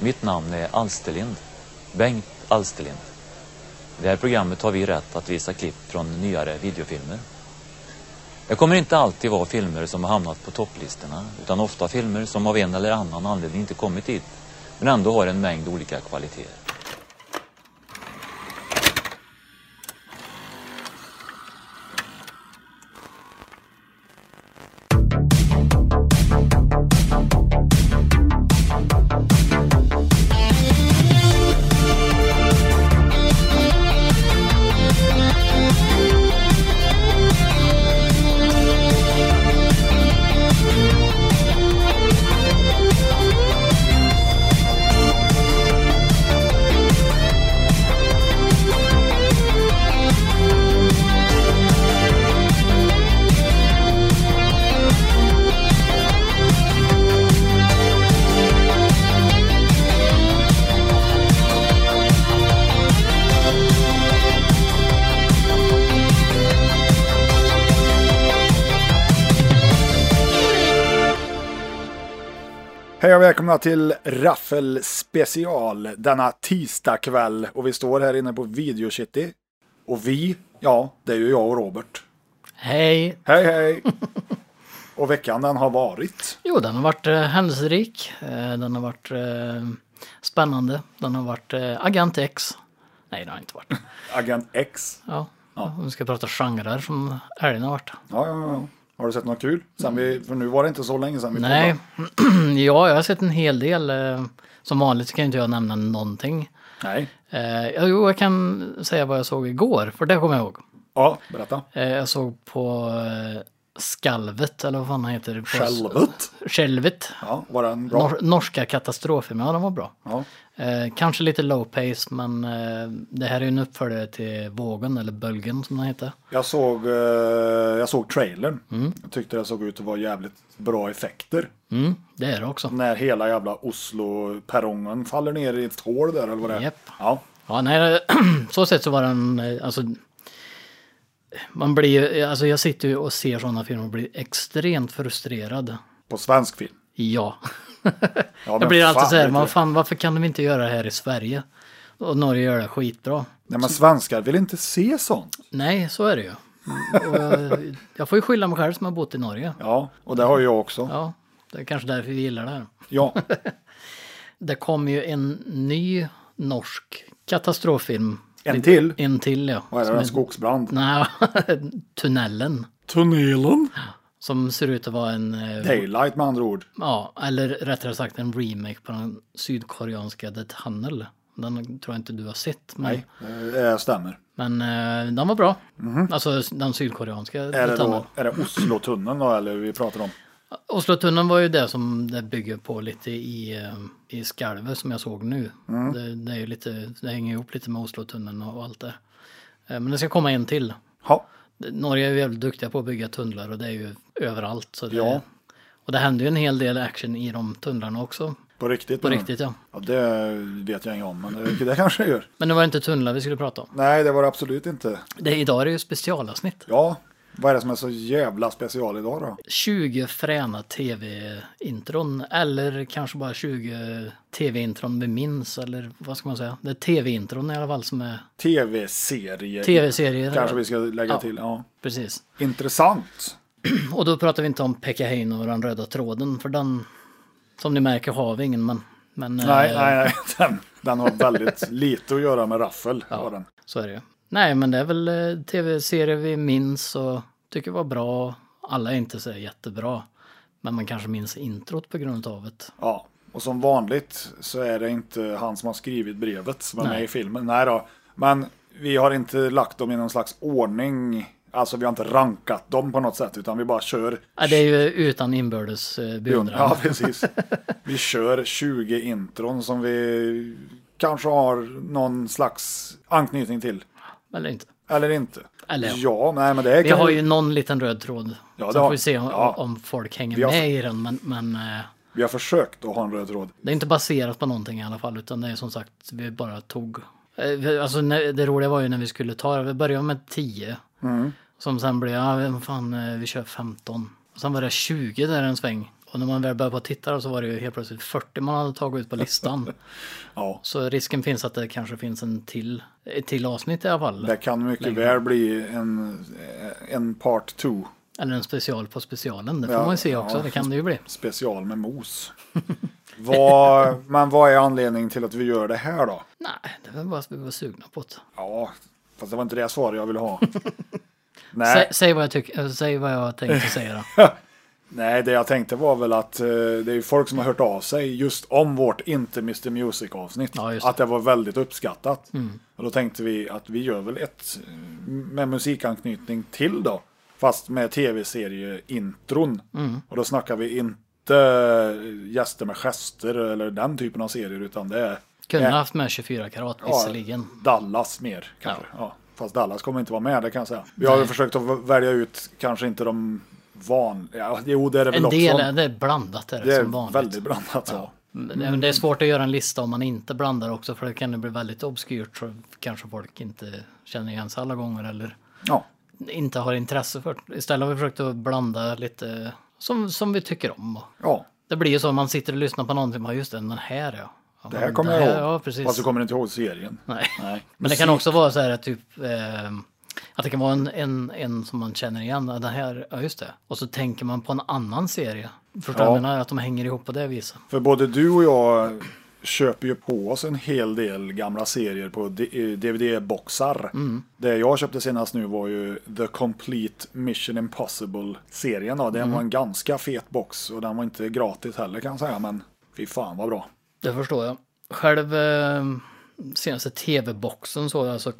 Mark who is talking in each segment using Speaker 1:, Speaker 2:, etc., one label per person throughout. Speaker 1: Mitt namn är Alsterlind. Bengt Alsterlind. I det här programmet har vi rätt att visa klipp från nyare videofilmer. Det kommer inte alltid vara filmer som har hamnat på topplistorna utan ofta filmer som av en eller annan anledning inte kommit dit men ändå har en mängd olika kvaliteter.
Speaker 2: Hej och välkomna till Raffel special denna tisdagkväll och vi står här inne på Video City. Och vi, ja, det är ju jag och Robert.
Speaker 3: Hej!
Speaker 2: Hej hej! och veckan den har varit.
Speaker 3: Jo, den har varit eh, händelserik. Eh, den har varit eh, spännande. Den har varit eh, Agent X. Nej, det har inte varit.
Speaker 2: Agent X.
Speaker 3: Ja. Om vi ska prata genrer som helgen har varit.
Speaker 2: Ja, ja, ja. Har du sett något kul? Sen vi, för nu var det inte så länge sedan vi
Speaker 3: Nej,
Speaker 2: poddade.
Speaker 3: ja, jag har sett en hel del. Eh, som vanligt så kan ju inte jag nämna någonting.
Speaker 2: Nej.
Speaker 3: Eh, ja, jo, jag kan säga vad jag såg igår, för det kommer jag ihåg.
Speaker 2: Ja, berätta.
Speaker 3: Eh, jag såg på eh, Skalvet, eller vad fan han heter. På
Speaker 2: Självet.
Speaker 3: Skälvet.
Speaker 2: Ja, var den bra?
Speaker 3: Nor- norska katastroffilmer, ja den var bra.
Speaker 2: Ja.
Speaker 3: Eh, kanske lite low pace, men eh, det här är ju en uppföljare till Vågen, eller Bölgen som den heter.
Speaker 2: Jag såg, eh, jag såg trailern. Jag tyckte det såg ut att vara jävligt bra effekter.
Speaker 3: Mm, det är det också.
Speaker 2: När hela jävla Oslo-perrongen faller ner i ett hål där eller vad det är.
Speaker 3: Japp.
Speaker 2: Ja.
Speaker 3: Ja, nej, så sett så var den, eh, alltså, man blir ju, alltså jag sitter ju och ser sådana filmer och blir extremt frustrerad.
Speaker 2: På svensk film.
Speaker 3: Ja.
Speaker 2: men
Speaker 3: jag blir alltid
Speaker 2: fan,
Speaker 3: så här,
Speaker 2: vet du.
Speaker 3: man, fan varför kan de inte göra det här i Sverige? Och Norge gör det skitbra.
Speaker 2: Nej men svenskar vill inte se sånt.
Speaker 3: Nej, så är det ju. Och jag, jag får ju skylla mig själv som har bott i Norge.
Speaker 2: Ja, och det har ju jag också.
Speaker 3: Ja, det är kanske därför vi gillar det här.
Speaker 2: Ja,
Speaker 3: Det kom ju en ny norsk katastroffilm.
Speaker 2: en till.
Speaker 3: En till ja.
Speaker 2: Vad är
Speaker 3: Som
Speaker 2: det? En skogsbrand?
Speaker 3: Nej, Tunneln.
Speaker 2: Tunnelen?
Speaker 3: Som ser ut att vara en... eh,
Speaker 2: Daylight med andra ord.
Speaker 3: Ja, eller rättare sagt en remake på den sydkoreanska The Tunnel. Den tror jag inte du har sett. Men,
Speaker 2: Nej, det Eh, stämmer.
Speaker 3: men eh, den var bra. Alltså den sydkoreanska
Speaker 2: Mhm. Är det,
Speaker 3: The Tunnel.
Speaker 2: då, är det Oslotunneln då eller vi pratar om?
Speaker 3: Oslotunneln var ju det som det bygger på lite i, eh, i skalvet som jag såg nu. Det, det, är ju lite, det hänger ihop lite med Oslotunneln och allt det. Eh, Men det ska komma en till.
Speaker 2: Ja,
Speaker 3: Norge är ju jävligt duktiga på att bygga tunnlar och det är ju överallt. Så det,
Speaker 2: Ja.
Speaker 3: Och det händer ju en hel del action i de tunnlarna också.
Speaker 2: på riktigt.
Speaker 3: På
Speaker 2: menar du?
Speaker 3: riktigt ja.
Speaker 2: Ja, det vet jag inte om, men det, det kanske jag gör.
Speaker 3: Men det var inte tunnlar vi skulle prata om.
Speaker 2: Nej, det var det absolut inte.
Speaker 3: Det, idag är det ju specialavsnitt.
Speaker 2: Ja, vad är det som är så jävla special idag då?
Speaker 3: 20 fräna tv-intron eller kanske bara 20 tv-intron vi minns eller vad ska man säga? Det är tv-intron i alla fall som är
Speaker 2: Tv-serie.
Speaker 3: tv-serier.
Speaker 2: Kanske vi ska lägga
Speaker 3: Ja.
Speaker 2: till. Ja.
Speaker 3: Precis.
Speaker 2: Intressant.
Speaker 3: Och då pratar vi inte om Pekka Heino och den röda tråden för den som ni märker har vi ingen men, men
Speaker 2: Nej,
Speaker 3: eh,
Speaker 2: nej, nej. Den, den har väldigt lite att göra med raffel. Har den.
Speaker 3: så är det ju. Nej men det är väl eh, tv-serier vi minns och tycker var bra. Alla är inte så jättebra. Men man kanske minns introt på grund av det.
Speaker 2: Ja. Och som vanligt så är det inte han som har skrivit brevet som är
Speaker 3: Nej.
Speaker 2: med i filmen. Nej då. Men vi har inte lagt dem i någon slags ordning. Alltså vi har inte rankat dem på något sätt utan vi bara kör.
Speaker 3: Ja, det är ju utan inbördes eh, beundran.
Speaker 2: Ja, precis. Vi kör 20 intron som vi kanske har någon slags anknytning till.
Speaker 3: Eller inte.
Speaker 2: Eller inte.
Speaker 3: Eller ja.
Speaker 2: ja, nej men det är
Speaker 3: Vi har ju någon liten röd tråd.
Speaker 2: Ja, det
Speaker 3: Ja, Sen
Speaker 2: har-
Speaker 3: får vi se om,
Speaker 2: ja.
Speaker 3: om folk hänger
Speaker 2: Vi har-
Speaker 3: med i den. Men, men eh,
Speaker 2: vi har försökt att ha en röd tråd.
Speaker 3: det är inte baserat på någonting i alla fall. Utan det är som sagt, vi bara tog. Eh, vi- Alltså när- det roliga var ju när vi skulle ta det. Vi började med 10.
Speaker 2: Mm.
Speaker 3: Som sen blev, ja men fan eh, vi kör 15. Och sen var det 20 där en sväng. Och när man väl började på att titta då så var det ju helt plötsligt 40 man hade tagit ut på listan.
Speaker 2: Ja,
Speaker 3: så risken finns att det kanske finns en till, ett till avsnitt i alla fall.
Speaker 2: det kan mycket väl bli en, en part 2
Speaker 3: Eller en special på specialen. Det får
Speaker 2: Ja,
Speaker 3: man ju se också.
Speaker 2: ja.
Speaker 3: Det kan det ju bli.
Speaker 2: special med mos. vad, men vad är anledningen till att vi gör det här då?
Speaker 3: Nej, det var bara att vi var sugna på det.
Speaker 2: Ja, fast det var inte det svar jag ville ha.
Speaker 3: Sä,
Speaker 2: nej,
Speaker 3: säg, vad jag tycker, äh, säg vad jag tänkte säga då.
Speaker 2: nej, det jag tänkte var väl att eh, det är ju folk som har hört av sig just om vårt Inte Mr Music avsnitt.
Speaker 3: Ja, just det. Mm.
Speaker 2: att det var väldigt uppskattat. Och då tänkte vi att vi gör väl ett eh, med musikanknytning till då. Fast med tv-serieintron.
Speaker 3: Mm.
Speaker 2: Och då snackar vi inte eh, gäster med gester eller den typen av serier utan det är
Speaker 3: Kunde
Speaker 2: eh,
Speaker 3: haft med 24 karat visserligen.
Speaker 2: Dallas mer kanske. Ja. Fast Dallas kommer inte vara med, det kan jag säga. Vi har ju
Speaker 3: Nej.
Speaker 2: försökt att v- välja ut kanske inte de vanliga. Ja, Jo, det är det väl
Speaker 3: En del
Speaker 2: också.
Speaker 3: är det är blandat är det,
Speaker 2: det är
Speaker 3: som vanligt.
Speaker 2: väldigt blandat. Ja.
Speaker 3: Men Det är svårt att göra en lista om man inte blandar också för det kan det bli väldigt obskyrt så kanske folk inte känner igen sig alla gånger eller
Speaker 2: Ja.
Speaker 3: inte har intresse för det. Istället har vi försökt att blanda lite som, som vi tycker om.
Speaker 2: ja,
Speaker 3: Det blir ju så att man sitter och lyssnar på någonting och bara, just det, den här ja. ja
Speaker 2: det här
Speaker 3: men
Speaker 2: kommer jag ihåg.
Speaker 3: Ja, precis.
Speaker 2: Fast du kommer inte ihåg serien.
Speaker 3: Nej.
Speaker 2: Nej.
Speaker 3: Men det kan också vara så här att typ eh, att det kan vara en, en, en som man känner igen. ja, Den här, ja just det. Och så tänker man på en annan serie.
Speaker 2: Ja.
Speaker 3: Förstår du? vad jag menar? Att de hänger ihop på det viset.
Speaker 2: För både du och jag köper ju på oss en hel del gamla serier på D- eh, DVD-boxar.
Speaker 3: Mm.
Speaker 2: Det jag köpte senast nu var ju The Complete Mission Impossible-serien. Då.
Speaker 3: Mm.
Speaker 2: Den var en ganska fet box och den var inte gratis heller kan jag säga, men fy fan vad bra.
Speaker 3: Det förstår jag. Själv eh, senaste tv-boxen så, alltså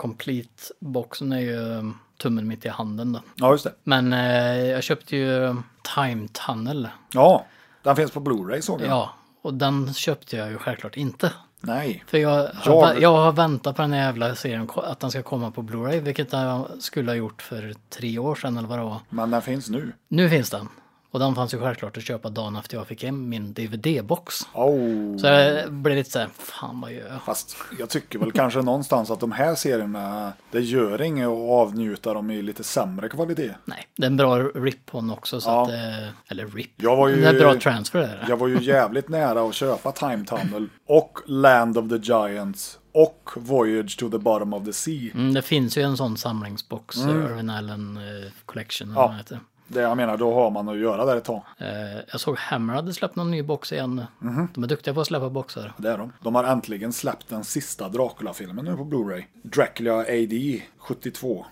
Speaker 3: complete-boxen är ju eh, tummen mitt i handen då.
Speaker 2: Ja, just det.
Speaker 3: Men eh, jag köpte ju Time Tunnel.
Speaker 2: Ja, den finns på Blu-ray såg jag.
Speaker 3: Ja, och den köpte jag ju självklart inte.
Speaker 2: Nej.
Speaker 3: För jag,
Speaker 2: Ja,
Speaker 3: jag, jag har väntat på den här jävla serien, ko- att den ska komma på Blu-ray, vilket jag skulle ha gjort för tre år sedan eller vad det var.
Speaker 2: Men den finns nu.
Speaker 3: Nu finns den. Och den fanns ju självklart att köpa dagen efter jag fick hem min DVD-box.
Speaker 2: Oh.
Speaker 3: Så jag blev lite såhär, fan vad gör jag?
Speaker 2: Fast jag tycker väl kanske någonstans att de här serierna, det gör inget att avnjuta dem i lite sämre kvalitet.
Speaker 3: Nej, det är en bra rip on också. Så
Speaker 2: Ja.
Speaker 3: att, eh, eller rip.
Speaker 2: Jag var ju-
Speaker 3: Det är en bra transfer där.
Speaker 2: Jag var ju jävligt nära att köpa Time Tunnel och Land of the Giants och Voyage to the Bottom of the Sea.
Speaker 3: Mm, det finns ju en sån samlingsbox, Irvin Allen eh, Collection. eller
Speaker 2: Mm. Ja.
Speaker 3: vad den heter.
Speaker 2: Det jag menar, då har man att göra där ett tag.
Speaker 3: Eh, jag såg Hammer hade släppt någon ny box igen nu.
Speaker 2: Mhm.
Speaker 3: De är duktiga på att släppa boxar.
Speaker 2: Det är de. De har äntligen släppt den sista Dracula-filmen nu på Blu-ray. Dracula AD 72.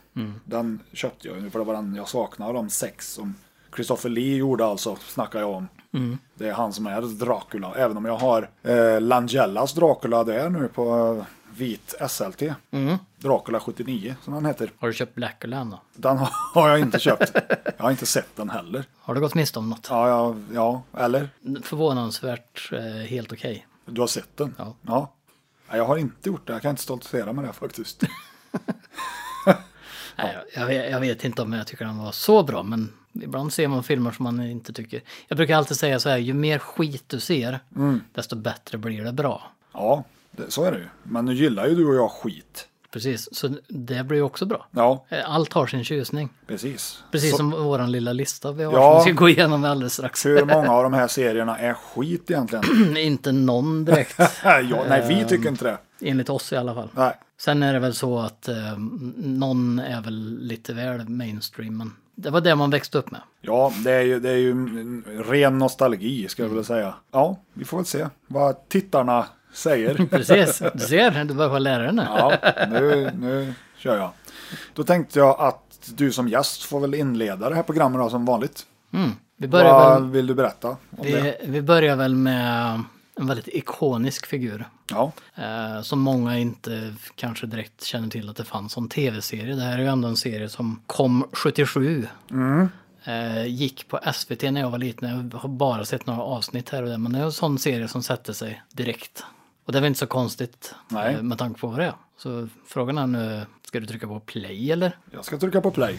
Speaker 2: Den köpte jag ju nu för det var den jag saknade av de sex som Christopher Lee gjorde alltså, snackar jag om. Det är han som är Dracula, även om jag har eh, Langellas Dracula där nu på eh, vit SLT. Dracula 79 som han heter.
Speaker 3: Har du köpt Blackula än då?
Speaker 2: Den har jag inte köpt. Jag har inte sett den heller.
Speaker 3: Har du gått miste om något?
Speaker 2: Ja, ja, ja eller?
Speaker 3: Förvånansvärt eh, helt okej.
Speaker 2: Du har sett den?
Speaker 3: Ja.
Speaker 2: Nej, Jag har inte gjort det. Jag kan inte stoltsera med det faktiskt.
Speaker 3: Nej, jag, vet- jag vet inte om jag tycker den var så bra, men ibland ser man filmer som man inte tycker. Jag brukar alltid säga så här, ju mer skit du ser, desto bättre blir det bra.
Speaker 2: Ja, det, så är det ju. Men nu gillar ju du och jag skit.
Speaker 3: Precis, så det blir ju också bra.
Speaker 2: Ja,
Speaker 3: Eh, Allt har sin tjusning.
Speaker 2: precis.
Speaker 3: Precis
Speaker 2: så,
Speaker 3: som våran lilla lista vi har
Speaker 2: Ja.
Speaker 3: som vi ska gå igenom alldeles strax.
Speaker 2: Hur många av de här serierna är skit egentligen?
Speaker 3: inte någon direkt,
Speaker 2: ja, nej, vi tycker inte det.
Speaker 3: enligt oss i alla fall.
Speaker 2: Nej.
Speaker 3: Sen är det väl så att eh, någon är väl lite väl mainstream, men det var det man växte upp med.
Speaker 2: Ja, det är ju, det är ju mm, ren nostalgi skulle jag vilja säga. Ja, vi får väl se vad tittarna säger.
Speaker 3: Precis, du ser, du börjar lära dig nu.
Speaker 2: Ja, nu, nu kör jag. Då tänkte jag att du som gäst får väl inleda det här programmet då, som vanligt.
Speaker 3: Mm. Vi, börjar
Speaker 2: Vad
Speaker 3: väl,
Speaker 2: vill du berätta om det?
Speaker 3: vi, vi börjar väl med en väldigt ikonisk figur.
Speaker 2: Ja,
Speaker 3: Eh, som många inte kanske direkt känner till att det fanns som tv-serie. Det här är ju ändå en serie som kom 77.
Speaker 2: Mm.
Speaker 3: Eh, gick på SVT när jag var liten. Jag har bara sett några avsnitt här och där. Men det är en sån serie som sätter sig direkt. Och det är väl inte så konstigt
Speaker 2: Nej.
Speaker 3: eh, med tanke på vad det är. Så frågan är nu, ska du trycka på play eller?
Speaker 2: jag ska trycka på play.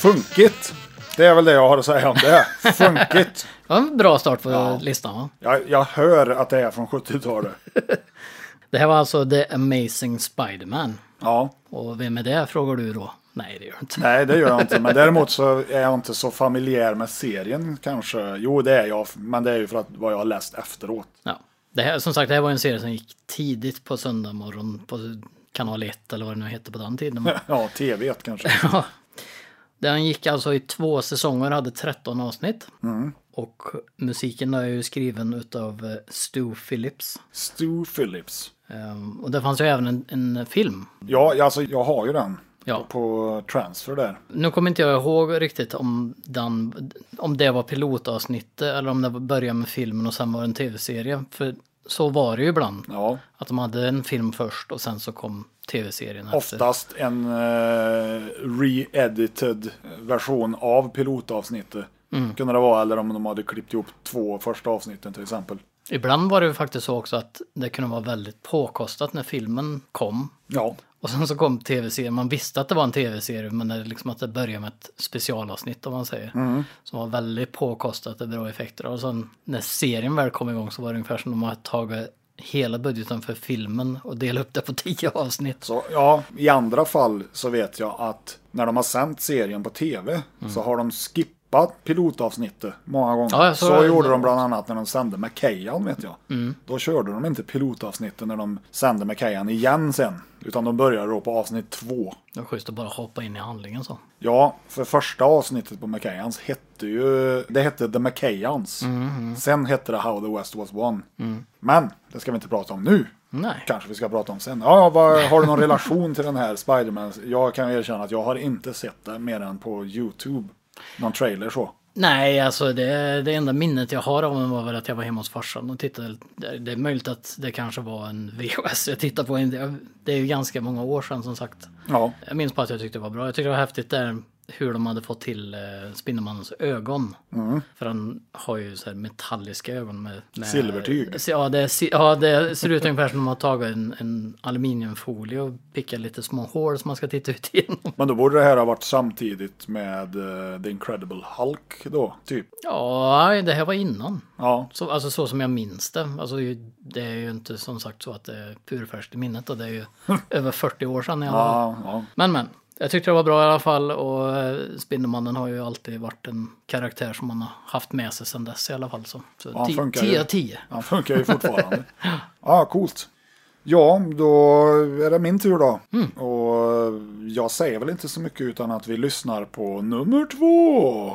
Speaker 2: Funkigt. Det är väl det jag har att säga om det. Funkigt.
Speaker 3: Det var en bra start på listan va?
Speaker 2: Jag, jag hör att det är från 70-talet.
Speaker 3: Det här var alltså The Amazing Spider-Man.
Speaker 2: Ja.
Speaker 3: Och vem är det frågar du då? Nej det gör jag inte.
Speaker 2: Nej, det gör jag inte. Men däremot så är jag inte så familjär med serien kanske. Jo, det är jag. Men det är ju för att vad jag har läst efteråt.
Speaker 3: Ja. Det här, som sagt, det här var en serie som gick tidigt på söndag morgon på kanal 1 eller vad det nu hette på den tiden.
Speaker 2: Ja, tv kanske.
Speaker 3: Ja. Den gick alltså i två säsonger och hade 13 avsnitt. Och musiken är ju skriven utav eh, Stu Phillips.
Speaker 2: Stu Phillips.
Speaker 3: Ehm, Och det fanns ju även en, en film.
Speaker 2: Ja, alltså jag har ju den.
Speaker 3: Ja.
Speaker 2: På transfer där.
Speaker 3: Nu kommer inte jag ihåg riktigt om, den, om det var pilotavsnittet eller om det började med filmen och sen var det en tv-serie. För så var det ju ibland.
Speaker 2: Ja.
Speaker 3: Att de hade en film först och sen så kom tv-serien efter.
Speaker 2: Oftast en eh, re-edited version av pilotavsnittet.
Speaker 3: Mm.
Speaker 2: Kunde det vara, eller om de hade klippt ihop två första avsnitten till exempel.
Speaker 3: Ibland var det ju faktiskt så också att det kunde vara väldigt påkostat när filmen kom.
Speaker 2: Ja,
Speaker 3: Och sen så kom tv-serien. Man visste att det var en tv-serie men det, är liksom att det började med ett specialavsnitt om man säger. Som var väldigt påkostat och bra effekter. Och sen när serien väl kom igång så var det ungefär som de hade tagit hela budgeten för filmen och delat upp det på tio avsnitt.
Speaker 2: så ja, i andra fall så vet jag att när de har sänt serien på tv så har de skippat pilotavsnittet många gånger.
Speaker 3: Mm. Ja, jag
Speaker 2: så
Speaker 3: såg det. Mm.
Speaker 2: gjorde de bland annat när de sände med Kajan vet jag. Då körde de inte pilotavsnittet när de sände med Kajan igen sen. Utan de började då på avsnitt två.
Speaker 3: Det var schysst att bara hoppa in i handlingen så.
Speaker 2: Ja, för första avsnittet på McKayans hette ju... Det hette The McKayans. Sen hette det How the West Was Won. Men det ska vi inte prata om nu.
Speaker 3: Mm. Nej.
Speaker 2: Kanske vi ska prata om sen. Ja, vad, har du någon relation till den här Spiderman? Jag kan erkänna att jag har inte sett det mer än på YouTube. Någon trailer så.
Speaker 3: Nej, alltså det, det enda minnet jag har av den var väl att jag var hemma hos farsan och tittade. Det, det är möjligt att det kanske var en VHS jag tittade på. Det är ju ganska många år sedan som sagt.
Speaker 2: Ja,
Speaker 3: Jag minns bara att jag tyckte det var bra. Jag tyckte det var häftigt där hur de hade fått till eh, Spindelmannens ögon.
Speaker 2: Mm.
Speaker 3: För han har ju så här metalliska ögon med... med
Speaker 2: Silvertyg.
Speaker 3: Ja det, är si- ja, det ser ut ungefär som om man har tagit en, en aluminiumfolie och pickat lite små hål som man ska titta ut igenom.
Speaker 2: men då borde det här ha varit samtidigt med eh, The Incredible Hulk då, typ.
Speaker 3: Ja, det här var innan.
Speaker 2: Ja,
Speaker 3: Så, alltså så som jag minns det. Alltså, ju- det är ju inte som sagt så att det är purfärskt i minnet och det är ju över 40 år sedan. Jag var.
Speaker 2: ja, ja.
Speaker 3: Men men, jag tyckte det var bra i alla fall och eh, Spindelmannen har ju alltid varit en karaktär som man har haft med sig sedan dess i alla fall. Så, så
Speaker 2: han
Speaker 3: ti-
Speaker 2: funkar
Speaker 3: 10
Speaker 2: ju.
Speaker 3: av 10.
Speaker 2: Han funkar ju fortfarande. Ja, coolt. Ja, då är det min tur då. Och jag säger väl inte så mycket utan att vi lyssnar på nummer två.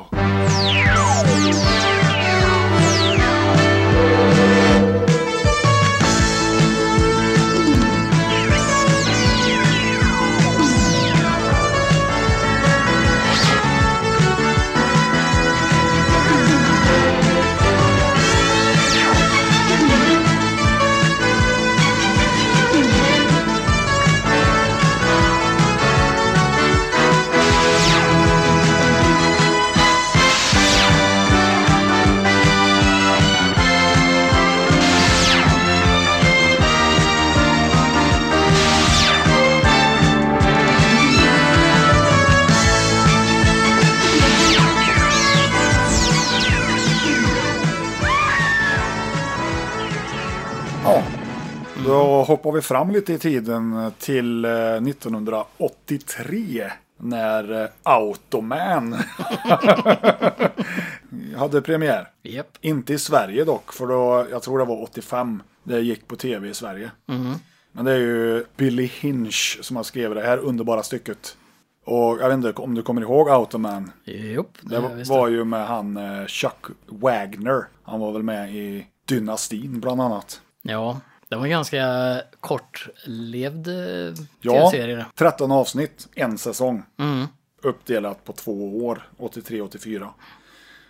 Speaker 2: Ja, då hoppar vi fram lite i tiden till eh, 1983 när eh, Automan hade premiär.
Speaker 3: Japp.
Speaker 2: Inte i Sverige dock, för då, jag tror det var 85 det gick på tv i Sverige.
Speaker 3: Mm.
Speaker 2: Men det är ju Billy Hinch som har skrivit det här underbara stycket. Och jag vet inte om du kommer ihåg Automan.
Speaker 3: Jopp, det
Speaker 2: Det
Speaker 3: var,
Speaker 2: var, var ju med han eh, Chuck Wagner. Han var väl med i Dynastin bland annat.
Speaker 3: Ja, det var en ganska kortlevd eh,
Speaker 2: Ja,
Speaker 3: tv-serie. det. Mm.
Speaker 2: 13 avsnitt, en säsong. Uppdelat på två år, 83-84.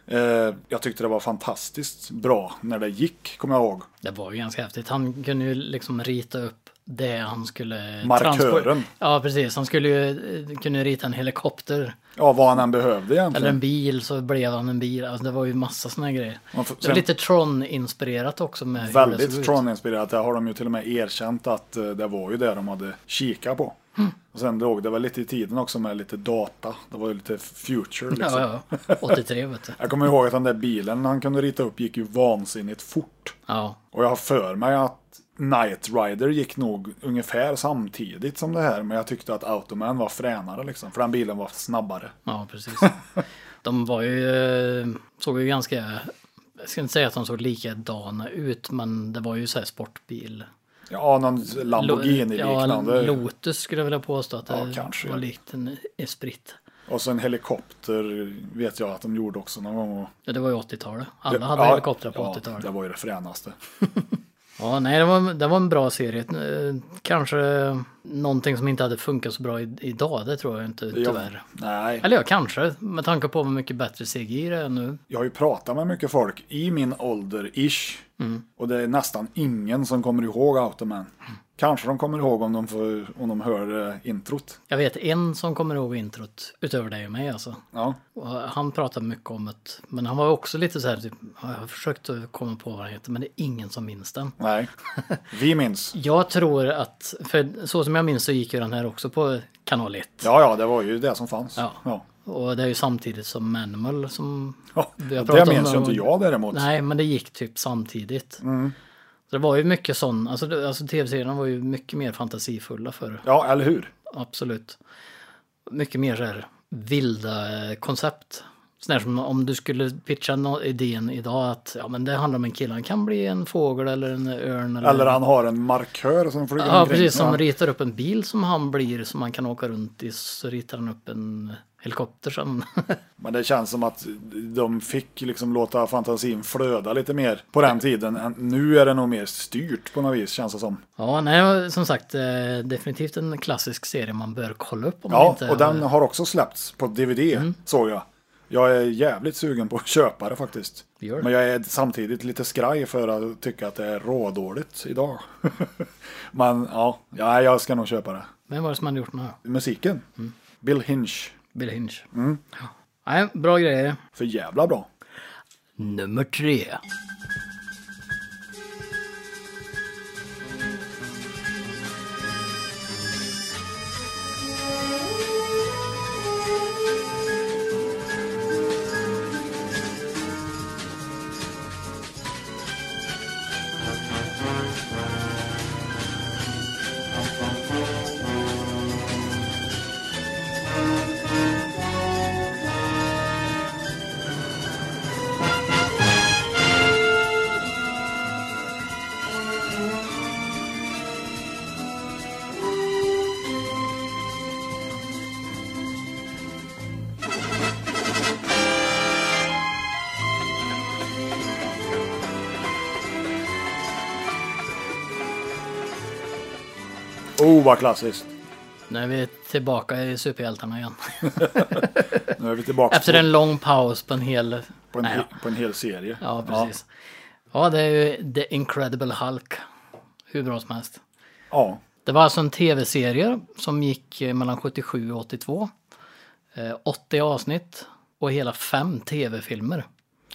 Speaker 2: Eh, jag tyckte det var fantastiskt bra när det gick, kommer jag ihåg.
Speaker 3: Det var ju ganska häftigt. Han kunde ju liksom rita upp det han skulle...
Speaker 2: Markören.
Speaker 3: transpor- Ja, precis. Han skulle ju eh, kunna rita en helikopter.
Speaker 2: Ja, vad han än behövde egentligen.
Speaker 3: Eller en bil så blev han en bil. Alltså, det var ju massa såna här grejer.
Speaker 2: Man får-
Speaker 3: Det var lite Tron-inspirerat också med hur det såg
Speaker 2: Väldigt
Speaker 3: ut.
Speaker 2: Tron-inspirerat. Det har de ju till och med erkänt att eh, det var ju det de hade kikat på.
Speaker 3: Mm.
Speaker 2: Och sen låg det väl lite i tiden också med lite data. Det var ju lite future liksom.
Speaker 3: Ja, ja, ja. 83 vet du.
Speaker 2: Jag kommer ihåg att den där bilen han kunde rita upp gick ju vansinnigt fort.
Speaker 3: Ja,
Speaker 2: Och jag har för mig att Knight Rider gick nog ungefär samtidigt som det här. Men jag tyckte att Automan var fränare liksom. För den bilen var snabbare.
Speaker 3: ja precis. De var ju, eh, såg ju ganska, jag ska inte säga att de såg likadana ut, men det var ju så här sportbil.
Speaker 2: Ja, någon
Speaker 3: Lo-
Speaker 2: Lamborghini-liknande.
Speaker 3: Ja, Lotus skulle jag vilja påstå att det
Speaker 2: Ja, kanske.
Speaker 3: var likt en Esprit.
Speaker 2: och så en helikopter vet jag att de gjorde också någon gång. Och
Speaker 3: Ja, det var ju 80-talet. Alla hade
Speaker 2: Ja,
Speaker 3: helikoptrar på
Speaker 2: ja,
Speaker 3: 80-talet.
Speaker 2: Det var ju det fränaste.
Speaker 3: Ja, nej, det var, det var en bra serie. Eh, Kanske någonting som inte hade funkat så bra i, idag, det tror jag inte tyvärr.
Speaker 2: Jag, nej,
Speaker 3: Eller ja, kanske, med tanke på hur mycket bättre CGI det är nu.
Speaker 2: jag har ju pratat med mycket folk i min ålder-ish.
Speaker 3: Mm.
Speaker 2: Och det är nästan ingen som kommer ihåg Automan. Kanske de kommer ihåg om de, får, om de hör eh, introt.
Speaker 3: Jag vet en som kommer ihåg introt, utöver dig och mig alltså.
Speaker 2: Ja.
Speaker 3: Och han pratade mycket om det, men han var också lite så här, typ, "Ja, jag har försökt att komma på vad han heter, men det är ingen som minns den.
Speaker 2: Nej, vi minns.
Speaker 3: Jag tror att, för så som jag minns så gick ju den här också på kanal 1.
Speaker 2: Ja, ja, det var ju det som fanns.
Speaker 3: Ja.
Speaker 2: Ja.
Speaker 3: Och det är ju samtidigt som Manimal som
Speaker 2: Ja,
Speaker 3: vi har pratat
Speaker 2: det minns
Speaker 3: om
Speaker 2: ju
Speaker 3: någon
Speaker 2: inte
Speaker 3: gång.
Speaker 2: jag däremot.
Speaker 3: Nej, men det gick typ samtidigt. Så det var ju mycket sån, alltså, det- alltså tv-serierna var ju mycket mer fantasifulla förr,
Speaker 2: Ja, eller hur?
Speaker 3: absolut. Mycket mer så här vilda eh, koncept. Sådär som om du skulle pitcha nå- idén idag att ja, men det handlar om en kille, han kan bli en fågel eller en örn. Eller,
Speaker 2: Eller han har en markör som flyger
Speaker 3: ja,
Speaker 2: omkring.
Speaker 3: precis, som
Speaker 2: Ja.
Speaker 3: ritar upp en bil som han blir, som man kan åka runt i, så ritar han upp en helikopter sen.
Speaker 2: Men det känns som att de fick liksom låta fantasin flöda lite mer på den tiden. Nu är det nog mer styrt på något vis känns det som.
Speaker 3: Ja, nej, som sagt, eh, definitivt en klassisk serie man bör kolla upp om man
Speaker 2: Ja,
Speaker 3: inte Mm.
Speaker 2: och den har också släppts på DVD såg jag. Jag är jävligt sugen på att köpa det faktiskt.
Speaker 3: Gör det.
Speaker 2: Men jag är samtidigt lite skraj för att tycka att det är rådåligt idag. Men ja, ja, jag ska nog köpa det.
Speaker 3: Vem var det som hade gjort den här?
Speaker 2: Musiken.
Speaker 3: Mm.
Speaker 2: Bill Hinch.
Speaker 3: Bill Hinch.
Speaker 2: Mm.
Speaker 3: Ja. Nej, bra grejer.
Speaker 2: För jävla bra.
Speaker 3: Nummer tre.
Speaker 2: Oh, vad klassiskt.
Speaker 3: Nu är vi tillbaka i Superhjältarna igen.
Speaker 2: Nu är vi tillbaka
Speaker 3: Efter
Speaker 2: på,
Speaker 3: en lång paus på en hel...
Speaker 2: på, en,
Speaker 3: Nej,
Speaker 2: hel-
Speaker 3: ja.
Speaker 2: på en hel serie.
Speaker 3: ja, precis. Ja. det är ju The Incredible Hulk. Hur bra som helst.
Speaker 2: Ja.
Speaker 3: Det var alltså en tv-serie som gick eh, mellan 77 och 82. Eh, 80 avsnitt och hela fem tv-filmer.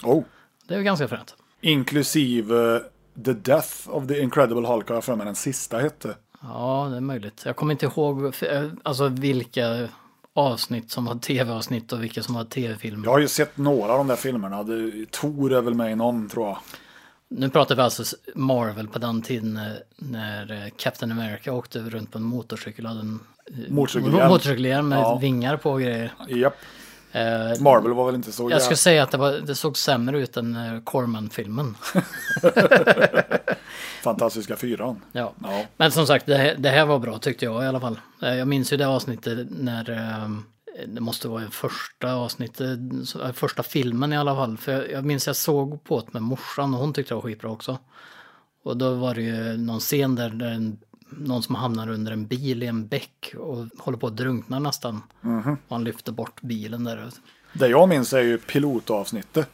Speaker 2: ja. Oh.
Speaker 3: Det är ju ganska fränt.
Speaker 2: Inklusive The Death of the Incredible Hulk har jag för mig den sista hette.
Speaker 3: Ja, det är möjligt. Jag kommer inte ihåg för, eh, alltså, vilka avsnitt som var tv-avsnitt och vilka som var tv-filmer.
Speaker 2: Jag har ju sett några av de där filmerna. Det- Thor är väl med i någon tror jag.
Speaker 3: Nu pratar vi alltså s- Marvel på den tiden eh, när eh, Captain America åkte runt på en motorcykel och hade en eh,
Speaker 2: Motorcykelhjälm.
Speaker 3: motorcykelhjälm med
Speaker 2: Ja.
Speaker 3: vingar på och grejer.
Speaker 2: Japp.
Speaker 3: Eh,
Speaker 2: Marvel var väl inte så
Speaker 3: jag skulle
Speaker 2: jävla-
Speaker 3: säga att det, var, det såg sämre ut än eh, Corman-filmen.
Speaker 2: Fantastiska fyran.
Speaker 3: Ja.
Speaker 2: Ja.
Speaker 3: Men som sagt, det här, det här var bra tyckte jag i alla fall. Eh, Jag minns ju det avsnittet när, eh, det måste vara i första avsnittet, så- eh, första filmen i alla fall. För jag, jag minns jag såg på det med morsan och hon tyckte det var skitbra också. Och då var det ju någon scen där, där en, någon som hamnar under en bil i en bäck och håller på att drunkna nästan. Och han lyfter bort bilen där.
Speaker 2: Det jag minns är ju pilotavsnittet.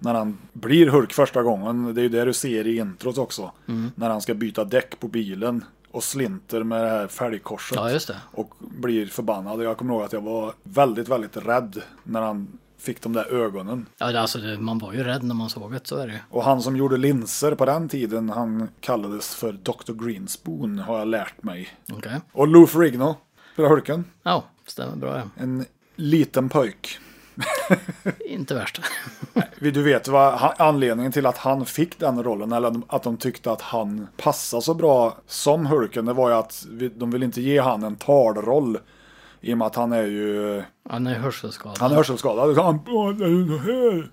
Speaker 2: När han blir Hulk första gången. Det är ju det du ser i introt också. När han ska byta däck på bilen. och slinter med det här fälgkorset.
Speaker 3: Ja, just det.
Speaker 2: Och blir förbannad. Jag kommer ihåg att jag var väldigt, väldigt rädd när han fick de där ögonen.
Speaker 3: Ja, det- alltså, det, man var ju rädd när man såg det, så är det ju.
Speaker 2: Och han som gjorde linser på den tiden, han kallades för Dr. Greenspoon har jag lärt mig.
Speaker 3: Okej.
Speaker 2: Och Lou Ferrigno, för Hulken.
Speaker 3: Ja, stämmer bra det.
Speaker 2: En liten pojk.
Speaker 3: Inte värst.
Speaker 2: Du vet vad han- anledningen till att han fick den rollen, eller att de tyckte att han passade så bra som Hulken, det var ju att vi- de ville inte ge han en talroll. I och med att han är ju
Speaker 3: Han är hörselskadad.
Speaker 2: Han är hörselskadad. Så Han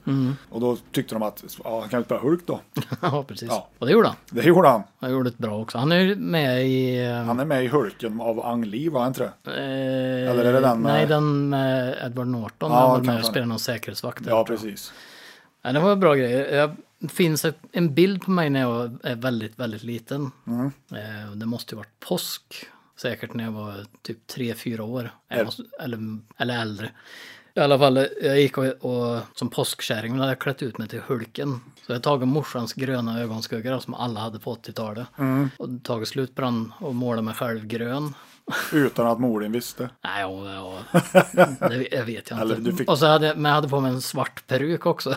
Speaker 2: mm. Och då tyckte de att ja, han kan ju spela Hulk då.
Speaker 3: ja, precis.
Speaker 2: Ja.
Speaker 3: Och det gjorde han.
Speaker 2: Det gjorde han.
Speaker 3: Han gjorde det bra också. Han är ju med i... eh,
Speaker 2: Han är med i Hulken av Ang Lee, var han inte det?
Speaker 3: Eller
Speaker 2: är det den med-
Speaker 3: eh, Nej, den med Edward Norton.
Speaker 2: Ja,
Speaker 3: han var med
Speaker 2: kanske.
Speaker 3: och spelade någon säkerhetsvakt. där.
Speaker 2: Ja, precis.
Speaker 3: Ja, det var bra grejer. Jag, det finns ett- en bild på mig när jag är väldigt, väldigt liten. Eh, och Det måste ju varit påsk. Säkert när jag var typ tre fyra år. Jag
Speaker 2: Äl-
Speaker 3: måste, eller, eller äldre. I alla fall, jag gick och, och som påskkärring men hade jag klätt ut mig till Hulken. Så jag tagit morsans gröna ögonskuggor som alla hade på 80-talet. Och tagit slut på den och målat mig själv grön.
Speaker 2: Utan att Morin visste.
Speaker 3: Nej, ja, ja. Det, jag vet jag
Speaker 2: Eller
Speaker 3: inte.
Speaker 2: du fick-
Speaker 3: Och så hade jag, men jag hade på mig en svart peruk också.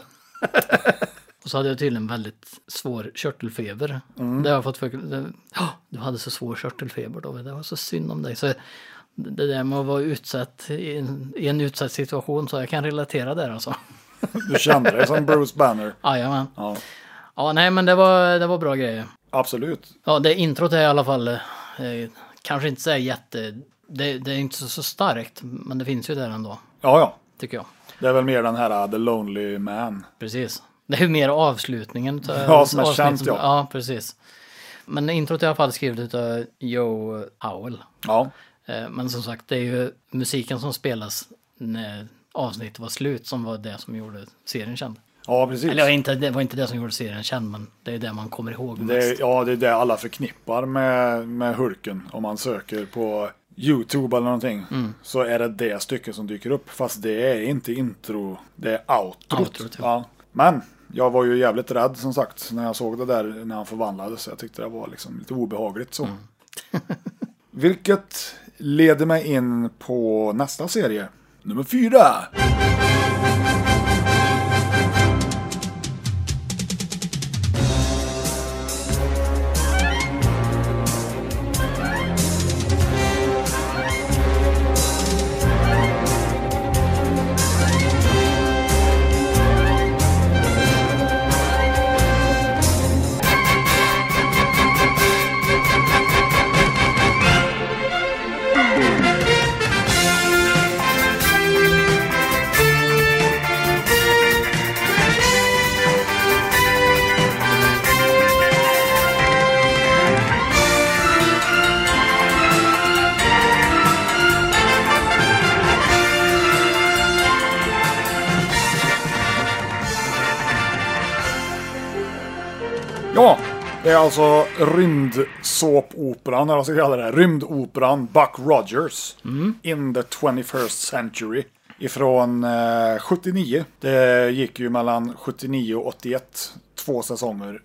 Speaker 3: och så hade jag tydligen väldigt svår körtelfeber.
Speaker 2: Mm.
Speaker 3: Det har jag fått för... det- Ja, du hade så svår körtelfeber då. Det var så synd om dig. Så det där med att vara utsatt i en, i en utsatt situation, så jag kan relatera där alltså. Ah,
Speaker 2: Du kände dig som Bruce Banner.
Speaker 3: Jajamän.
Speaker 2: Ja,
Speaker 3: Ja, nej, men det var, det var bra grejer.
Speaker 2: absolut.
Speaker 3: Ja, det introt är i alla fall eh, kanske inte så här jätte... Det, det är inte så, så starkt, men det finns ju där ändå,
Speaker 2: Ja, ja.
Speaker 3: tycker jag.
Speaker 2: Det är väl mer den här uh, The Lonely Man.
Speaker 3: Precis. Det är ju mer avslutningen. utav
Speaker 2: Ja, som är
Speaker 3: avsnittet
Speaker 2: känt, ja.
Speaker 3: Ja, precis. Men introt är i alla fall skrivet av Joe Howell.
Speaker 2: Ja,
Speaker 3: Eh, Men som sagt, det är ju musiken som spelas när avsnittet var slut som var det som gjorde serien känd.
Speaker 2: ja precis.
Speaker 3: Eller ja, inte, det var inte det som gjorde serien känd, men det är det man kommer ihåg
Speaker 2: Det
Speaker 3: mest.
Speaker 2: är, ja, det är det alla förknippar med, med Hulken. Om man söker på YouTube eller någonting
Speaker 3: Mm.
Speaker 2: så är det det stycket som dyker upp. Fast det är inte intro, det är outrot.
Speaker 3: Outrot, ja.
Speaker 2: ja. Men jag var ju jävligt rädd som sagt när jag såg det där när han förvandlades. Jag tyckte det var liksom lite obehagligt så.
Speaker 3: Mm.
Speaker 2: Vilket leder mig in på nästa serie. Nummer fyra. Ja, det är alltså rymdsåpoperan, eller vad ska jag kalla det? här, Rymdoperan Buck Rogers in the 21st century. Ifrån eh, 79. Det gick ju mellan 79 och 81. Två säsonger.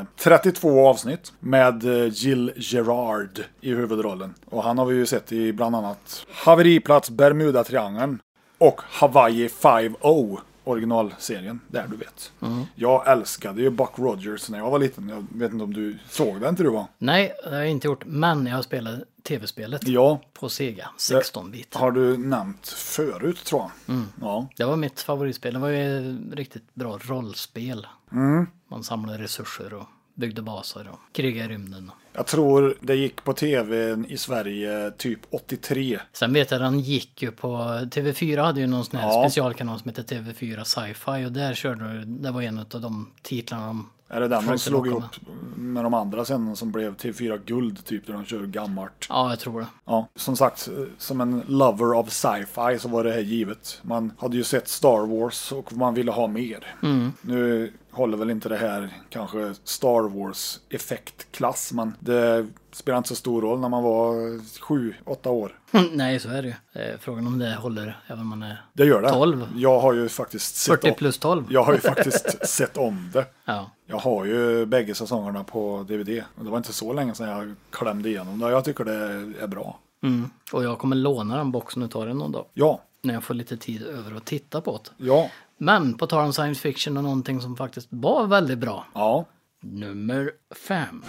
Speaker 2: Eh, 32 avsnitt med eh, Jill Gerard i huvudrollen. Och han har vi ju sett i bland annat Haveriplats Bermuda-triangeln och Hawaii 5-0 originalserien, där du vet. Jag älskade ju Buck Rogers när jag var liten. Jag vet inte om du såg den inte du va?
Speaker 3: Nej, det har jag inte gjort, men jag har spelat tv-spelet
Speaker 2: Ja,
Speaker 3: på Sega, 16-bit.
Speaker 2: har du nämnt förut tror jag. Ja.
Speaker 3: Det var mitt favoritspel. Det var ju ett riktigt bra rollspel.
Speaker 2: Mm.
Speaker 3: Man samlade resurser och byggde baser och krigade i rymden.
Speaker 2: Jag tror det gick på tv i Sverige typ 83.
Speaker 3: Sen vet jag den gick ju på... TV4 hade ju någon sån här
Speaker 2: Ja.
Speaker 3: specialkanal som hette TV4 Sci-Fi och där körde det var en av de titlarna de...
Speaker 2: Är det den de
Speaker 3: Försökte
Speaker 2: slog
Speaker 3: locka
Speaker 2: ihop med de andra sen som blev TV4 Guld typ där de kör gammalt.
Speaker 3: Ja, jag tror det.
Speaker 2: Ja, som sagt, eh, som en lover av sci-fi så var det här givet. Man hade ju sett Star Wars och man ville ha mer.
Speaker 3: Mm.
Speaker 2: Nu håller väl inte det här kanske Star Wars effektklass, men Det spelar inte så stor roll när man var sju, åtta år.
Speaker 3: Nej, så är det ju. Eh, Frågan om det håller även om man är
Speaker 2: Det gör det.
Speaker 3: 12.
Speaker 2: Jag har ju faktiskt sett
Speaker 3: 40
Speaker 2: om,
Speaker 3: plus 12.
Speaker 2: jag har ju faktiskt sett om det.
Speaker 3: Ja.
Speaker 2: Jag har ju bägge säsongerna på DVD. Och det var inte så länge sedan jag klämde igenom det. Jag tycker det är bra.
Speaker 3: Mm. Och jag kommer låna den boxen och ta den någon dag.
Speaker 2: Ja,
Speaker 3: När jag får lite tid över att titta på det.
Speaker 2: ja,
Speaker 3: Men på tal om science fiction och någonting som faktiskt var väldigt bra.
Speaker 2: ja.
Speaker 3: Nummer fem.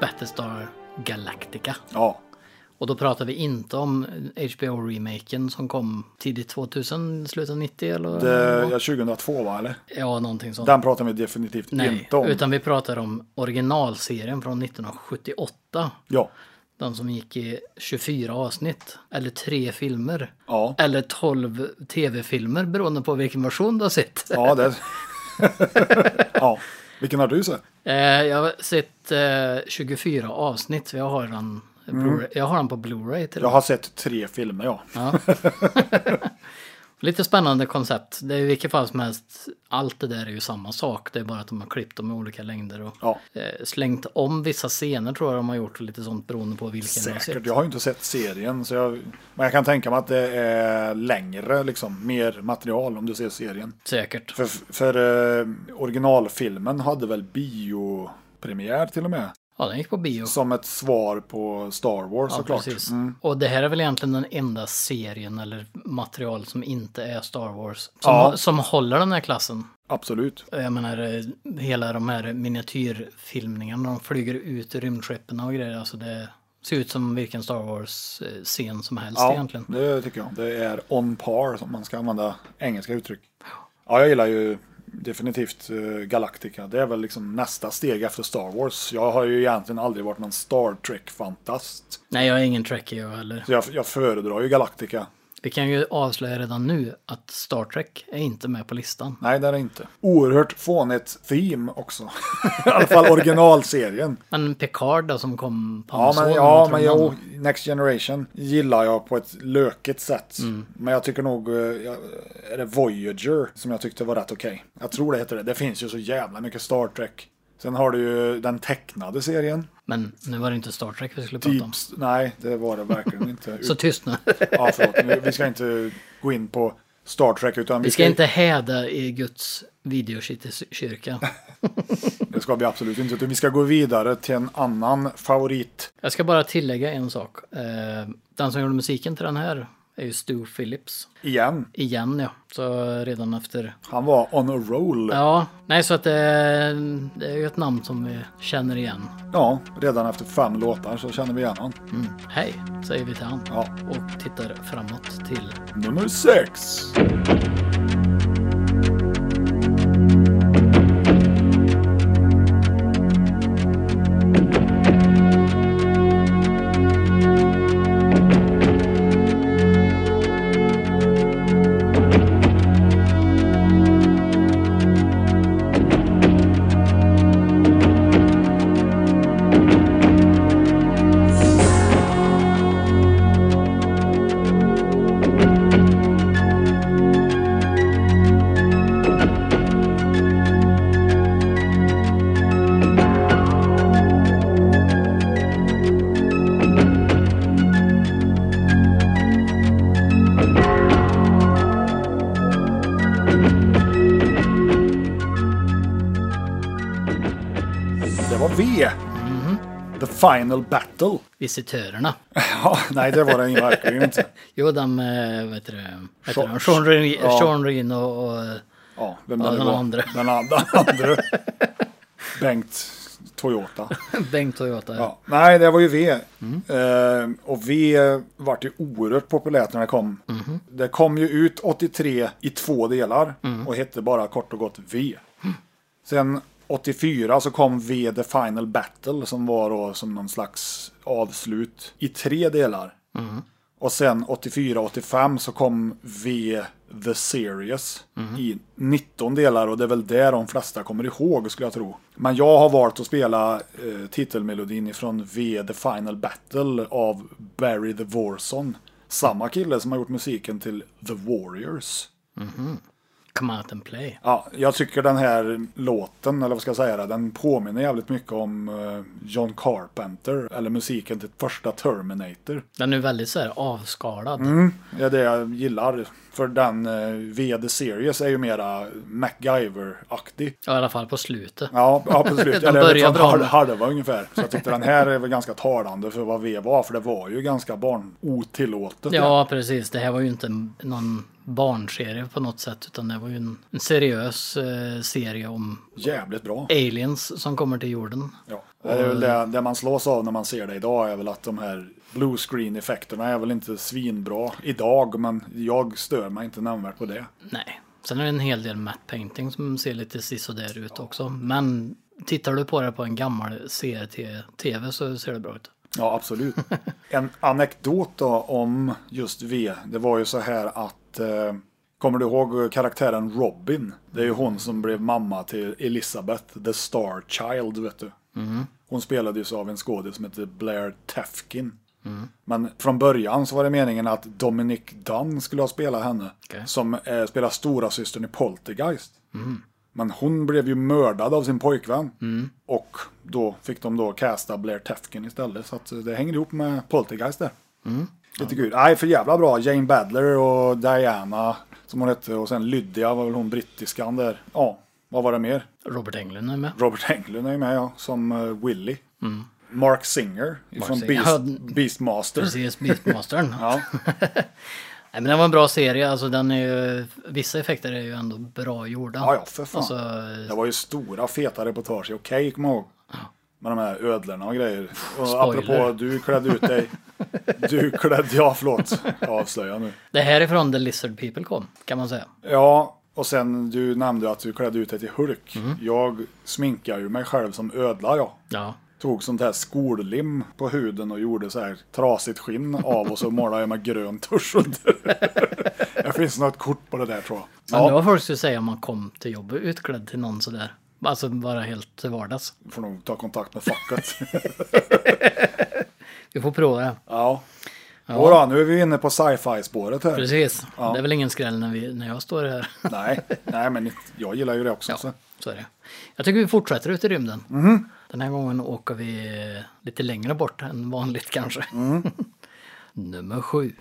Speaker 3: Battlestar Galactica.
Speaker 2: ja.
Speaker 3: Och då pratar vi inte om HBO-remaken som kom tidigt 2000, slutet av 90 eller?
Speaker 2: Det, Eh, ja 2002 va, eller?
Speaker 3: Ja, någonting sånt.
Speaker 2: Den pratar vi definitivt
Speaker 3: Nej,
Speaker 2: inte om.
Speaker 3: utan vi pratar om originalserien från 1978.
Speaker 2: Ja,
Speaker 3: Den som gick i 24 avsnitt, eller tre filmer.
Speaker 2: ja.
Speaker 3: Eller 12 tv-filmer beroende på vilken version du har sett.
Speaker 2: Ja, det... ja. Vilken har du sett?
Speaker 3: Eh, jag har sett eh, 24 avsnitt, för jag har den, Blu-ray- jag har den på Blu-ray till
Speaker 2: Mm. Jag
Speaker 3: och
Speaker 2: har sett tre filmer, ja.
Speaker 3: Lite spännande koncept. Det är i vilket fall som helst, allt det där är ju samma sak. Det är bara att de har klippt dem i olika längder och
Speaker 2: Ja.
Speaker 3: eh, slängt om vissa scener tror jag de har gjort och lite sånt beroende på vilken du har
Speaker 2: Säkert.
Speaker 3: sett.
Speaker 2: Jag har ju inte sett serien, så jag... men jag kan tänka mig att det är längre, liksom. Mer material om du ser serien.
Speaker 3: Säkert.
Speaker 2: För, för eh, originalfilmen hade väl biopremiär till och med?
Speaker 3: Ja, den gick på bio.
Speaker 2: Som ett svar på Star Wars
Speaker 3: Ja,
Speaker 2: såklart. Mm,
Speaker 3: precis. Och det här är väl egentligen den enda serien eller material som inte är Star Wars. Som,
Speaker 2: Ja.
Speaker 3: som håller den här klassen.
Speaker 2: Absolut.
Speaker 3: Jag menar, eh, hela de här miniatyrfilmningarna, de flyger ut ur rymdskeppen och grejer. Alltså det ser ut som vilken Star Wars-scen som helst
Speaker 2: Ja,
Speaker 3: egentligen.
Speaker 2: det tycker jag. Det är on par, som man ska använda engelska uttryck. Ja, jag gillar ju definitivt eh, Galactica. Det är väl liksom nästa steg efter Star Wars. Jag har ju egentligen aldrig varit någon Star Trek-fantast.
Speaker 3: Nej, jag är ingen Trekkie jag heller.
Speaker 2: Så jag, jag föredrar ju Galactica.
Speaker 3: Vi kan ju avslöja redan nu att Star Trek är inte med på listan.
Speaker 2: Nej, det är det inte. Oerhört fånigt theme också. I alla fall originalserien.
Speaker 3: Men Picard då, som kom på
Speaker 2: Ja, men,
Speaker 3: Amazon,
Speaker 2: ja,
Speaker 3: tror
Speaker 2: men
Speaker 3: man-
Speaker 2: jag, Next Generation gillar jag på ett lökigt sätt.
Speaker 3: Mm.
Speaker 2: Men jag tycker nog, eh, jag, är det Voyager som jag tyckte var rätt okej. Jag tror det heter det. Det finns ju så jävla mycket Star Trek. Sen har du ju den tecknade serien.
Speaker 3: Men nu var det inte Star Trek vi skulle prata
Speaker 2: Deep,
Speaker 3: om.
Speaker 2: S- nej, det var det verkligen inte.
Speaker 3: Så tyst nu.
Speaker 2: ja, förlåt. Vi- Vi ska inte gå in på Star Trek. Utan
Speaker 3: Vi ska inte häda i Guds videokyrka.
Speaker 2: Det ska vi absolut inte. Utan vi ska gå vidare till en annan favorit.
Speaker 3: Jag ska bara tillägga en sak. Eh, Den som gjorde musiken till den här är ju Stu Phillips.
Speaker 2: Igen.
Speaker 3: Igen ja. Så redan efter...
Speaker 2: Han var on a roll.
Speaker 3: Ja, nej så att det, det är ju ett namn som vi känner igen.
Speaker 2: ja, redan efter fem låtar så känner vi igen honom.
Speaker 3: Mm. Hej, säger vi till han.
Speaker 2: Ja.
Speaker 3: Och tittar framåt till
Speaker 2: Nummer sex. Det var V. Mhm. The Final Battle.
Speaker 3: visitörerna.
Speaker 2: Ja, nej, det var den verkligen inte.
Speaker 3: Jo, den med, vad eh, heter det, vad heter
Speaker 2: Sean-
Speaker 3: han? Sean, Reno-
Speaker 2: ja.
Speaker 3: Sean Reno och
Speaker 2: Ja, vem
Speaker 3: Ja,
Speaker 2: det nu
Speaker 3: den
Speaker 2: var.
Speaker 3: andra.
Speaker 2: Den andra. andra. Bengt Toyota.
Speaker 3: Bengt Toyota.
Speaker 2: Ja. Nej, det var ju V. Eh, och V eh, vart ju oerhört populärt när det kom. Det kom ju ut 83 i två delar och hette bara kort och gott V. Sen 84 så kom V The Final Battle som var då som någon slags avslut i tre delar. Och sen 84-85 så kom V The Series i 19 delar och det är väl det de flesta kommer ihåg skulle jag tro. Men jag har valt att spela eh, titelmelodin från V The Final Battle av Barry the Warson. Samma kille som har gjort musiken till The Warriors.
Speaker 3: Come out and play.
Speaker 2: Ja, jag tycker den här låten, eller vad ska jag säga, den påminner jävligt mycket om eh, John Carpenter, eller musiken till första Terminator.
Speaker 3: Den är väldigt så här avskalad.
Speaker 2: Det är det jag gillar, för den eh, VD Series är ju mera MacGyver-aktig.
Speaker 3: Ja, i alla fall på slutet.
Speaker 2: Ja, ja absolut.
Speaker 3: De
Speaker 2: Eller
Speaker 3: börjar
Speaker 2: från
Speaker 3: bra
Speaker 2: hal-
Speaker 3: med-
Speaker 2: halva ungefär. Så jag tyckte den här är väl ganska talande för vad V var, för det var ju ganska barn otillåtet.
Speaker 3: Ja, precis. Det här var ju inte någon barnserie på något sätt, utan det var ju en, en seriös eh, serie om
Speaker 2: Jävligt bra.
Speaker 3: Eh. aliens som kommer till jorden.
Speaker 2: Ja. Det, är väl det, det man slås av när man ser det idag är väl att de här blue screen effekterna är väl inte svinbra idag, men jag stör mig inte nämnvärt på det.
Speaker 3: Nej. Sen är det en hel del matte painting som ser lite sisådär ut också. Men tittar du på det på en gammal CRT-TV så ser det bra ut.
Speaker 2: Ja, absolut. En anekdot då om just V, det var ju så här att eh, Kommer du ihåg karaktären Robin? Det är ju hon som blev mamma till Elizabeth, the star child, vet du. Hon spelades av en skådespelare som heter Blair Tefkin. Men från början så var det meningen att Dominic Dunn skulle ha spelat henne.
Speaker 3: Okej.
Speaker 2: Som eh, spelar stora systern i Poltergeist. Men hon blev ju mördad av sin pojkvän.
Speaker 3: Mm.
Speaker 2: Och då fick de då casta Blair Tefkin istället. Så att eh, det hängde ihop med Poltergeist där.
Speaker 3: Mm.
Speaker 2: Lite kul. Nej, för jävla bra. Jane Badler och Diana, som hon hette. Och sen Lydia var väl hon brittiskan där. Ja, vad var det mer?
Speaker 3: Robert Englund är med.
Speaker 2: Robert Englund är ju med, ja. Som eh, Willy. Mark Singer från
Speaker 3: Mm. Singer.
Speaker 2: Beast,
Speaker 3: Ja,
Speaker 2: Beastmaster.
Speaker 3: Precis, Beastmastern.
Speaker 2: Ja.
Speaker 3: Nej, men det var en bra serie. Alltså, den är ju, vissa effekter är ju ändå bra gjorda.
Speaker 2: ja, ja, för fan.
Speaker 3: Alltså,
Speaker 2: Det var ju stora feta reportage i Okej, kommer jag ihåg. Med de här ödlorna och grejer. Och
Speaker 3: Spoiler.
Speaker 2: apropå du klädde ut dig. Du klädde, ja förlåt. Jag avslöjar nu.
Speaker 3: det här är från The Lizard People kom, kan man säga.
Speaker 2: Ja, och sen du nämnde att du klädde ut dig till Hulk. Jag sminkar ju mig själv som ödla jag.
Speaker 3: Ja.
Speaker 2: Tog sånt här skollim på huden och gjorde så här trasigt skinn av och så målade jag med grön tusch under. Det finns något kort på det där tror jag.
Speaker 3: Men det
Speaker 2: Ja,
Speaker 3: var folk skulle säga om man kom till jobbet utklädd till någon sådär. Alltså bara helt till vardags.
Speaker 2: får nog ta kontakt med facket.
Speaker 3: Vi får prova det.
Speaker 2: Ja. Jodå, nu är vi inne på sci-fi spåret här.
Speaker 3: Precis.
Speaker 2: Ja.
Speaker 3: Det är väl ingen skräll när, vi, när jag står här.
Speaker 2: Nej, nej, men jag gillar ju det också. Så.
Speaker 3: Ja, så är det. Jag tycker vi fortsätter ut i rymden.
Speaker 2: Mhm.
Speaker 3: Den här gången åker vi lite längre bort än vanligt kanske.
Speaker 2: Mm.
Speaker 3: Nummer sju.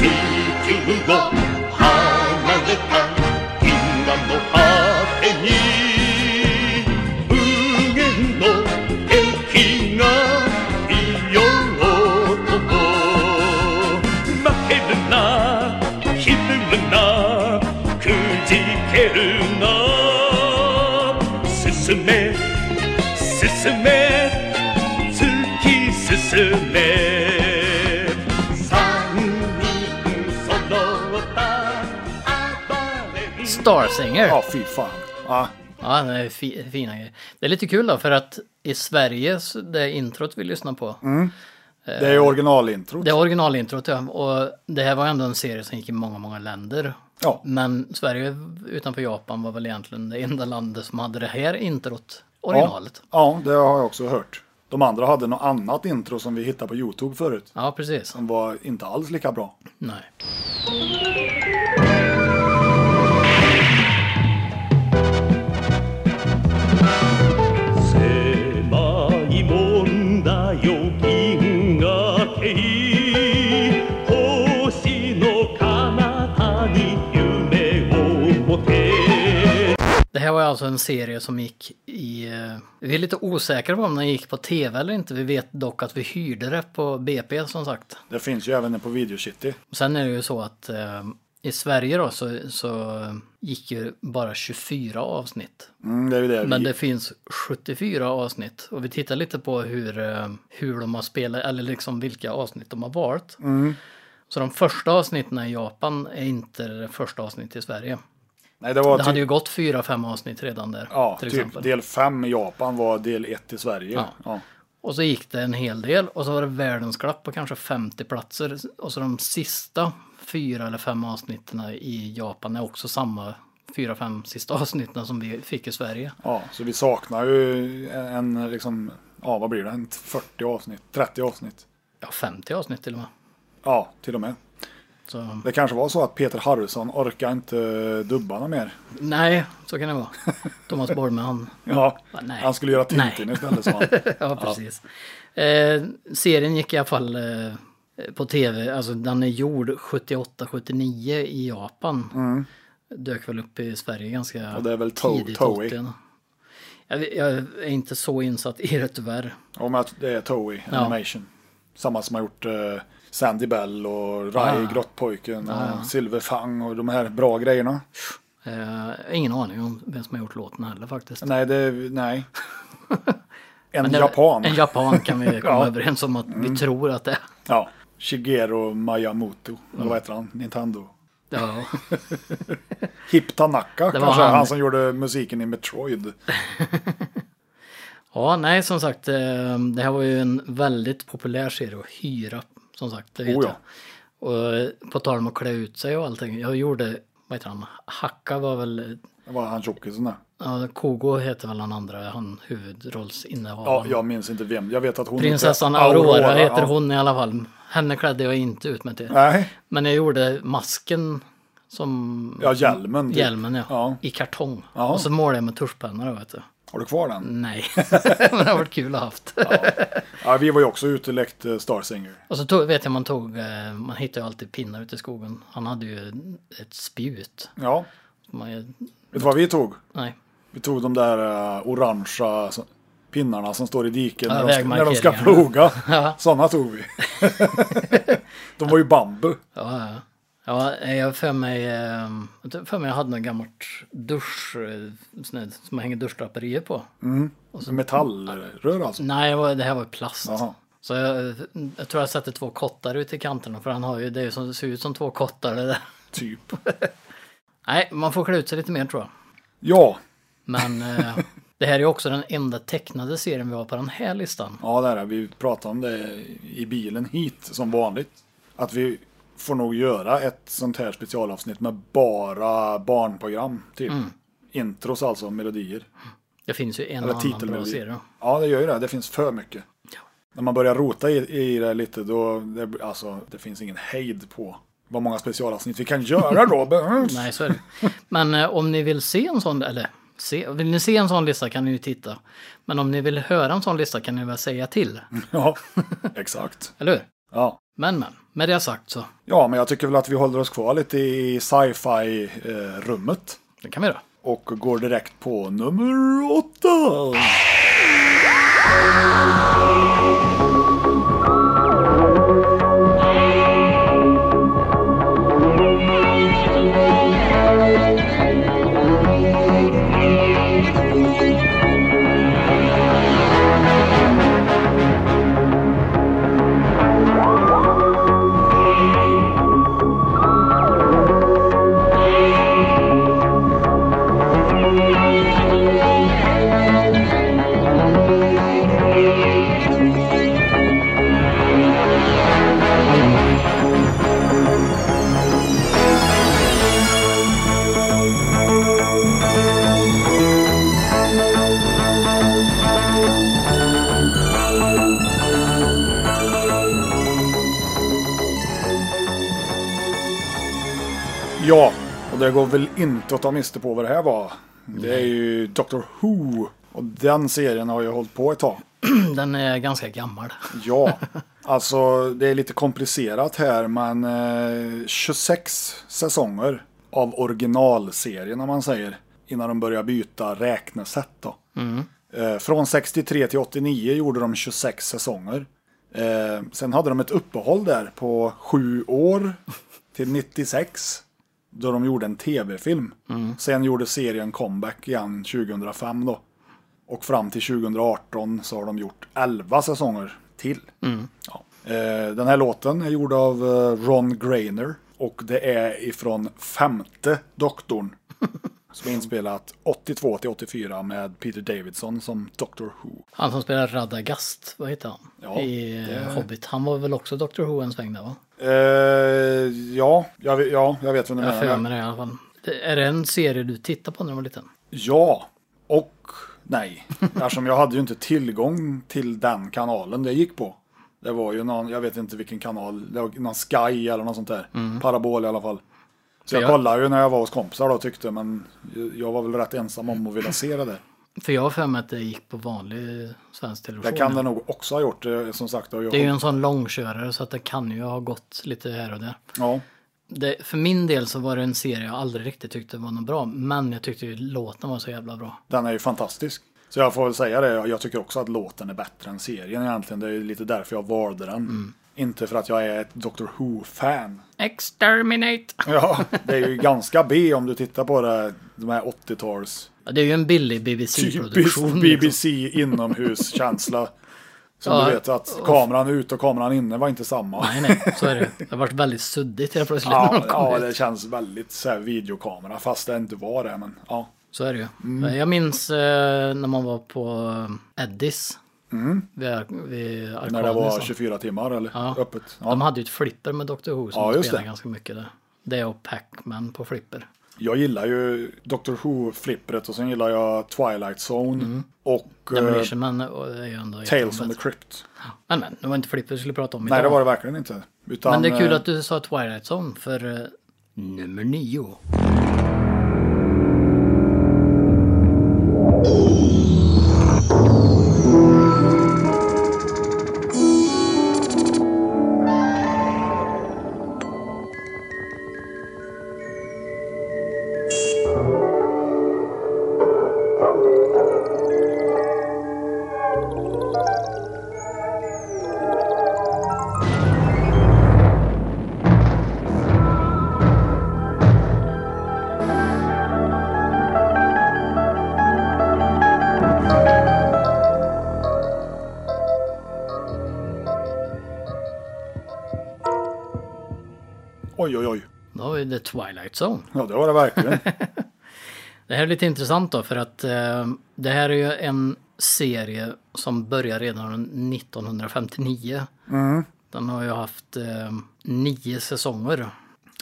Speaker 4: tillfyllon har man det kan innan då av en ny ungen då en kinga i år och gå Makeluna, Kimmuna, Kuntikeruna Susume, Susume 突き進め三人揃った暴れん坊
Speaker 3: Starsinger.
Speaker 2: Ja, fy fan. Ja,
Speaker 3: Ja, det är fi fina grejer. Det är lite kul då, för att i Sverige, så det introt vi lyssnar på,
Speaker 2: Mm. det är ju originalintro.
Speaker 3: Eh, det är originalintrot ja, och det här var ändå en serie som gick i många, många länder.
Speaker 2: Ja.
Speaker 3: Men Sverige utanför Japan var väl egentligen det enda landet som hade det här introt, originalet.
Speaker 2: Ja, det har jag också hört. De andra hade något annat intro som vi hittade på Youtube förut.
Speaker 3: Ja, precis.
Speaker 2: Som var inte alls lika bra.
Speaker 3: Nej.
Speaker 4: 「狭いもんだよ銀河系」「星の彼方に夢を持て」
Speaker 3: Det här var ju alltså en serie som gick i... eh, Vi är lite osäkra på om den gick på tv eller inte. Vi vet dock att vi hyrde det på BP som sagt.
Speaker 2: Det finns ju även på Video City.
Speaker 3: Sen är det ju så att eh, i Sverige då så, så gick ju bara 24 avsnitt.
Speaker 2: Mm, det är ju det.
Speaker 3: Men
Speaker 2: vi-
Speaker 3: det finns 74 avsnitt och vi tittar lite på hur, eh, hur de har spelat eller liksom vilka avsnitt de har valt.
Speaker 2: Mm.
Speaker 3: Så de första avsnitten i Japan är inte det första avsnittet i Sverige.
Speaker 2: Nej, det var
Speaker 3: Det
Speaker 2: typ,
Speaker 3: hade ju gått fyra, fem avsnitt redan där.
Speaker 2: ja,
Speaker 3: till
Speaker 2: typ
Speaker 3: exempel.
Speaker 2: del 5 i Japan var del 1 i Sverige. Ja.
Speaker 3: Ja. Och så gick det en hel del och så var det världens glapp på kanske 50 platser. Och så de sista fyra eller fem avsnitten i Japan är också samma fyra, fem sista avsnitten som vi fick i Sverige.
Speaker 2: Ja, så vi saknar ju en, en liksom, ja vad blir det, en 40 avsnitt, 30 avsnitt.
Speaker 3: Ja, 50 avsnitt till och med.
Speaker 2: Ja, till och med.
Speaker 3: Så,
Speaker 2: Det kanske var så att Peter Harrison orkar inte dubba något mer.
Speaker 3: nej, så kan det vara. Thomas Borme, han...
Speaker 2: Ja,
Speaker 3: Va, nej.
Speaker 2: han skulle göra
Speaker 3: Nej.
Speaker 2: Tintin istället. Som han.
Speaker 3: Ja, precis. Eh, serien gick i alla fall eh, på tv. Alltså den är gjord 78-79 i Japan. Dök väl upp i Sverige ganska
Speaker 2: Och Mm. det är väl Toe-
Speaker 3: tidigt.
Speaker 2: Toei.
Speaker 3: 80-talet. Jag, jag är inte så insatt i det tyvärr.
Speaker 2: Om att det är Toei Animation. Samma som har gjort eh, Sandy Bell och Rai,
Speaker 3: Ah.
Speaker 2: Grottpojken och Silverfang och de här bra grejerna.
Speaker 3: Eh, ingen aning om vem som har gjort låten heller faktiskt.
Speaker 2: Nej, det är, nej. En
Speaker 3: Men det-
Speaker 2: japan.
Speaker 3: En japan kan vi komma
Speaker 2: Ja. Mm.
Speaker 3: överens om att vi tror att det är.
Speaker 2: Ja, Shigeru Miyamoto.
Speaker 3: Mm.
Speaker 2: Eller vad heter han? Nintendo.
Speaker 3: Ja.
Speaker 2: Hip Tanaka
Speaker 3: Det var
Speaker 2: kanske, han.
Speaker 3: han.
Speaker 2: som gjorde musiken i Metroid.
Speaker 3: ja, nej som sagt. Eh, det här var ju en väldigt populär serie att hyra. Som sagt, det vet
Speaker 2: Oh, ja.
Speaker 3: jag. Och eh, på tal om att klä ut sig och allting. Jag gjorde, vad heter han, Hacka var väl,
Speaker 2: Det var han tjockisen där.
Speaker 3: ja, Kogo heter väl han andra, han
Speaker 2: Ja,
Speaker 3: huvudrollsinnehavaren.
Speaker 2: jag minns inte vem. Jag vet att hon
Speaker 3: Prinsessan
Speaker 2: heter
Speaker 3: Aurora, heter
Speaker 2: ja.
Speaker 3: hon i alla fall. Henne klädde jag inte ut mig till.
Speaker 2: Nej,
Speaker 3: Men jag gjorde masken som
Speaker 2: ja hjälmen. Typ.
Speaker 3: hjälmen ja,
Speaker 2: Ja.
Speaker 3: i kartong.
Speaker 2: Ja.
Speaker 3: Och så målade jag med tuschpenna då vet du.
Speaker 2: Har du kvar den?
Speaker 3: Nej, men det har varit kul att ha haft.
Speaker 2: Ja, vi var ju också ute och lekte Star Singer.
Speaker 3: Och så tog, vet jag man tog, eh, man hittar ju alltid pinnar ute i skogen. Han hade ju ett spjut.
Speaker 2: Ja,
Speaker 3: Man,
Speaker 2: vet du vad vi tog?
Speaker 3: nej.
Speaker 2: Vi tog de där uh, orangea så- pinnarna som står i diken
Speaker 3: Ja,
Speaker 2: när, de ska, när de ska
Speaker 3: vägmarkeringarna.
Speaker 2: ploga.
Speaker 3: Ja.
Speaker 2: Sådana tog vi. de var ju bambu.
Speaker 3: Ja, ja. ja eh, jag har för mig, eh, jag har för mig jag hade något gammalt dusch, eh, sån här som man hänger duschdraperier på.
Speaker 2: Metallrör alltså.
Speaker 3: Nej, det var- det här var ju plast.
Speaker 2: Jaha.
Speaker 3: Så jag, jag tror jag satte två kottar ut i kanterna för han har ju, det är ju som, ser ut som två kottar det där.
Speaker 2: Typ.
Speaker 3: Nej, man får klä ut sig lite mer tror jag.
Speaker 2: Ja,
Speaker 3: Men eh, det här är ju också den enda tecknade serien vi har på den här listan.
Speaker 2: Ja, det är det. Vi pratade om det i bilen hit som vanligt. Att vi får nog göra ett sånt här specialavsnitt med bara barnprogram. Typ.
Speaker 3: Mm.
Speaker 2: Intros alltså, melodier.
Speaker 3: Det finns ju en
Speaker 2: Eller
Speaker 3: och annan bra
Speaker 2: titelmelodier.
Speaker 3: serie.
Speaker 2: Ja, det gör ju det. Det finns för mycket. När man börjar rota i, i det lite då, det, alltså, det finns ingen hejd på vad många specialavsnitt vi kan göra Robert.
Speaker 3: Nej, så är det. Men eh, om ni vill se en sån, eller se, vill ni se en sån lista kan ni ju titta. Men om ni vill höra en sån lista kan ni väl säga till,
Speaker 2: Ja, exakt.
Speaker 3: eller hur?
Speaker 2: Ja.
Speaker 3: Men men, med det sagt så,
Speaker 2: ja, men jag tycker väl att vi håller oss kvar lite i eh, sci-fi-rummet.
Speaker 3: det kan vi göra.
Speaker 2: och går direkt på nummer åtta. Ja, och det går väl inte att ta miste på vad det här var. Det är ju Doctor Who. Och den serien har ju hållit på ett tag.
Speaker 3: Den är ganska gammal.
Speaker 2: Ja, alltså det är lite komplicerat här men eh, 26 säsonger av originalserien om man säger innan de började byta räknesätt. Då. Eh, Från 63 till 89 gjorde de 26 säsonger. Eh, Sen hade de ett uppehåll där på sju år till 96 då de gjorde en tv-film. Sen gjorde serien comeback igen 2005 då. Och fram till 2018 så har de gjort 11 säsonger till.
Speaker 3: Mm.
Speaker 2: Ja. Eh, Den här låten är gjord av eh, Ron Grainer och det är ifrån femte doktorn. som är inspelat 82 till 84 med Peter Davidson som Dr. Who.
Speaker 3: Han som spelar Radagast, vad heter han?
Speaker 2: Ja,
Speaker 3: I eh, Hobbit. Han var väl också Dr. Who en sväng där va?
Speaker 2: Eh, ja, jag, vet- ja, jag vet vem du
Speaker 3: Jag har för
Speaker 2: menar.
Speaker 3: mig det i alla fall. Det, är det en serie du tittar på när du var liten?
Speaker 2: Ja, och nej. Eftersom jag hade ju inte tillgång till den kanalen det gick på. Det var ju någon, jag vet inte vilken kanal, det var någon Sky eller något sånt där.
Speaker 3: Mm.
Speaker 2: Parabol i alla fall. Så jag
Speaker 3: jag-
Speaker 2: kollade ju när jag var hos kompisar då och tyckte, men jag var väl rätt ensam om att vilja se det där.
Speaker 3: För jag har för mig att det gick på vanlig svensk television.
Speaker 2: Det kan det nog också ha gjort, eh, som sagt. Och jag,
Speaker 3: Det är ju en sån långkörare så att det kan ju ha gått lite här och där.
Speaker 2: ja.
Speaker 3: Det, för min del så var det en serie jag aldrig riktigt tyckte var något bra. Men jag tyckte ju låten var så jävla bra.
Speaker 2: Den är ju fantastisk. Så jag får väl säga det, jag tycker också att låten är bättre än serien egentligen. Det är ju lite därför jag valde den.
Speaker 3: Mm.
Speaker 2: Inte för att jag är ett Doctor Who-fan.
Speaker 3: Exterminate!
Speaker 2: Ja, det är ju ganska B om du tittar på det, de här 80-tals.
Speaker 3: Ja, Det är ju en billig
Speaker 2: Typisk
Speaker 3: BBC-produktion. Liksom.
Speaker 2: BBC inomhuskänsla. Som
Speaker 3: Ja,
Speaker 2: du vet att kameran ut och kameran inne var inte samma.
Speaker 3: Nej, nej, så är det. Det har varit väldigt suddigt helt plötsligt när
Speaker 2: Ja,
Speaker 3: de kom
Speaker 2: ja,
Speaker 3: ut.
Speaker 2: det känns väldigt så här videokamera fast det inte var det. Men ja,
Speaker 3: Så är det ju.
Speaker 2: Mm.
Speaker 3: Jag minns eh, när man var på Eddis. Vid, vid
Speaker 2: Mm. när det
Speaker 3: arkaden
Speaker 2: var
Speaker 3: i stan.
Speaker 2: 24 timmar eller
Speaker 3: Ja.
Speaker 2: öppet.
Speaker 3: De
Speaker 2: Ja.
Speaker 3: hade ju ett flipper med Dr Who som
Speaker 2: Ja,
Speaker 3: de
Speaker 2: just
Speaker 3: spelade
Speaker 2: det. Eh,
Speaker 3: ganska mycket där. Det och Pac-Man på flipper.
Speaker 2: Jag gillar ju Dr. Who-flippret och sen gillar jag Twilight Zone
Speaker 3: Mm.
Speaker 2: och eh,
Speaker 3: Demolition Man är ju ändå
Speaker 2: Tales of the
Speaker 3: jättebra.
Speaker 2: Crypt.
Speaker 3: Men men, det var inte flipper vi skulle prata om idag.
Speaker 2: Nej, det var det verkligen inte. Utan,
Speaker 3: Men det är kul
Speaker 2: eh,
Speaker 3: att du sa Twilight Zone för eh, nummer nio.
Speaker 2: Oj, oj, oj.
Speaker 3: Då har vi The Twilight Zone.
Speaker 2: Ja, det var det verkligen.
Speaker 3: Det här är lite intressant då för att eh, det här är ju en serie som börjar redan 1959.
Speaker 2: Mm.
Speaker 3: Den har ju haft eh, nio säsonger.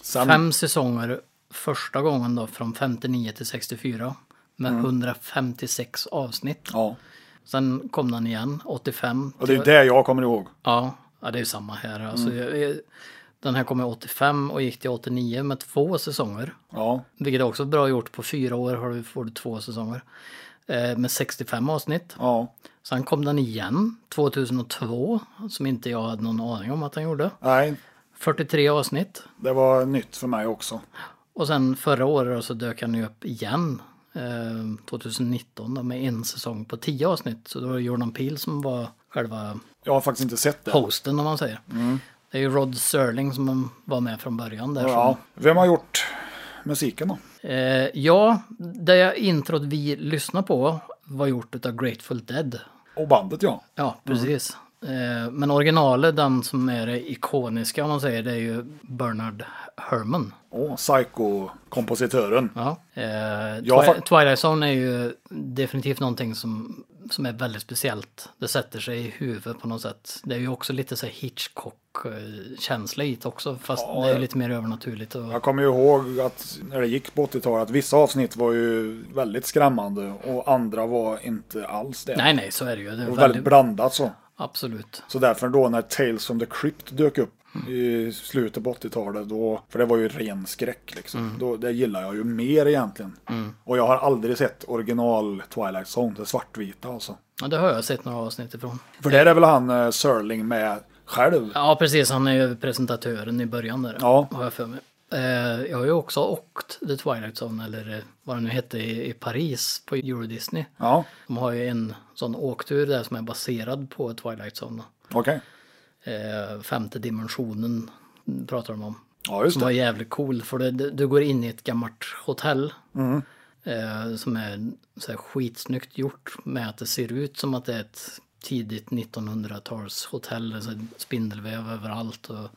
Speaker 2: Sen,
Speaker 3: Fem säsonger första gången då från 59 till 64 med
Speaker 2: Mm.
Speaker 3: 156 avsnitt.
Speaker 2: Ja.
Speaker 3: Sen kom den igen 85.
Speaker 2: Och det är det jag kommer ihåg.
Speaker 3: Ja, ja det är ju samma här. Alltså, jag- jag, den här kom i 85 och gick till 89 med två säsonger.
Speaker 2: Ja,
Speaker 3: Vilket är också bra gjort. På fyra år har du, får du två säsonger. Eh, med 65 avsnitt.
Speaker 2: ja.
Speaker 3: Sen kom den igen 2002. Som inte jag hade någon aning om att den gjorde.
Speaker 2: Nej,
Speaker 3: 43 avsnitt.
Speaker 2: det var nytt för mig också.
Speaker 3: Och sen förra året så dök han ju upp igen. Eh, 2019 då, med en säsong på 10 avsnitt. Så då var det Jordan Peele som var själva
Speaker 2: Jag har faktiskt inte sett det.
Speaker 3: hosten om man säger.
Speaker 2: Mm.
Speaker 3: Det är ju Rod Serling som var med från början där.
Speaker 2: Ja. Vem har gjort musiken då?
Speaker 3: som- Eh, ja, det introt vi lyssnar på var gjort av Grateful Dead.
Speaker 2: Och bandet ja.
Speaker 3: Ja, precis. Eh, men originalet, den som är det ikoniska om man säger, det är ju Bernard Herrmann.
Speaker 2: Åh, Psycho-kompositören.
Speaker 3: Ja. Eh,
Speaker 2: Jag
Speaker 3: Twi-
Speaker 2: fa-
Speaker 3: Twilight Zone är ju definitivt någonting som, som är väldigt speciellt. Det sätter sig i huvudet på något sätt. Det är ju också lite så här Hitchcock-känsla i det också, fast
Speaker 2: Ja,
Speaker 3: det är
Speaker 2: ja.
Speaker 3: ju lite mer övernaturligt. Och,
Speaker 2: Jag kommer ju ihåg att när det gick på 80-talet att vissa avsnitt var ju väldigt skrämmande och andra var inte alls det.
Speaker 3: Nej, nej, så är det ju. Det är
Speaker 2: det var
Speaker 3: väldigt,
Speaker 2: väldigt blandat så.
Speaker 3: Absolut.
Speaker 2: Så därför då när Tales from the Crypt dök upp
Speaker 3: Mm.
Speaker 2: i slutet på 80-talet, då, för det var ju ren skräck liksom.
Speaker 3: Mm.
Speaker 2: Då, det gillar jag ju mer egentligen. Och jag har aldrig sett original Twilight Zone, det svartvita alltså.
Speaker 3: Ja, det har jag sett några avsnitt ifrån.
Speaker 2: För där är väl han eh, Serling med själv?
Speaker 3: Ja, precis. Han är ju presentatören i början där.
Speaker 2: Ja.
Speaker 3: Har jag för mig. Eh, jag har ju också åkt The Twilight Zone, eller eh, vad det nu hette, i, i Paris på Euro Disney.
Speaker 2: Ja,
Speaker 3: De har ju en sån åktur där som är baserad på Twilight Zone.
Speaker 2: okej.
Speaker 3: Eh, femte dimensionen pratar de om.
Speaker 2: Ja, just
Speaker 3: Som var
Speaker 2: det.
Speaker 3: jävligt cool för det, det, du går in i ett gammalt hotell.
Speaker 2: Mm.
Speaker 3: Eh, som är så här skitsnyggt gjort med att det ser ut som att det är ett tidigt 1900-tals hotell. Alltså spindelväv överallt. Och,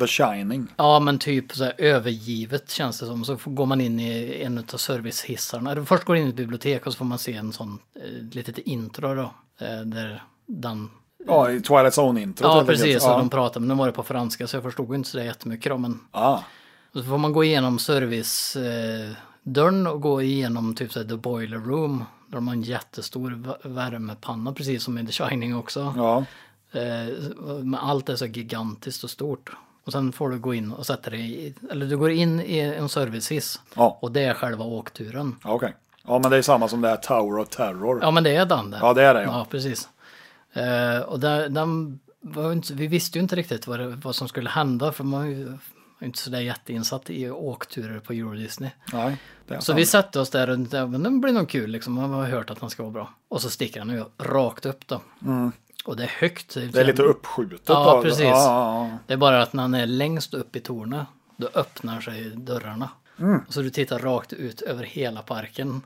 Speaker 2: The Shining.
Speaker 3: ja men typ så här övergivet känns det som. Så får- går man in i en av servicehissarna. Eller Först går man in i ett bibliotek och så får man se en sån eh, litet intro då. Eh, där den
Speaker 2: Ja, i Twilight Zone-introt.
Speaker 3: Ja,
Speaker 2: helt
Speaker 3: precis.
Speaker 2: enkelt.
Speaker 3: Ja.
Speaker 2: Ja.
Speaker 3: De pratade, men nu var det på franska så jag förstod ju inte så där jättemycket. Då, men
Speaker 2: Ah,
Speaker 3: och så får man gå igenom servicedörren eh, dörren och gå igenom typ så här, the boiler room. Där de har en jättestor va- värmepanna, precis som i The Shining också.
Speaker 2: ja.
Speaker 3: Eh, men allt är så gigantiskt och stort. Och sen får du gå in och sätta dig i, eller du går in i en servicehiss.
Speaker 2: Ja.
Speaker 3: Och det är själva åkturen.
Speaker 2: ja okej. Ja, men det är samma som det här Tower of Terror.
Speaker 3: Ja men det är den där.
Speaker 2: Ja, det är det, ja.
Speaker 3: Ja precis. Eh, och där, den var ju inte, vi visste ju inte riktigt vad, det, vad som skulle hända för man är ju är inte sådär jätteinsatt i åkturer på Euro Disney.
Speaker 2: Nej, det är
Speaker 3: Så
Speaker 2: sant.
Speaker 3: vi satte oss där och tänkte, "Ja, men det blir nog kul liksom. Man har hört att han ska vara bra. Och så sticker han ju rakt upp då. Och det är högt.
Speaker 2: Mm. Det är lite uppskjutet.
Speaker 3: Ja,
Speaker 2: då.
Speaker 3: precis.
Speaker 2: Ja, ja, ja.
Speaker 3: Det är bara att när han är längst upp i tornet, då öppnar sig dörrarna.
Speaker 2: Mm.
Speaker 3: Så du tittar rakt ut över hela parken.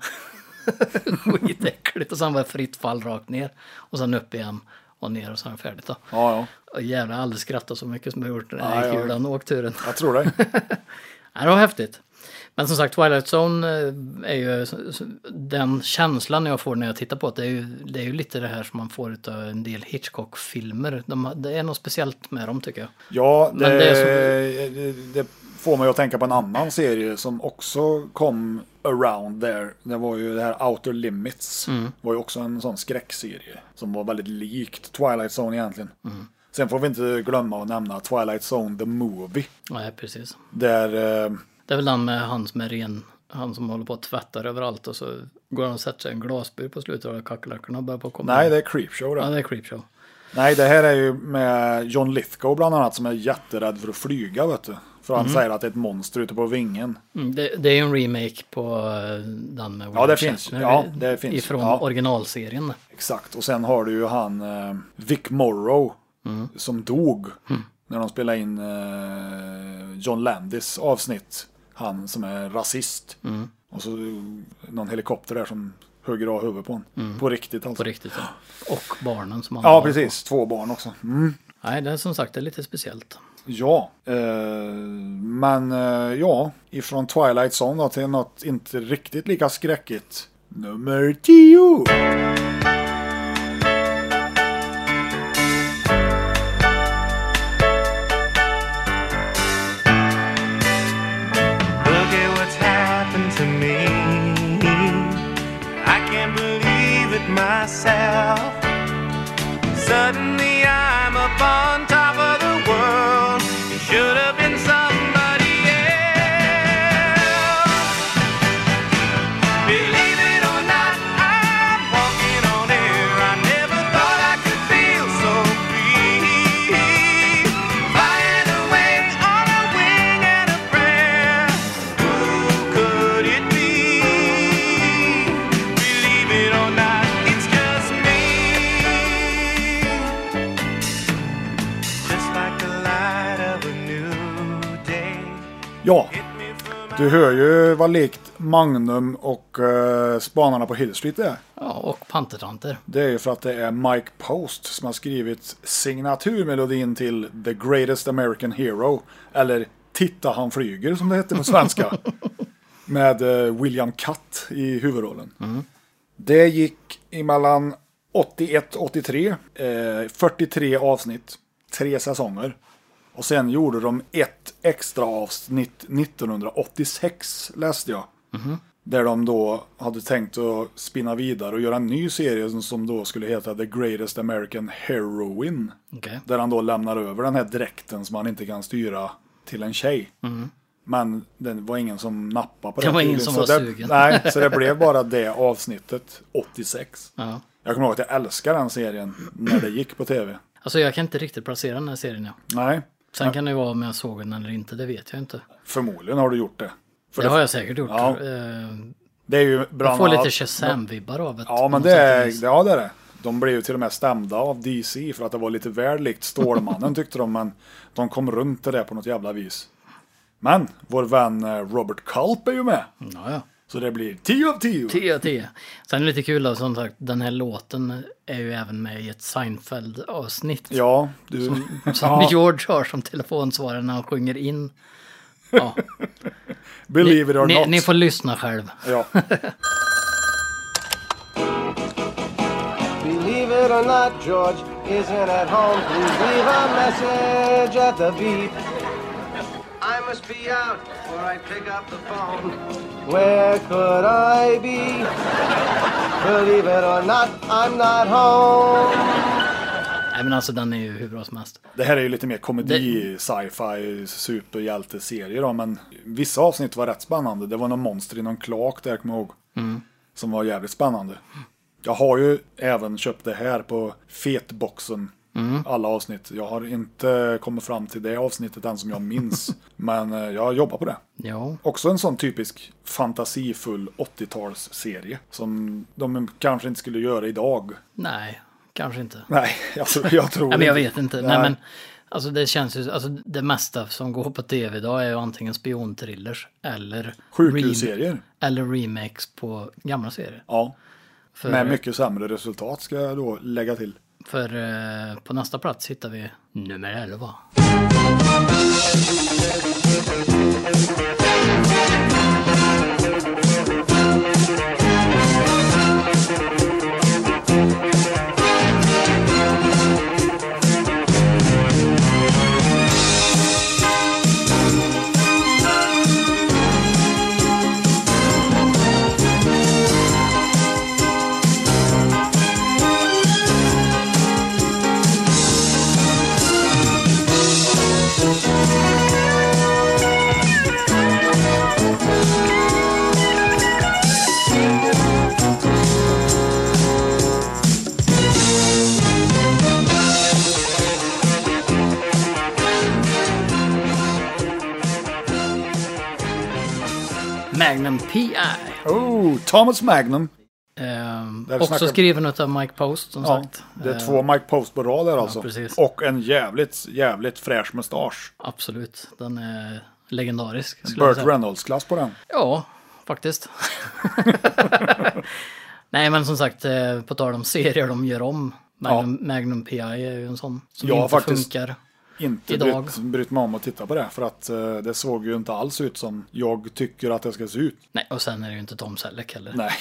Speaker 3: Skitäckligt. Och sen var det fritt fall rakt ner. Och sen upp igen och ner och sen färdigt då.
Speaker 2: ja, ja.
Speaker 3: Och jävlar, jag har aldrig skrattat så mycket som jag gjort när jag
Speaker 2: Ja,
Speaker 3: gick
Speaker 2: ja.
Speaker 3: ur den åkturen.
Speaker 2: Jag tror det.
Speaker 3: Ja, det var häftigt. Men som sagt, Twilight Zone eh, är ju den känslan jag får när jag tittar på det. Det är ju, det är ju lite det här som man får av en del Hitchcock-filmer. De, det är något speciellt med dem tycker jag.
Speaker 2: Ja, det,
Speaker 3: Men det är så-
Speaker 2: det, det får mig att tänka på en annan serie som också kom around there. Det var ju det här Outer Limits.
Speaker 3: Mm.
Speaker 2: Det var ju också en sån skräckserie som var väldigt likt Twilight Zone egentligen.
Speaker 3: Mm.
Speaker 2: Sen får vi inte glömma att nämna Twilight Zone The Movie.
Speaker 3: Nej, precis.
Speaker 2: Där, eh,
Speaker 3: Det är väl den med han som är ren, han som håller på att tvätta överallt och så går han och sätter sig i en glasbur på slutet och kackerlackorna börjar på att komma.
Speaker 2: nej
Speaker 3: in.
Speaker 2: det är Creepshow det.
Speaker 3: Ja, det är creepshow.
Speaker 2: Nej, det här är ju med John Lithgow bland annat som är jätterädd för att flyga vet du. För han säger att det är ett monster ute på vingen.
Speaker 3: Mm, det, det är ju en remake på eh, den med William
Speaker 2: det finns.
Speaker 3: Shatner
Speaker 2: Ja, det finns.
Speaker 3: Ifrån
Speaker 2: Ja.
Speaker 3: originalserien.
Speaker 2: Exakt, och sen har du ju han eh, Vic Morrow som dog när de spelade in eh, John Landis avsnitt. Han som är rasist. Och så eh, någon helikopter där som högg av huvudet på honom. På riktigt alltså.
Speaker 3: På riktigt. ja. Och barnen som han
Speaker 2: Ja,
Speaker 3: har.
Speaker 2: precis. Två barn också. Mm.
Speaker 3: Nej, det är som sagt det är lite speciellt.
Speaker 2: Ja, eh, men eh, ja, ifrån Twilight Zone då till något inte riktigt lika skräckigt. Nummer 10!
Speaker 4: Look at what's happened to me. I can't believe it myself. Suddenly I'm up on top of the world. It should have been somebody else. Believe it or not, I'm walking on air. I never thought I could feel so free. Flying away on a wing and a prayer. Who could it be? Believe it or not, it's just me. Just like the light of a new day.
Speaker 2: Ja,
Speaker 4: Hit me from
Speaker 2: Du hör ju vad likt Magnum och eh, Spanarna på Hill Street är.
Speaker 3: Ja, och pantertanter.
Speaker 2: Det är ju för att det är Mike Post som har skrivit signaturmelodin till The Greatest American Hero. Eller Titta han flyger som det heter på svenska. med eh, William Catt i huvudrollen. Det gick emellan 81 83, eh, 43 avsnitt, tre säsonger. Och sen gjorde de ett extra avsnitt 1986 läste jag. Där de då hade tänkt att spinna vidare och göra en ny serie som- som då skulle heta The Greatest American Heroine.
Speaker 3: Okej.
Speaker 2: Där han då lämnar över den här dräkten som han inte kan styra till en tjej. Men det var ingen som nappade på det.
Speaker 3: Det var ingen
Speaker 2: tydligen,
Speaker 3: som
Speaker 2: så
Speaker 3: var
Speaker 2: det,
Speaker 3: sugen.
Speaker 2: Nej, så det blev bara det avsnittet 86.
Speaker 3: Ja.
Speaker 2: Jag kommer ihåg att jag älskade den serien när det gick på tv.
Speaker 3: Alltså jag kan inte riktigt placera den här serien. Ja.
Speaker 2: Nej,
Speaker 3: Sen kan det ju vara om jag såg den eller inte, det vet jag inte.
Speaker 2: Förmodligen har du gjort det. För
Speaker 3: det har jag säkert gjort.
Speaker 2: Ja.
Speaker 3: Eh,
Speaker 2: det är ju bland
Speaker 3: Jag får lite
Speaker 2: annat-
Speaker 3: Shazam-vibbar av det.
Speaker 2: Ja,
Speaker 3: på
Speaker 2: men
Speaker 3: något
Speaker 2: det
Speaker 3: sätt och
Speaker 2: är,
Speaker 3: vis.
Speaker 2: ja, det är det. De blev ju till och med stämda av DC för att det var lite väl likt Stålmannen tyckte de, men de kom runt det där på något jävla vis. Men vår vän eh, Robert Culp är ju med,
Speaker 3: Ja, ja.
Speaker 2: så det blir 10 av 10.
Speaker 3: 10 av 10. Sen är det lite kul, då, som sagt, den här låten är ju även med i ett Seinfeld-avsnitt.
Speaker 2: Ja, du...
Speaker 3: Som
Speaker 2: Ja,
Speaker 3: George har som telefonsvarare när han sjunger in. Ja.
Speaker 2: believe it or
Speaker 3: ni,
Speaker 2: not.
Speaker 3: ni får lyssna själv.
Speaker 2: Ja,
Speaker 5: Believe it or not, George isn't at home. Please leave a message at the beep. I must be out before I pick up the phone. Where could I be? Believe it or not, I'm not home.
Speaker 3: Nej men alltså den är ju hur bra som helst.
Speaker 2: det här är ju lite mer komedi, sci-fi, superhjälteserie då, men vissa avsnitt var rätt spännande. Det var någon monster i någon kloak där, jag kommer jag ihåg.
Speaker 3: Mm.
Speaker 2: Som var jävligt spännande. Jag har ju även köpt det här på fetboxen.
Speaker 3: Mm.
Speaker 2: Alla avsnitt. Jag har inte kommit fram till det avsnittet än som jag minns. men eh, jag jobbar på det.
Speaker 3: Ja.
Speaker 2: Också en sån typisk fantasifull 80-talsserie. Som de kanske inte skulle göra idag.
Speaker 3: Nej, kanske inte.
Speaker 2: Nej, alltså, jag tror
Speaker 3: Nej men jag
Speaker 2: inte-
Speaker 3: vet inte. Nej, men alltså det känns ju, alltså det mesta som går på tv idag är ju antingen spionthrillers eller... rem-
Speaker 2: Sjukhusserier.
Speaker 3: Eller remakes på gamla serier.
Speaker 2: Ja.
Speaker 3: För,
Speaker 2: Med mycket sämre resultat ska jag då lägga till.
Speaker 3: för eh, på nästa plats hittar vi nummer 11. Magnum P.I.
Speaker 2: Oh, Thomas Magnum.
Speaker 3: Ehm,
Speaker 2: Där vi
Speaker 3: också
Speaker 2: snackar-
Speaker 3: skriven av Mike Post som
Speaker 2: Ja,
Speaker 3: sagt.
Speaker 2: det är
Speaker 3: Ehm,
Speaker 2: två Mike Post på rad där alltså.
Speaker 3: precis.
Speaker 2: och en jävligt, jävligt fräsch mustasch.
Speaker 3: Eh, Absolut, den är legendarisk. skulle jag
Speaker 2: Burt
Speaker 3: säga.
Speaker 2: Reynolds-klass på den.
Speaker 3: Ja, faktiskt. Nej, men som sagt, eh, på tal om serier de gör om. Magnum, Magnum P.I. är ju en sån som
Speaker 2: Ja,
Speaker 3: inte
Speaker 2: faktiskt.
Speaker 3: funkar.
Speaker 2: Inte
Speaker 3: Idag.
Speaker 2: brytt, brytt mig om att titta på det, för att eh, det såg ju inte alls ut som jag tycker att det ska se ut.
Speaker 3: Nej, och sen är det ju inte Tom Selleck heller.
Speaker 2: Nej,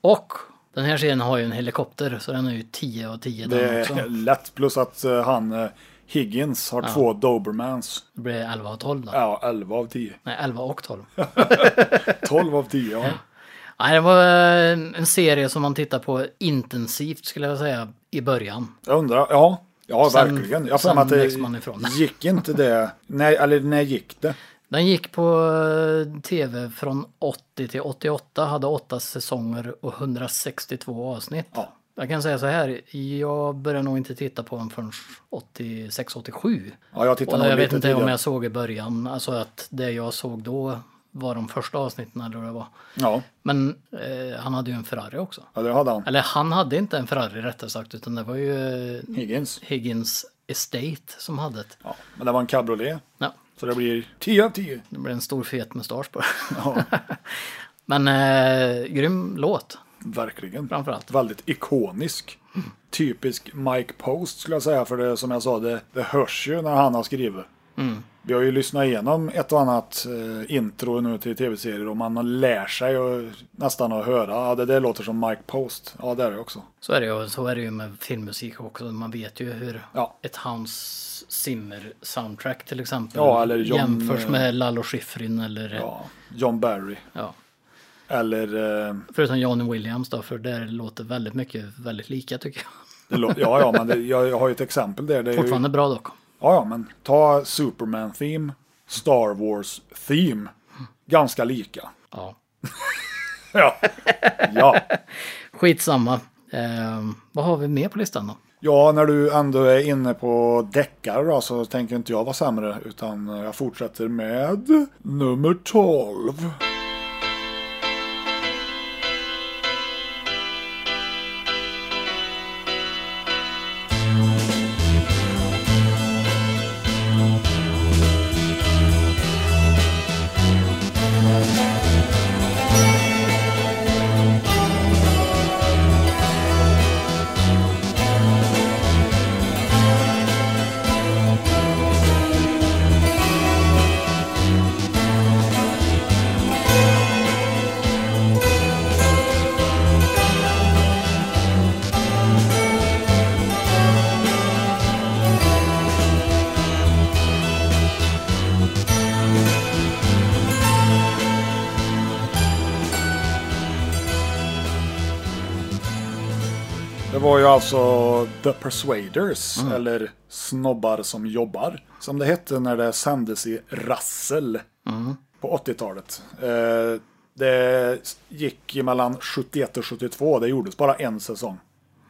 Speaker 3: Och den här serien har ju en helikopter, så den är ju 10 av 10
Speaker 2: det
Speaker 3: den också.
Speaker 2: är lätt. Plus att eh, han eh, Higgins har två Dobermans.
Speaker 3: Det blir 11 av 12 då.
Speaker 2: Ja, 11 av 10.
Speaker 3: Nej, 11 och 12.
Speaker 2: 12 av 10, ja.
Speaker 3: Nej, det var eh, en serie som man tittar på intensivt skulle jag säga i början.
Speaker 2: Jag undrar, ja. Ja,
Speaker 3: Sen-
Speaker 2: verkligen. Jag har för
Speaker 3: sen
Speaker 2: mig att
Speaker 3: växer man ifrån.
Speaker 2: det gick inte det. Nej, eller när gick det?
Speaker 3: Den gick på eh, tv från 80 till 88, hade åtta säsonger och 162 avsnitt.
Speaker 2: Ja.
Speaker 3: Jag kan säga så här, jag började nog inte titta på den förrän 86-87.
Speaker 2: Ja, jag tittade
Speaker 3: och
Speaker 2: nog
Speaker 3: jag vet
Speaker 2: lite
Speaker 3: inte om
Speaker 2: tidigare.
Speaker 3: jag såg i början, alltså att det jag såg då var de första avsnitten eller vad det var.
Speaker 2: Ja,
Speaker 3: Men eh, han hade ju en Ferrari också.
Speaker 2: ja det hade han.
Speaker 3: Eller han hade inte en Ferrari rättare sagt, utan det var ju eh,
Speaker 2: Higgins.
Speaker 3: Higgins Estate som hade det.
Speaker 2: Ja, men det var en cabriolet.
Speaker 3: Ja,
Speaker 2: Så det blir 10 av 10.
Speaker 3: det blev en stor fet mustasch på det.
Speaker 2: Ja,
Speaker 3: Men eh, grym låt
Speaker 2: verkligen.
Speaker 3: framförallt.
Speaker 2: Väldigt ikonisk. Typisk Mike Post skulle jag säga, för det, som jag sa, det, det hörs ju när han har skrivit.
Speaker 3: Mm.
Speaker 2: Vi har ju lyssnat igenom ett och annat eh, intro nu till tv-serier och man lär sig ju nästan att höra, ja det där låter som Mike Post. Ja, det är det också.
Speaker 3: Så är det ju, och så är det ju med filmmusik också. Man vet ju hur
Speaker 2: Ja.
Speaker 3: ett Hans Zimmer soundtrack till exempel
Speaker 2: Ja, eller John-
Speaker 3: jämförs med Lalo Schifrin eller ja.
Speaker 2: Ja, John Barry. Eller, eh,
Speaker 3: Förutom Johnny Williams då, för där låter väldigt mycket väldigt lika tycker jag.
Speaker 2: det lå- ja, ja, men det, jag, jag har ju ett exempel där. Det är ju
Speaker 3: Fortfarande bra dock.
Speaker 2: Ja, ja, men ta Superman Theme, Star Wars Theme. Ganska lika.
Speaker 3: Ja.
Speaker 2: Ja. ja.
Speaker 3: Skitsamma. Eh, vad har Ehm, vi mer på listan då?
Speaker 2: Ja, när du ändå är inne på deckare då, så tänker inte jag vara sämre utan jag fortsätter med nummer 12. Det var ju alltså The Persuaders, eller Snobbar som jobbar, som det hette när det sändes i Rassel på 80-talet. Eh, Det gick mellan 71 och 72, det gjordes bara en säsong.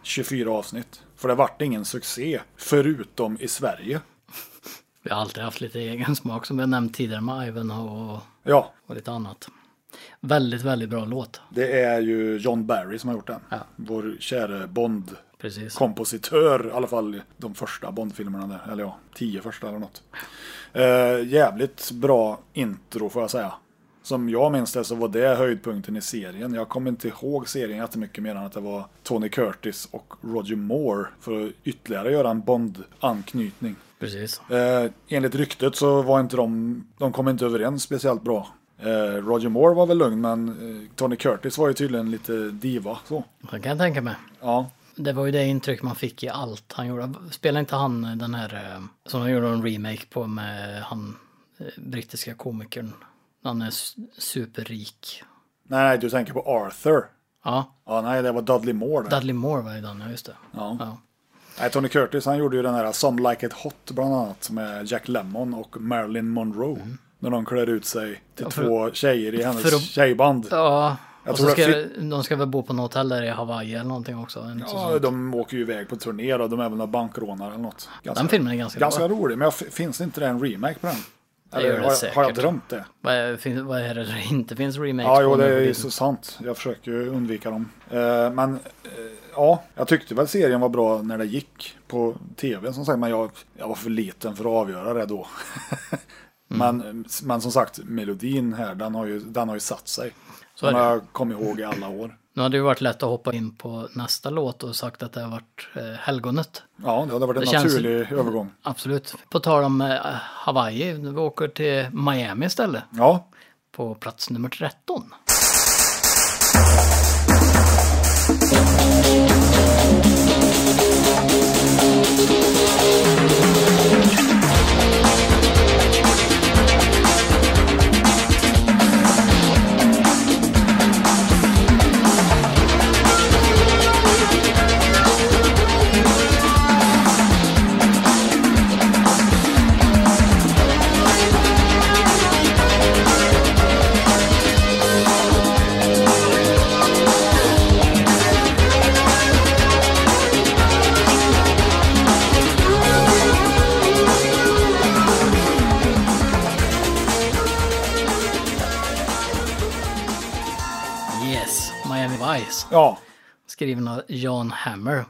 Speaker 2: 24 avsnitt. För det vart ingen succé, förutom i Sverige.
Speaker 3: Vi har alltid haft lite egen smak som vi har nämnt tidigare med Ivanhoe och,
Speaker 2: Ja,
Speaker 3: och lite annat. Väldigt, väldigt bra låt.
Speaker 2: det är ju John Barry som har gjort den.
Speaker 3: Ja.
Speaker 2: Vår käre Bond
Speaker 3: Precis.
Speaker 2: kompositör, i alla fall de första Bond-filmerna där, eller ja, tio första eller något. Eh, jävligt bra intro får jag säga. Som jag minns det så var det höjdpunkten i serien. Jag kommer inte ihåg serien jättemycket mer än att det var Tony Curtis och Roger Moore för att ytterligare göra en Bond-anknytning.
Speaker 3: Precis.
Speaker 2: Eh, enligt ryktet så var inte de, de kom inte överens speciellt bra. Eh, Roger Moore var väl lugn men eh, Tony Curtis var ju tydligen lite diva så.
Speaker 3: Det kan jag tänka mig.
Speaker 2: Ja,
Speaker 3: Det var ju det intryck man fick i allt han gjorde. Spelade inte han eh, den här eh, som han gjorde en remake på med han eh, brittiska komikern. Han är su- superrik.
Speaker 2: nej, nej du tänker på Arthur.
Speaker 3: Ja,
Speaker 2: Ja, nej, det var Dudley Moore. Där.
Speaker 3: Dudley Moore var ju den, ja just det.
Speaker 2: Ja.
Speaker 3: Ja.
Speaker 2: Nej, Tony Curtis, han gjorde ju den här Some Like It Hot bland annat med Jack Lemmon och Marilyn Monroe. När de klär ut sig till
Speaker 3: Mm. Ja, för-
Speaker 2: två tjejer i hennes
Speaker 3: för att-
Speaker 2: tjejband. Ja,
Speaker 3: Ja,
Speaker 2: Jag
Speaker 3: och
Speaker 2: tror
Speaker 3: så ska,
Speaker 2: det
Speaker 3: de ska väl bo på något hotell där i Hawaii eller någonting också. En säsong.
Speaker 2: de åker ju iväg på turné och de är väl några bankrånare eller något. Ganska,
Speaker 3: Den filmen är ganska,
Speaker 2: ganska
Speaker 3: bra.
Speaker 2: rolig, men jag, f- finns det inte det en remake på den?
Speaker 3: gör det
Speaker 2: Eller har, jag- har jag
Speaker 3: säkert.
Speaker 2: drömt det?
Speaker 3: Vad är, fin, vad är det som inte finns remakes
Speaker 2: Ja, jo,
Speaker 3: på? nu
Speaker 2: det
Speaker 3: för
Speaker 2: är ju
Speaker 3: tiden?
Speaker 2: så sant. Jag försöker ju undvika dem. Eh, men eh, ja, jag tyckte väl serien var bra när det gick på tv som sagt, men jag, jag var för liten för att avgöra det då.
Speaker 3: Mm.
Speaker 2: men, men som sagt, melodin här, den har ju, den har ju satt sig.
Speaker 3: är
Speaker 2: Som
Speaker 3: det.
Speaker 2: jag kom ihåg i alla år.
Speaker 3: Nu hade det ju varit lätt att hoppa in på nästa låt och sagt att det har varit eh, helgonet.
Speaker 2: Ja, det hade varit en
Speaker 3: Det känns-
Speaker 2: naturlig övergång.
Speaker 3: Absolut. På tal om eh, Hawaii, vi åker till Miami istället.
Speaker 2: Ja,
Speaker 3: På plats nummer 13. Yes, Miami Vice.
Speaker 2: ja,
Speaker 3: Skriven av John Hammer.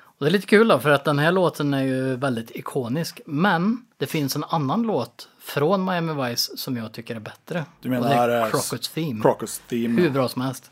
Speaker 3: Och det är lite kul då, för att den här låten är ju väldigt ikonisk. Men det finns en annan låt från Miami Vice som jag tycker är bättre.
Speaker 2: du
Speaker 3: Och det
Speaker 2: menar...
Speaker 3: är
Speaker 2: eh,
Speaker 3: Crockett's Theme.
Speaker 2: Crockett's Theme.
Speaker 3: Hur bra som helst.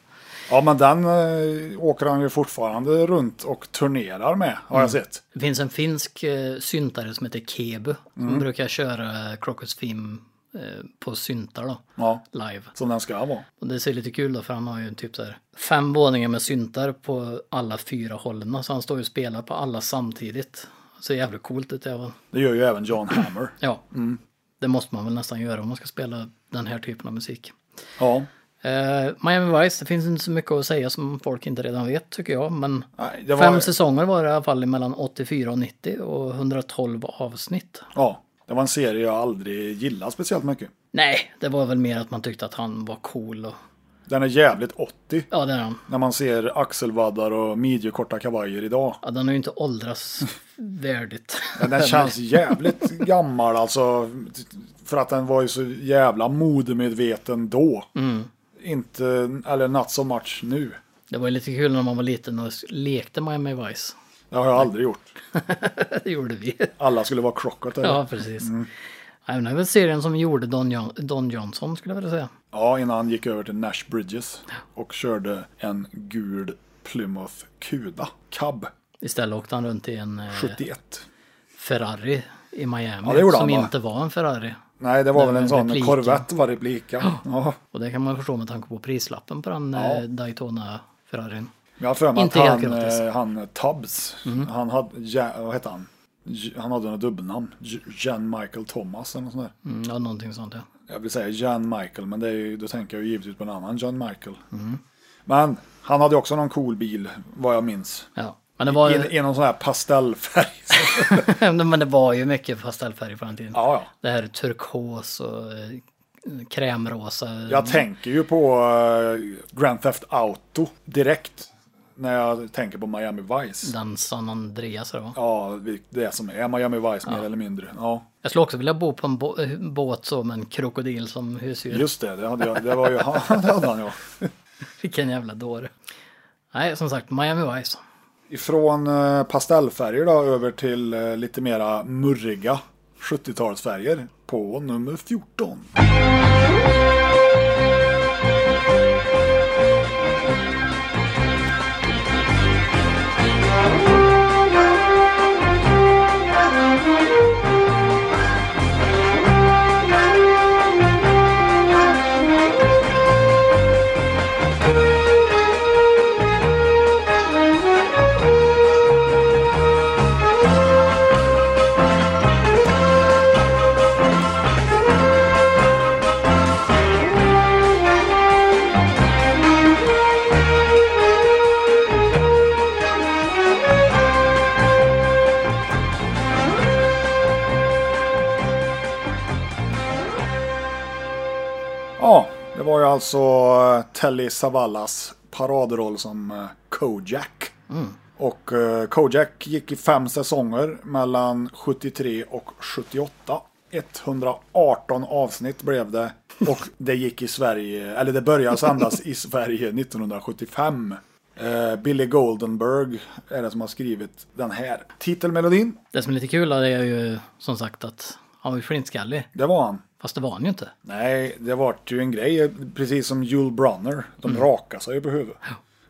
Speaker 2: Ja, men den eh, åker han ju fortfarande runt och turnerar med, har jag sett.
Speaker 3: Det finns en finsk eh, syntare som heter Kebu. Som
Speaker 2: Mm.
Speaker 3: brukar köra eh, Crockett's Theme eh, på syntar då.
Speaker 2: Ja,
Speaker 3: Live.
Speaker 2: som den ska vara.
Speaker 3: Och det ser lite kul då för han har ju typ så här fem våningar med syntar på alla fyra hållen. Så han står ju och spelar på alla samtidigt. Ser jävligt coolt ut även.
Speaker 2: Det gör ju även John Hammer.
Speaker 3: Ja.
Speaker 2: Mm.
Speaker 3: Det måste man väl nästan göra om man ska spela den här typen av musik.
Speaker 2: Ja.
Speaker 3: Eh, Miami Vice, det finns inte så mycket att säga som folk inte redan vet tycker jag. Men
Speaker 2: Nej, det var...
Speaker 3: fem säsonger var det i alla fall mellan 84 och 90 och 112 avsnitt.
Speaker 2: Ja, det var en serie jag aldrig gillade speciellt mycket.
Speaker 3: Nej, det var väl mer att man tyckte att han var cool och
Speaker 2: Den är jävligt 80
Speaker 3: Ja, det är den.
Speaker 2: när man ser axelvaddar och midjekorta kavajer idag.
Speaker 3: Ja, den har ju inte åldrats värdigt.
Speaker 2: Men den känns jävligt gammal alltså. För att den var ju så jävla modemedveten då. Inte, eller not so much nu.
Speaker 3: Det var ju lite kul när man var liten och lekte Miami Vice.
Speaker 2: Det har jag aldrig gjort.
Speaker 3: Det gjorde vi.
Speaker 2: Alla skulle vara crocket eller?
Speaker 3: Ja, precis.
Speaker 2: Mm.
Speaker 3: Nej, men det är väl serien som gjorde Don, Jon- Don Johnson skulle jag vilja säga.
Speaker 2: Ja, innan han gick över till Nash Bridges. Och körde en gul Plymouth Cuda Cab
Speaker 3: Istället åkte han runt i en eh,
Speaker 2: 71.
Speaker 3: Ferrari i Miami.
Speaker 2: Ja, det gjorde
Speaker 3: som
Speaker 2: han, va?
Speaker 3: inte var en Ferrari.
Speaker 2: Nej, det var
Speaker 3: den
Speaker 2: väl en sån
Speaker 3: repliken.
Speaker 2: Corvette var replika. Ja.
Speaker 3: Och det kan man förstå med tanke på prislappen på den eh, Daytona-Ferrarin.
Speaker 2: Men Jag har för mig att
Speaker 3: Inte helt alltså. Mm.
Speaker 2: han,
Speaker 3: gratis.
Speaker 2: eh, han Tubbs, han hade, ja, vad hette han? J- Han hade något dubbelnamn. J- Jan Michael Thomas eller något sånt där.
Speaker 3: Mm, ja, någonting sånt ja.
Speaker 2: Jag vill säga Jan Michael, men det är ju, då tänker jag ju givetvis på en annan Jan Michael.
Speaker 3: Mm.
Speaker 2: Men han hade också någon cool bil, vad jag minns.
Speaker 3: ja. Men, det var,
Speaker 2: I, I någon sån här pastellfärg.
Speaker 3: men det var ju mycket pastellfärg på den tiden.
Speaker 2: ja, ja.
Speaker 3: Det här turkos och eh, krämrosa.
Speaker 2: Jag tänker ju på eh, Grand Theft Auto direkt. När jag tänker på Miami Vice.
Speaker 3: Den San Andreas då.
Speaker 2: Ja, vi- det som är Miami Vice mer eller mindre. Ja,
Speaker 3: Jag skulle också vilja bo på en bå- eh, båt så med en krokodil som husdjur.
Speaker 2: just det. Det, hade jag, det var ju han, det hade han ja.
Speaker 3: Vilken jävla dåre. Nej, som sagt, Miami Vice.
Speaker 2: Ifrån eh, pastellfärger då över till eh, lite mera murriga 70-talsfärger på nummer 14. Ja, det var ju alltså eh, Telly Savalas paradroll som eh, Kojak. Och eh, Kojak gick i fem säsonger mellan 73 och 78. 118 avsnitt blev det och det gick i Sverige, eller det började sändas i Sverige 1975. Eh, Billy Goldenberg är det som har skrivit den här titelmelodin.
Speaker 3: Det som är lite kul det är ju som sagt att han var ju flintskallig.
Speaker 2: Det var han.
Speaker 3: Fast det var han ju inte.
Speaker 2: Nej, det vart ju en grej, precis som Jule Brunner. De rakade sig ju på huvudet.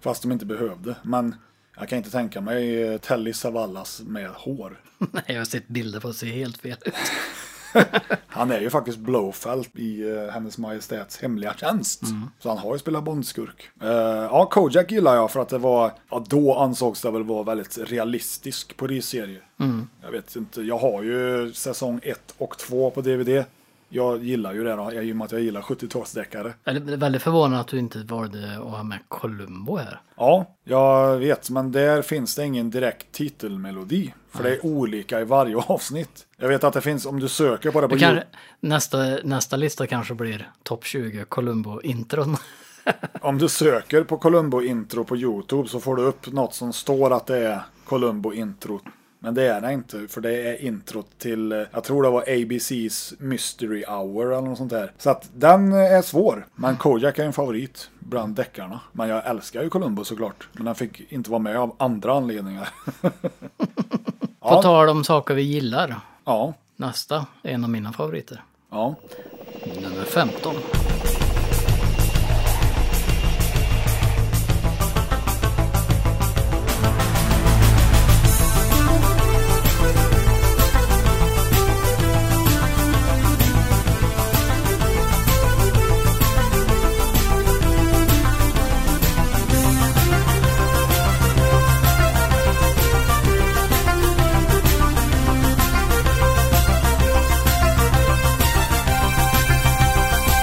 Speaker 2: Fast de inte behövde. Men jag kan inte tänka mig eh, Telly Savalas med hår.
Speaker 3: Nej, jag har sett bilder på sig helt fel ut.
Speaker 2: Han är ju faktiskt Blowfelt i eh, Hennes Majestäts hemliga tjänst. Så han har ju spelat bondskurk. Eh, ja, Kojak gillar jag för att det var, ja, då ansågs det väl vara väldigt realistisk polisserie. Jag vet inte, jag har ju säsong 1 och 2 på DVD. Jag gillar ju det då, i och med att jag gillar 70-talsdeckare.
Speaker 3: Eller, Det är väldigt förvånande att du inte valde att ha med Columbo här.
Speaker 2: Ja, jag vet, men där finns det ingen direkt titelmelodi. För det är olika i varje avsnitt. Jag vet att det finns, om du söker på det på
Speaker 3: Du kan,
Speaker 2: Youtube-
Speaker 3: nästa, nästa lista kanske blir topp 20 Columbo-intron.
Speaker 2: Om du söker på Columbo intro på Youtube så får du upp något som står att det är Columbo intro. Men det är det inte, för det är introt till, eh, jag tror det var ABC's Mystery Hour eller något sånt där. Så att den eh, är svår. Men Kojak är en favorit bland deckarna. Men jag älskar ju Columbo såklart. Men den fick inte vara med av andra anledningar.
Speaker 3: På tal om saker vi gillar.
Speaker 2: ja,
Speaker 3: Nästa är en av mina favoriter.
Speaker 2: ja.
Speaker 3: Nummer 15.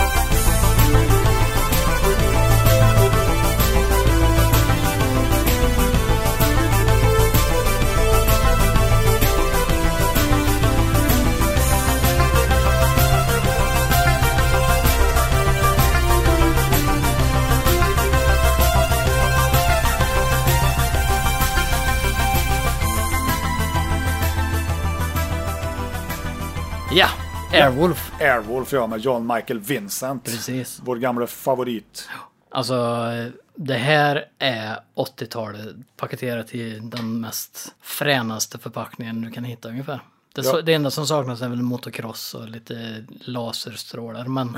Speaker 6: Thank
Speaker 3: Airwolf.
Speaker 2: Airwolf ja, med John Michael Vincent.
Speaker 3: Precis.
Speaker 2: Vår gamla favorit.
Speaker 3: Alltså, det här är 80-talet paketerat i den mest fränaste förpackningen du kan hitta ungefär. Det,
Speaker 2: Ja.
Speaker 3: det enda som saknas är väl motocross och lite laserstrålar, men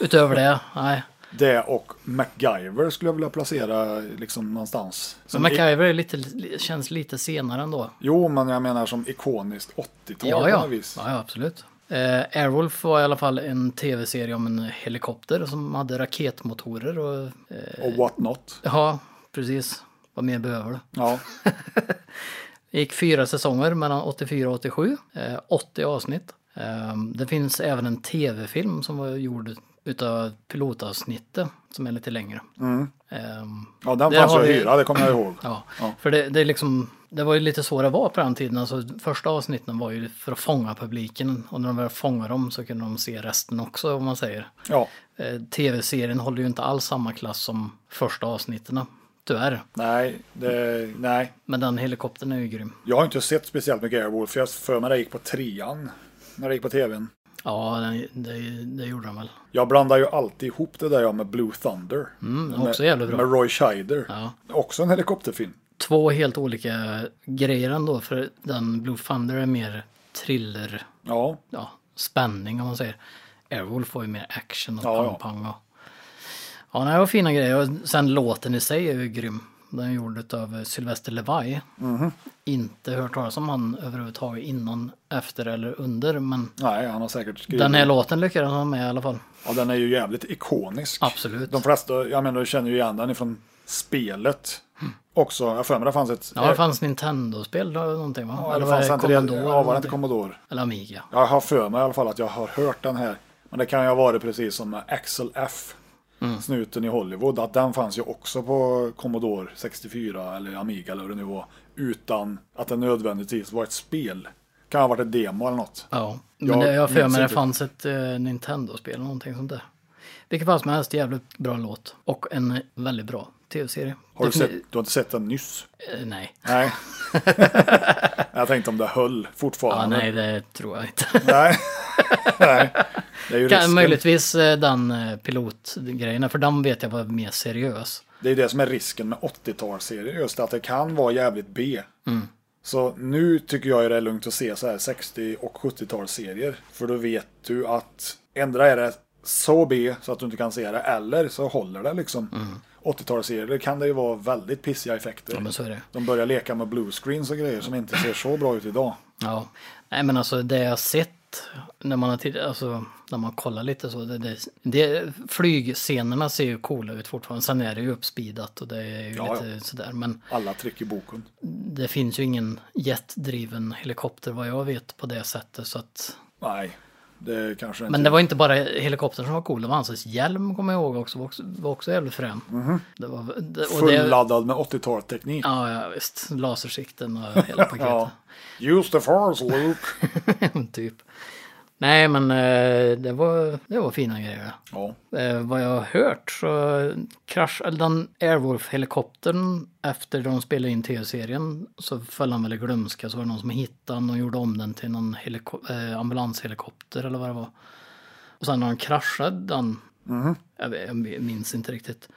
Speaker 3: utöver det, nej.
Speaker 2: Det och MacGyver skulle jag vilja placera liksom någonstans.
Speaker 3: Så
Speaker 2: Som i,
Speaker 3: MacGyver är lite, li- känns lite senare ändå.
Speaker 2: jo, men jag menar som ikoniskt 80-tal
Speaker 3: Ja,
Speaker 2: på
Speaker 3: ja.
Speaker 2: något vis.
Speaker 3: ja, ja absolut. Eh, Airwolf var i alla fall en tv-serie om en helikopter som hade raketmotorer och... Eh,
Speaker 2: Och what not.
Speaker 3: ja, precis. Vad mer behöver du?
Speaker 2: Ja,
Speaker 3: Det gick fyra säsonger mellan 84 och 87, eh, 80 avsnitt. Eh, Det finns även en tv-film som var gjord utav pilotavsnittet som är lite längre. Eh,
Speaker 2: ja den
Speaker 3: Där
Speaker 2: fanns ju
Speaker 3: har
Speaker 2: att
Speaker 3: vi-
Speaker 2: hyra, det kommer jag ihåg.
Speaker 3: Ja,
Speaker 2: Ja.
Speaker 3: för det, det är liksom, det var ju lite så det var på den tiden. Alltså, första avsnitten var ju för att fånga publiken och när de väl fångade dem så kunde de se resten också om man säger.
Speaker 2: Ja,
Speaker 3: Eh, Tv-serien håller ju inte alls samma klass som första avsnitten, tyvärr.
Speaker 2: nej, det, nej.
Speaker 3: Men den helikoptern är ju grym.
Speaker 2: Jag har inte sett speciellt mycket Airwolf. Jag för mig det gick på trean. När det gick på tvn.
Speaker 3: Ja, den, det, det gjorde den väl.
Speaker 2: Jag blandar ju alltid ihop det där jag med Blue Thunder.
Speaker 3: den är Mm, också jävligt bra.
Speaker 2: Med Roy Scheider.
Speaker 3: Ja.
Speaker 2: Också en helikopterfilm.
Speaker 3: två helt olika grejer ändå. För den Blue Thunder är mer thriller,
Speaker 2: Ja,
Speaker 3: ja, spänning om man säger. Airwolf var ju mer action och
Speaker 2: Ja, ja.
Speaker 3: pang-pang. Och... Ja, nej, det var fina grejer. Och sen låten i sig är ju grym. Den är gjord av eh, Sylvester Levi.
Speaker 2: Mhm.
Speaker 3: Inte hört talas om han överhuvudtaget innan, efter eller under. Men
Speaker 2: nej, han har säkert skrivit.
Speaker 3: den här låten lyckades han med i alla fall.
Speaker 2: Ja, den är ju jävligt ikonisk.
Speaker 3: Absolut.
Speaker 2: De flesta, jag menar, känner ju igen den ifrån spelet. Också, jag har för mig det fanns ett...
Speaker 3: Ja, det fanns Nintendo-spel eller någonting va?
Speaker 2: Ja, det fanns inte det,
Speaker 3: Commodore
Speaker 2: ja, var det
Speaker 3: eller
Speaker 2: inte Commodore?
Speaker 3: någonting? Eller Amiga.
Speaker 2: Jag har för mig i alla fall att jag har hört den här. Men det kan ju ha varit precis som med Axel F.
Speaker 3: Mm.
Speaker 2: Snuten i Hollywood. Att den fanns ju också på Commodore 64 eller Amiga eller hur det nu var. Utan att det nödvändigtvis var ett spel. Kan ha varit ett demo eller något.
Speaker 3: Ja,
Speaker 2: Jag
Speaker 3: men det, jag har för
Speaker 2: minns
Speaker 3: mig det
Speaker 2: inte.
Speaker 3: fanns ett eh, Nintendo-spel eller någonting sånt där. Vilket fall som helst, jävligt bra låt. Och en väldigt bra tv-serie.
Speaker 2: Har du,
Speaker 3: Defini-
Speaker 2: sett, du har inte sett den nyss?
Speaker 3: eh, nej.
Speaker 2: Nej. jag tänkte om det höll
Speaker 3: Ja,
Speaker 2: fortfarande.
Speaker 3: nej, det tror jag inte.
Speaker 2: Nej. Nej. Det är ju
Speaker 3: Kan,
Speaker 2: risken.
Speaker 3: möjligtvis eh, den eh, pilotgrejen, för den vet jag var mer seriös.
Speaker 2: Det är det som är risken med 80-talsserier. Just att det kan vara jävligt B.
Speaker 3: Mm.
Speaker 2: Så nu tycker jag det är lugnt att se så här 60 och 70-talsserier. För då vet du att ändra är det så B så att du inte kan se det. Eller så håller det liksom. 80-talsserier kan det ju vara väldigt pissiga effekter.
Speaker 3: Mm. Ja, men så är det.
Speaker 2: De börjar leka med bluescreens och grejer som inte ser så bra ut idag.
Speaker 3: Ja. Nej, men alltså det jag har sett när man har tittat, alltså när man kollar lite så, det, det, det, flygscenerna ser ju coola ut fortfarande. Sen är det ju uppspeedat och det är ju
Speaker 2: Ja,
Speaker 3: lite
Speaker 2: ja.
Speaker 3: sådär, men
Speaker 2: Alla trick i boken.
Speaker 3: det finns ju ingen jetdriven helikopter vad jag vet på det sättet. Så att...
Speaker 2: Nej, det kanske inte
Speaker 3: Men det var inte bara helikoptern som var cool, det var hans hjälm kommer jag ihåg också, var också, var också jävligt frän. Det var, det, och det,
Speaker 2: Fulladdad med 80-talsteknik.
Speaker 3: ja, ja, visst. Lasersikten och hela paketet.
Speaker 2: Ja. Use the force, Luke!
Speaker 3: typ. Nej, men eh, det var, det var fina grejer.
Speaker 2: ja.
Speaker 3: Eh, vad jag har hört så krasch, eller den Airwolf-helikoptern efter de spelade in tv-serien så föll han väl i glömska så var det någon som hittade den och gjorde om den till någon heliko- eh, ambulanshelikopter eller vad det var. Och sen när de kraschade den, jag, vet- jag minns inte riktigt,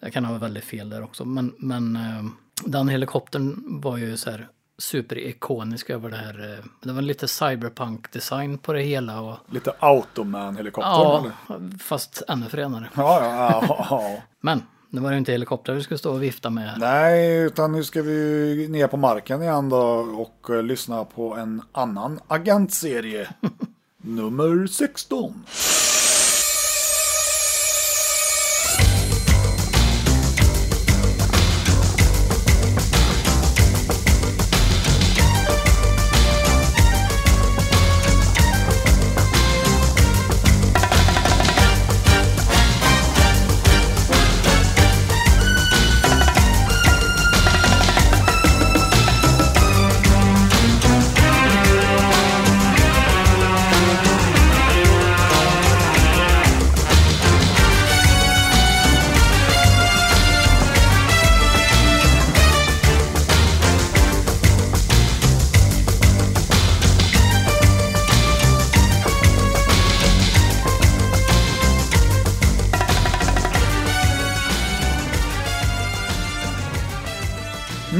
Speaker 3: jag kan ha väldigt fel där också, men, men eh, den helikoptern var ju så här superikonisk över det här. Eh, det var lite cyberpunk-design på det hela och
Speaker 2: Lite Automan-helikopter.
Speaker 3: ja,
Speaker 2: eller?
Speaker 3: fast ännu fränare.
Speaker 2: Ja, ja, ja, ja.
Speaker 3: Men nu var det ju inte helikoptrar vi skulle stå och vifta med. här.
Speaker 2: Nej, utan nu ska vi ner på marken igen då och eh, lyssna på en annan agentserie. Nummer 16.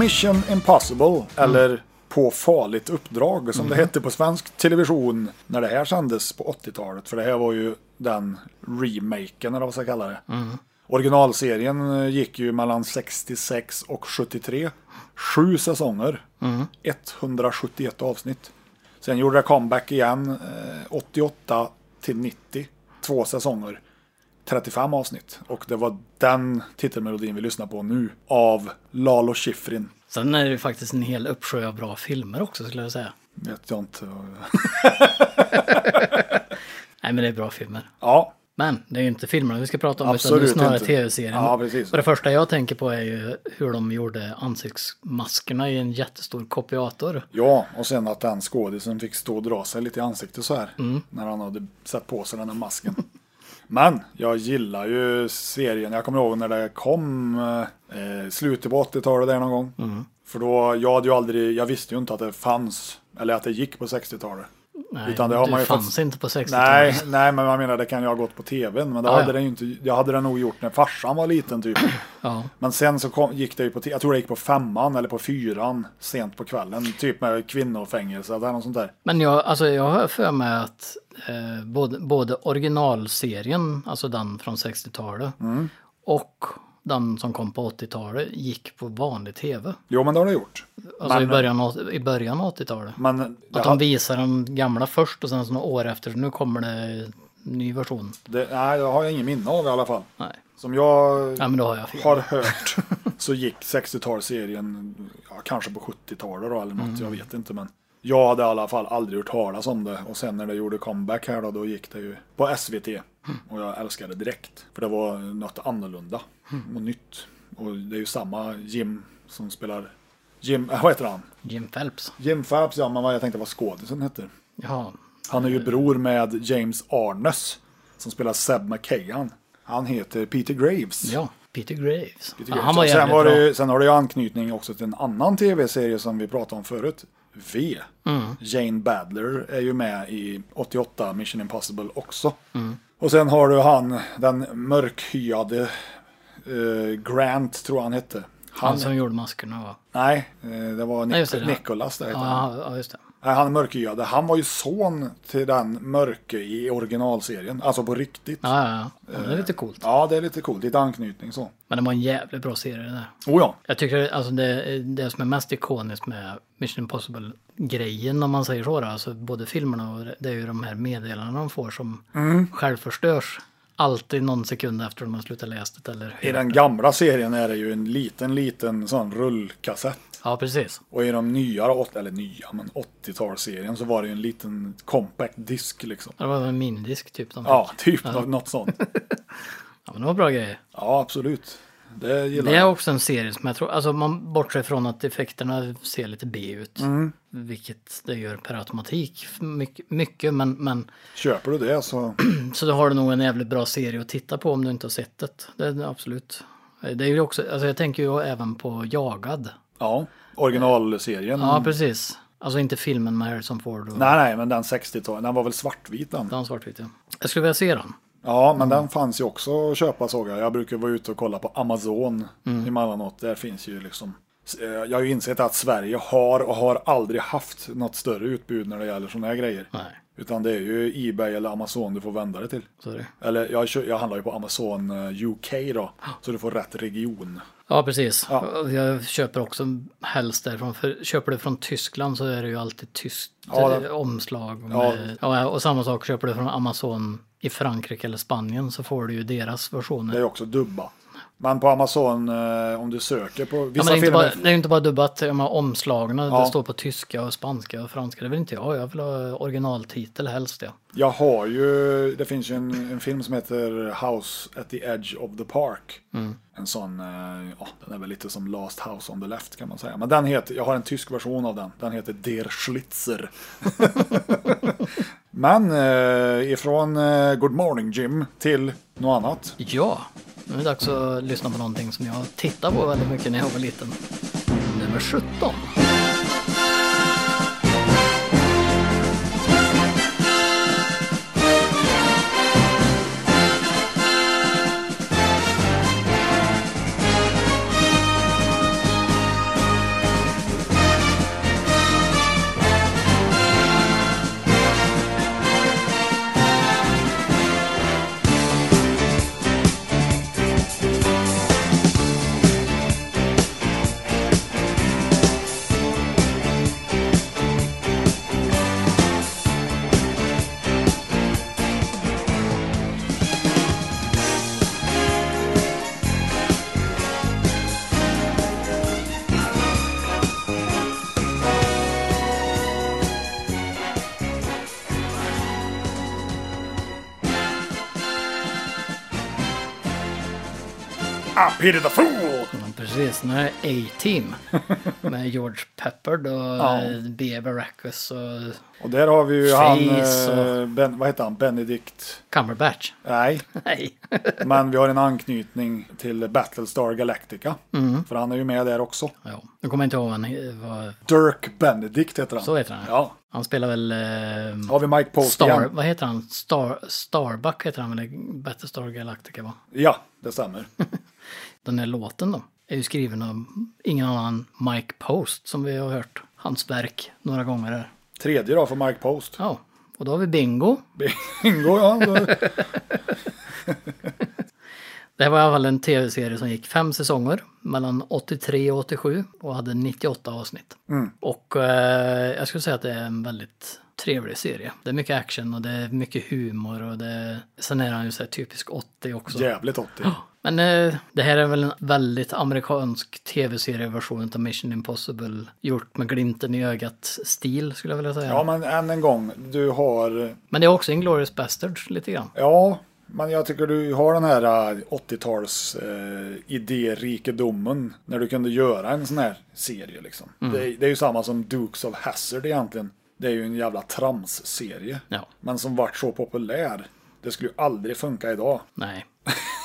Speaker 2: Mission Impossible, eller På farligt uppdrag, som det hette på svensk television när det här sändes på 80-talet. För det här var ju den remaken, eller vad man ska kalla det. Originalserien eh, gick ju mellan 66 och 73. Sju säsonger, 171 avsnitt. Sen gjorde det comeback igen, eh, 88 till 90, två säsonger. 35 avsnitt och det var den titelmelodin vi lyssnar på nu av Lalo Schifrin.
Speaker 3: Sen är det ju faktiskt en hel uppsjö av bra filmer också skulle jag säga.
Speaker 2: Vet jag inte.
Speaker 3: Nej men det är bra filmer.
Speaker 2: Ja,
Speaker 3: Men det är ju inte filmerna vi ska prata om utan det
Speaker 2: Absolut
Speaker 3: är snarare
Speaker 2: inte.
Speaker 3: tv-serien.
Speaker 2: Ja, precis.
Speaker 3: Och det första jag tänker på är ju hur de gjorde ansiktsmaskerna i en jättestor kopiator.
Speaker 2: ja, och sen att den skådisen fick stå och dra sig lite i ansiktet så här
Speaker 3: Mm.
Speaker 2: när han hade satt på sig den där masken. Men jag gillar ju serien. Jag kommer ihåg när det kom eh, slutet på 80-talet där någon gång.
Speaker 3: Mm.
Speaker 2: För då, jag hade ju aldrig, jag visste ju inte att det fanns, eller att det gick på 60-talet.
Speaker 3: Nej,
Speaker 2: Utan det har man ju
Speaker 3: fanns
Speaker 2: fått-
Speaker 3: inte på 60-talet.
Speaker 2: Nej, nej, men jag menar det kan ju ha gått på tvn. Men det
Speaker 3: Ja,
Speaker 2: hade,
Speaker 3: ja.
Speaker 2: Den ju inte, det hade den nog gjort när farsan var liten typ.
Speaker 3: Ja.
Speaker 2: Men sen så kom, gick det ju på, t- jag tror det gick på femman eller på fyran sent på kvällen. Typ med kvinnofängelse eller något sånt där.
Speaker 3: Men jag, alltså jag har för mig att eh, både, både originalserien, alltså den från 60-talet,
Speaker 2: Mm.
Speaker 3: och den som kom på 80-talet gick på vanlig tv.
Speaker 2: Jo, men det har det gjort.
Speaker 3: Alltså
Speaker 2: Men-
Speaker 3: i början av, i början av 80-talet.
Speaker 2: Men det,
Speaker 3: Att de
Speaker 2: ha,
Speaker 3: visar de gamla först och sen så några år efter, så nu kommer det en ny version.
Speaker 2: det, nej, det har jag ingen minne av i alla fall.
Speaker 3: Nej,
Speaker 2: Som jag
Speaker 3: ja, men då har jag fel.
Speaker 2: har hört så gick 60-talsserien ja, kanske på 70-talet då, eller något, jag vet inte. Men jag hade i alla fall aldrig hört talas om det. Och sen när det gjorde comeback här då, då gick det ju på SVT. Och jag älskade det direkt. För det var något annorlunda och nytt. Och det är ju samma Jim som spelar Jim, äh, vad heter han?
Speaker 3: Jim Phelps.
Speaker 2: Jim Phelps, ja men vad jag tänkte vad skådisen heter.
Speaker 3: Ja,
Speaker 2: Han är ju bror med James Arnes som spelar Seb McKagan. Han heter Peter Graves.
Speaker 3: ja. Peter Graves.
Speaker 2: Peter
Speaker 3: Ja,
Speaker 2: Graves.
Speaker 3: han var
Speaker 2: Och sen,
Speaker 3: jävligt
Speaker 2: var
Speaker 3: bra.
Speaker 2: det, ju- sen har det ju anknytning också till en annan tv-serie som vi pratade om förut. V.
Speaker 3: Mm.
Speaker 2: Jane Badler är ju med i 88 Mission Impossible också.
Speaker 3: Mm.
Speaker 2: Och sen har du han, den mörkhyade eh, Grant tror jag han hette. Han,
Speaker 3: Han som gjorde maskerna va?
Speaker 2: Nej, eh, det var Nic-
Speaker 3: Nej, just det, det var-
Speaker 2: Nicholas där hette han.
Speaker 3: Ja, ja just det.
Speaker 2: Nej, han är mörkhyade. Han var ju son till den mörke i originalserien. Alltså på riktigt.
Speaker 3: Ja, ja, ja. ja. Det är lite coolt.
Speaker 2: Ja, det är lite coolt. Lite anknytning så.
Speaker 3: Men det var en jävligt bra serie det där.
Speaker 2: Oh ja.
Speaker 3: Jag tycker alltså det, det som är mest ikoniskt med Mission Impossible-grejen om man säger så, då, alltså både filmerna och det- det är ju de här meddelandena de får som självförstörs. Alltid någon sekund efter de har slutat läsa det eller
Speaker 2: I
Speaker 3: hur.
Speaker 2: den gamla serien är det ju en liten, liten sån rullkassett.
Speaker 3: Ja, precis.
Speaker 2: Och i de nyare, åt- eller nya, men 80-talsserien så var det ju en liten compact disk liksom.
Speaker 3: Det var en minidisk typ de
Speaker 2: Ja,
Speaker 3: fick.
Speaker 2: typ nå- något sånt.
Speaker 3: Ja, men det var bra grejer.
Speaker 2: Ja, absolut. Det gillar
Speaker 3: Det är
Speaker 2: jag.
Speaker 3: också en serie som jag tror, alltså man bortser från att effekterna ser lite B ut. Vilket det gör per automatik mycket, mycket men, men
Speaker 2: Köper du det så...
Speaker 3: Så då har du nog en jävligt bra serie att titta på om du inte har sett det. det är absolut. Det är ju också, alltså jag tänker ju även på Jagad.
Speaker 2: Ja, originalserien.
Speaker 3: Ja, precis. Alltså inte filmen med Harrison Ford och
Speaker 2: Mm. Nej, nej, men den 60-talen, den var väl svartvit den?
Speaker 3: den svartvita. Jag skulle vilja se den.
Speaker 2: Ja, men den fanns ju också att köpa såg jag. Jag brukar vara ute och kolla på Amazon
Speaker 3: Mm.
Speaker 2: emellanåt. Där finns ju liksom... Eh, Jag har ju insett att Sverige har och har aldrig haft något större utbud när det gäller sådana här grejer.
Speaker 3: Nej,
Speaker 2: Utan det är ju Ebay eller Amazon du får vända dig till.
Speaker 3: sorry.
Speaker 2: Eller jag, kö- jag handlar ju på Amazon eh, UK då, så du får rätt region.
Speaker 3: Ja, precis.
Speaker 2: Ja.
Speaker 3: Jag köper också helst därifrån. För köper du från Tyskland så är det ju alltid tyskt
Speaker 2: Ja,
Speaker 3: eh,
Speaker 2: det-
Speaker 3: omslag. Med, ja. och samma sak, köper du från Amazon i Frankrike eller Spanien så får du ju deras versioner.
Speaker 2: Det är ju också dubba. Men på Amazon, eh, om du söker på
Speaker 3: Ja,
Speaker 2: vissa
Speaker 3: men det, är inte
Speaker 2: filmer...
Speaker 3: bara, det är ju inte bara dubbat, de här omslagen,
Speaker 2: Ja.
Speaker 3: det står på tyska och spanska och franska. Det vill inte jag, jag vill ha originaltitel helst. Ja.
Speaker 2: Jag har ju, det finns ju en, en film som heter House at the Edge of the Park.
Speaker 3: Mm.
Speaker 2: En sån, eh, ja, den är väl lite som Last House on the Left kan man säga. Men den heter, jag har en tysk version av den. Den heter Der Schlitzer. Men eh, ifrån eh, Good Morning Jim till något annat.
Speaker 3: ja, nu är det dags att lyssna på någonting som jag tittade på väldigt mycket när jag var liten. Nummer 17.
Speaker 2: Up Ah, Peter the Fool!
Speaker 3: Men Precis, den här A-Team med George Peppard och eh, B. Baracus och
Speaker 2: Och där har vi ju
Speaker 3: Face
Speaker 2: han,
Speaker 3: och-
Speaker 2: eh, ben, vad heter han, Benedict?
Speaker 3: Cumberbatch.
Speaker 2: Nej,
Speaker 3: Nej.
Speaker 2: men vi har en anknytning till Battlestar Galactica.
Speaker 3: Mm.
Speaker 2: För han är ju med där också.
Speaker 3: ja, nu kommer jag inte ihåg vad han he- vad,
Speaker 2: Dirk Benedict heter han.
Speaker 3: Så heter han, ja.
Speaker 2: Ja.
Speaker 3: Han spelar väl... eh,
Speaker 2: Har vi Mike Post
Speaker 3: Star,
Speaker 2: igen?
Speaker 3: vad heter han? Star, Starbuck heter han väl i Battlestar Galactica va?
Speaker 2: Ja, det stämmer.
Speaker 3: Den här låten då är ju skriven av ingen annan Mike Post som vi har hört hans verk några gånger här.
Speaker 2: Tredje då för Mike Post.
Speaker 3: Ja, och då har vi Bingo.
Speaker 2: Bingo, ja. det-
Speaker 3: Det här var i alla fall en tv-serie som gick fem säsonger mellan 83 och 87 och hade 98 avsnitt. Och eh, jag skulle säga att det är en väldigt trevlig serie. Det är mycket action och det är mycket humor och det... Sen är han ju så här typisk 80 också.
Speaker 2: Jävligt 80.
Speaker 3: Men eh, det här är väl en väldigt amerikansk tv-serieversion av Mission Impossible. Gjort med glimten i ögat-stil skulle jag vilja säga.
Speaker 2: Ja, men än en gång. Du har...
Speaker 3: Men det är också Inglourious Basterds lite grann.
Speaker 2: Ja, men jag tycker du har den här eh, 80-tals eh, idérikedomen. När du kunde göra en sån här serie liksom.
Speaker 3: Mm.
Speaker 2: Det, det är ju samma som Dukes of Hazzard egentligen. Det är ju en jävla trams-serie.
Speaker 3: Ja.
Speaker 2: Men som vart så populär. Det skulle ju aldrig funka idag.
Speaker 3: Nej.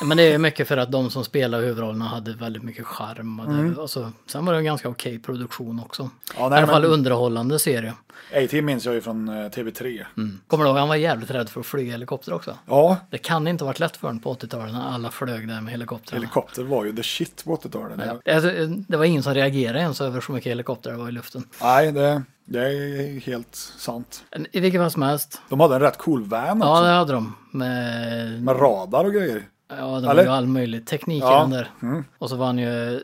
Speaker 3: Men det är mycket för att de som spelar huvudrollerna hade väldigt mycket charm. Och det, alltså, sen var det en ganska okej produktion också.
Speaker 2: Mm. Ja,
Speaker 3: I
Speaker 2: nej,
Speaker 3: alla fall
Speaker 2: men-
Speaker 3: underhållande serie.
Speaker 2: A.T. minns jag ju från eh, TV3.
Speaker 3: Kommer du ihåg, han var jävligt rädd för att flyga helikopter också.
Speaker 2: Ja,
Speaker 3: Det kan inte ha varit lätt för honom på 80-talet när alla flög där med helikoptrarna.
Speaker 2: helikopter var ju the shit på 80-talet.
Speaker 3: Ja. Alltså, Det var ingen som reagerade ens över så mycket helikoptrar det var i luften.
Speaker 2: Nej, det, det är helt sant.
Speaker 3: Men I vilket fall som helst.
Speaker 2: De hade en rätt cool van
Speaker 3: Ja,
Speaker 2: också.
Speaker 3: det hade de. Med,
Speaker 2: Med radar och grejer.
Speaker 3: ja, det var
Speaker 2: Eller?
Speaker 3: ju all möjlig teknik i
Speaker 2: Ja. Mm.
Speaker 3: den där. Och så var han ju,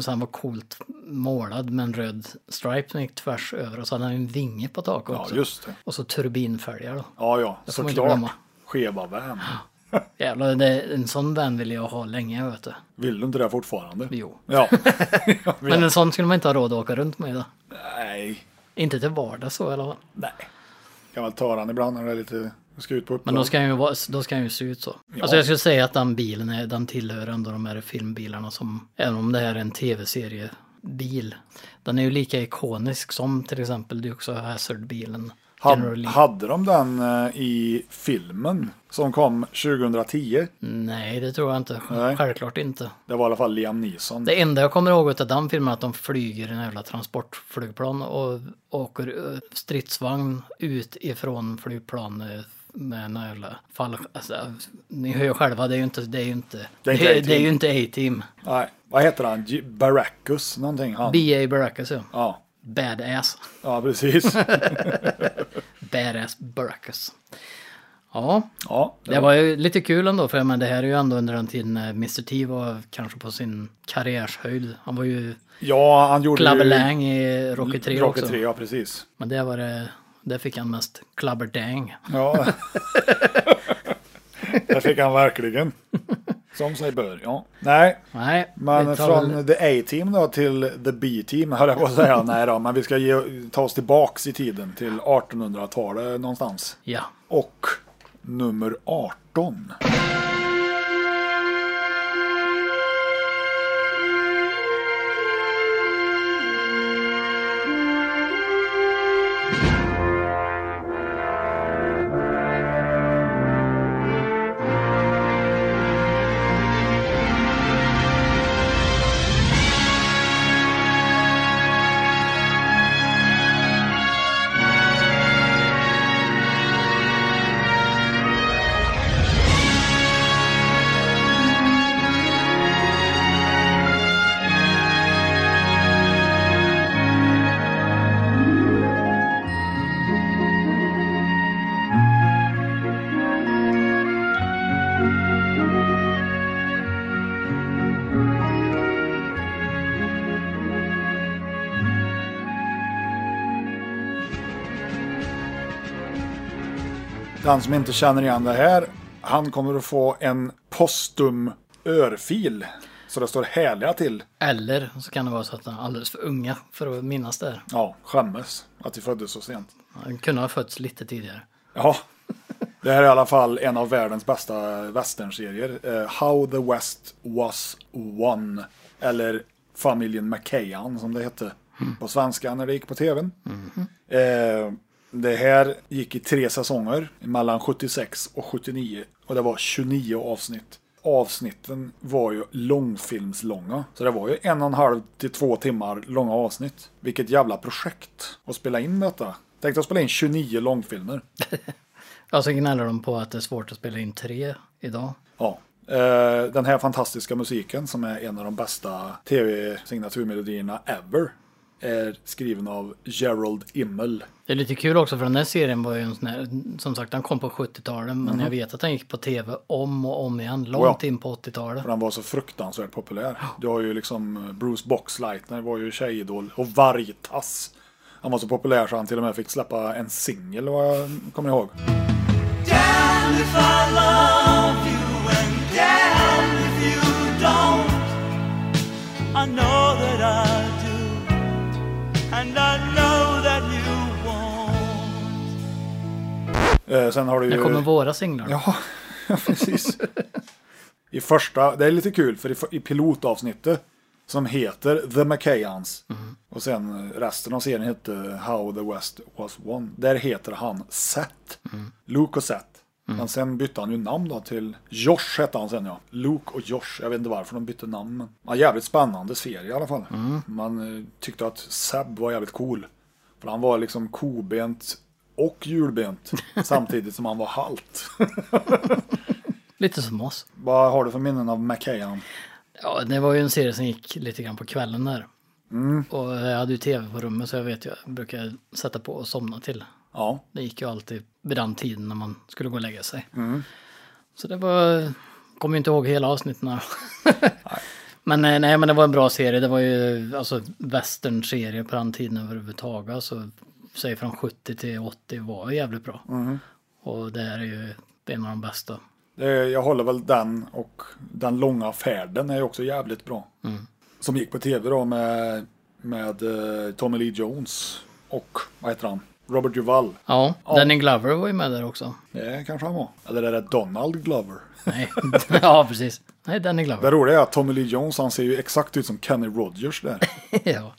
Speaker 3: så han var coolt målad med en röd stripe som gick tvärs över. Och så hade han en vinge på taket
Speaker 2: Ja,
Speaker 3: också.
Speaker 2: just det.
Speaker 3: Och så turbinfälgar då.
Speaker 2: Ja, ja,
Speaker 3: får man inte
Speaker 2: såklart.
Speaker 3: glömma.
Speaker 2: Skeva van.
Speaker 3: Jävlar, det, en sån van ville jag ha länge, vet du.
Speaker 2: Vill du inte det fortfarande?
Speaker 3: Jo.
Speaker 2: Ja.
Speaker 3: Men en sån skulle man inte ha råd att åka runt med. Då.
Speaker 2: Nej,
Speaker 3: Inte till vardags så i alla fall.
Speaker 2: nej. Kan väl ta den ibland när det är lite... Jag ska ut på uppdrag.
Speaker 3: Men då ska, han ju vara, då ska han ju se ut så.
Speaker 2: Ja.
Speaker 3: Alltså jag skulle säga att den bilen är, den tillhör ändå de här filmbilarna som, även om det här är en tv-seriebil, den är ju lika ikonisk som till exempel Dukes of Hazzard-bilen. General
Speaker 2: Had,
Speaker 3: Lee.
Speaker 2: hade de den eh, i filmen som kom 2010?
Speaker 3: Nej, det tror jag inte.
Speaker 2: Nej.
Speaker 3: Självklart inte.
Speaker 2: Det var i alla fall Liam Neeson.
Speaker 3: Det enda jag kommer ihåg av den filmen är att de flyger i en jävla transportflygplan och åker eh, stridsvagn ut ifrån flygplan eh, med en jävla fall... Alltså, ni hör ju själva, det är ju inte... Det är ju inte,
Speaker 2: Det är inte A-Team.
Speaker 3: det är ju inte A-Team.
Speaker 2: Nej, vad heter han? J- Baracus någonting? Han.
Speaker 3: B.A. Baracus ja.
Speaker 2: ja.
Speaker 3: Badass.
Speaker 2: ja, precis.
Speaker 3: Badass Baracus. Ja,
Speaker 2: Ja,
Speaker 3: det var ju lite kul ändå för men det här är ju ändå under den tiden när Mr T var kanske på sin karriärshöjd. Han var ju
Speaker 2: ja, han gjorde
Speaker 3: Clubberlang i Rocky 3
Speaker 2: Mm. Rocky
Speaker 3: också.
Speaker 2: 3, ja precis.
Speaker 3: Men det var det, där fick han mest Clubberdang.
Speaker 2: Ja. Där fick han verkligen. Som sig bör, ja. Nej,
Speaker 3: Nej,
Speaker 2: men
Speaker 3: vi tar
Speaker 2: från
Speaker 3: väl-
Speaker 2: the A-team då till the B-team höll jag på att säga. Nej då, men vi ska ge, ta oss tillbaks i tiden till 1800-talet någonstans.
Speaker 3: Ja,
Speaker 2: Och nummer 18. Den som inte känner igen det här, han kommer att få en postum örfil. Så det står härliga till.
Speaker 3: eller så kan det vara så att han är alldeles för unga för att minnas det här.
Speaker 2: Ja, skämmes att vi föddes så sent.
Speaker 3: Han kunde ha fötts lite tidigare.
Speaker 2: Ja, Det här är i alla fall en av världens bästa westernserier. Eh, How the West was won. Eller Familjen McKayan som det hette på svenska när det gick på tvn. Eh, det här gick i tre säsonger mellan 76 och 79 och det var 29 avsnitt. Avsnitten var ju långfilmslånga, så det var ju en och en halv till två timmar långa avsnitt. Vilket jävla projekt att spela in detta. Tänk dig att spela in 29 långfilmer.
Speaker 3: Och så gnäller de på att det är svårt att spela in tre idag.
Speaker 2: Ja. Eh, Den här fantastiska musiken som är en av de bästa tv-signaturmelodierna ever är skriven av Gerald Immel.
Speaker 3: Det är lite kul också för den här serien var ju en sån här, som sagt den kom på 70-talet men
Speaker 2: Mhm.
Speaker 3: jag vet att den gick på tv om och om igen, långt
Speaker 2: ja.
Speaker 3: in på 80-talet.
Speaker 2: För han var så fruktansvärt populär. Du har ju liksom Bruce Boxleitner var ju tjejidol och Vargtass. Han var så populär så han till och med fick släppa en singel vad jag kommer ihåg.
Speaker 6: Damn if I love you and damn if you don't. I know that I do, and I know that you won't.
Speaker 2: Eh, sen har du ju...
Speaker 3: När kommer våra singlar?
Speaker 2: Ja, precis. I första, det är lite kul för i, f- i pilotavsnittet som heter The McKayans och sen resten av serien hette How the West was won. Där heter han Seth. Luke och Seth. Men sen bytte han ju namn då till Josh hette han sen ja. Luke och Josh. Jag vet inte varför de bytte namn. Men ja, jävligt spännande serie i alla fall. Man eh, tyckte att Seb var jävligt cool. För han var liksom kobent och hjulbent samtidigt som han var halt.
Speaker 3: Lite som oss.
Speaker 2: Vad har du för minnen av McKayan?
Speaker 3: Ja, det var ju en serie som gick lite grann på kvällen där.
Speaker 2: Mm.
Speaker 3: Och jag hade ju tv på rummet så jag vet ju, jag brukar sätta på och somna till.
Speaker 2: Ja,
Speaker 3: Det gick ju alltid vid den tiden när man skulle gå och lägga sig. Så det var... Kommer ju inte ihåg hela avsnitten. men eh, nej, men det var en bra serie. Det var ju alltså western-serie på den tiden överhuvudtaget. Alltså, säg från 70 till 80 var ju jävligt bra. Och det här är ju det är en av de bästa.
Speaker 2: det, jag håller väl den och Den långa färden är ju också jävligt bra. Som gick på tv då med, med eh, Tommy Lee Jones och vad heter han? Robert Duvall.
Speaker 3: Ja, Danny Glover var ju med där också.
Speaker 2: Det kanske han var. Eller är det Donald Glover?
Speaker 3: Nej, ja precis. Nej, Danny
Speaker 2: Det
Speaker 3: Glover.
Speaker 2: roliga är att Tommy Lee Jones han ser ju exakt ut som Kenny Rogers där.
Speaker 3: ja.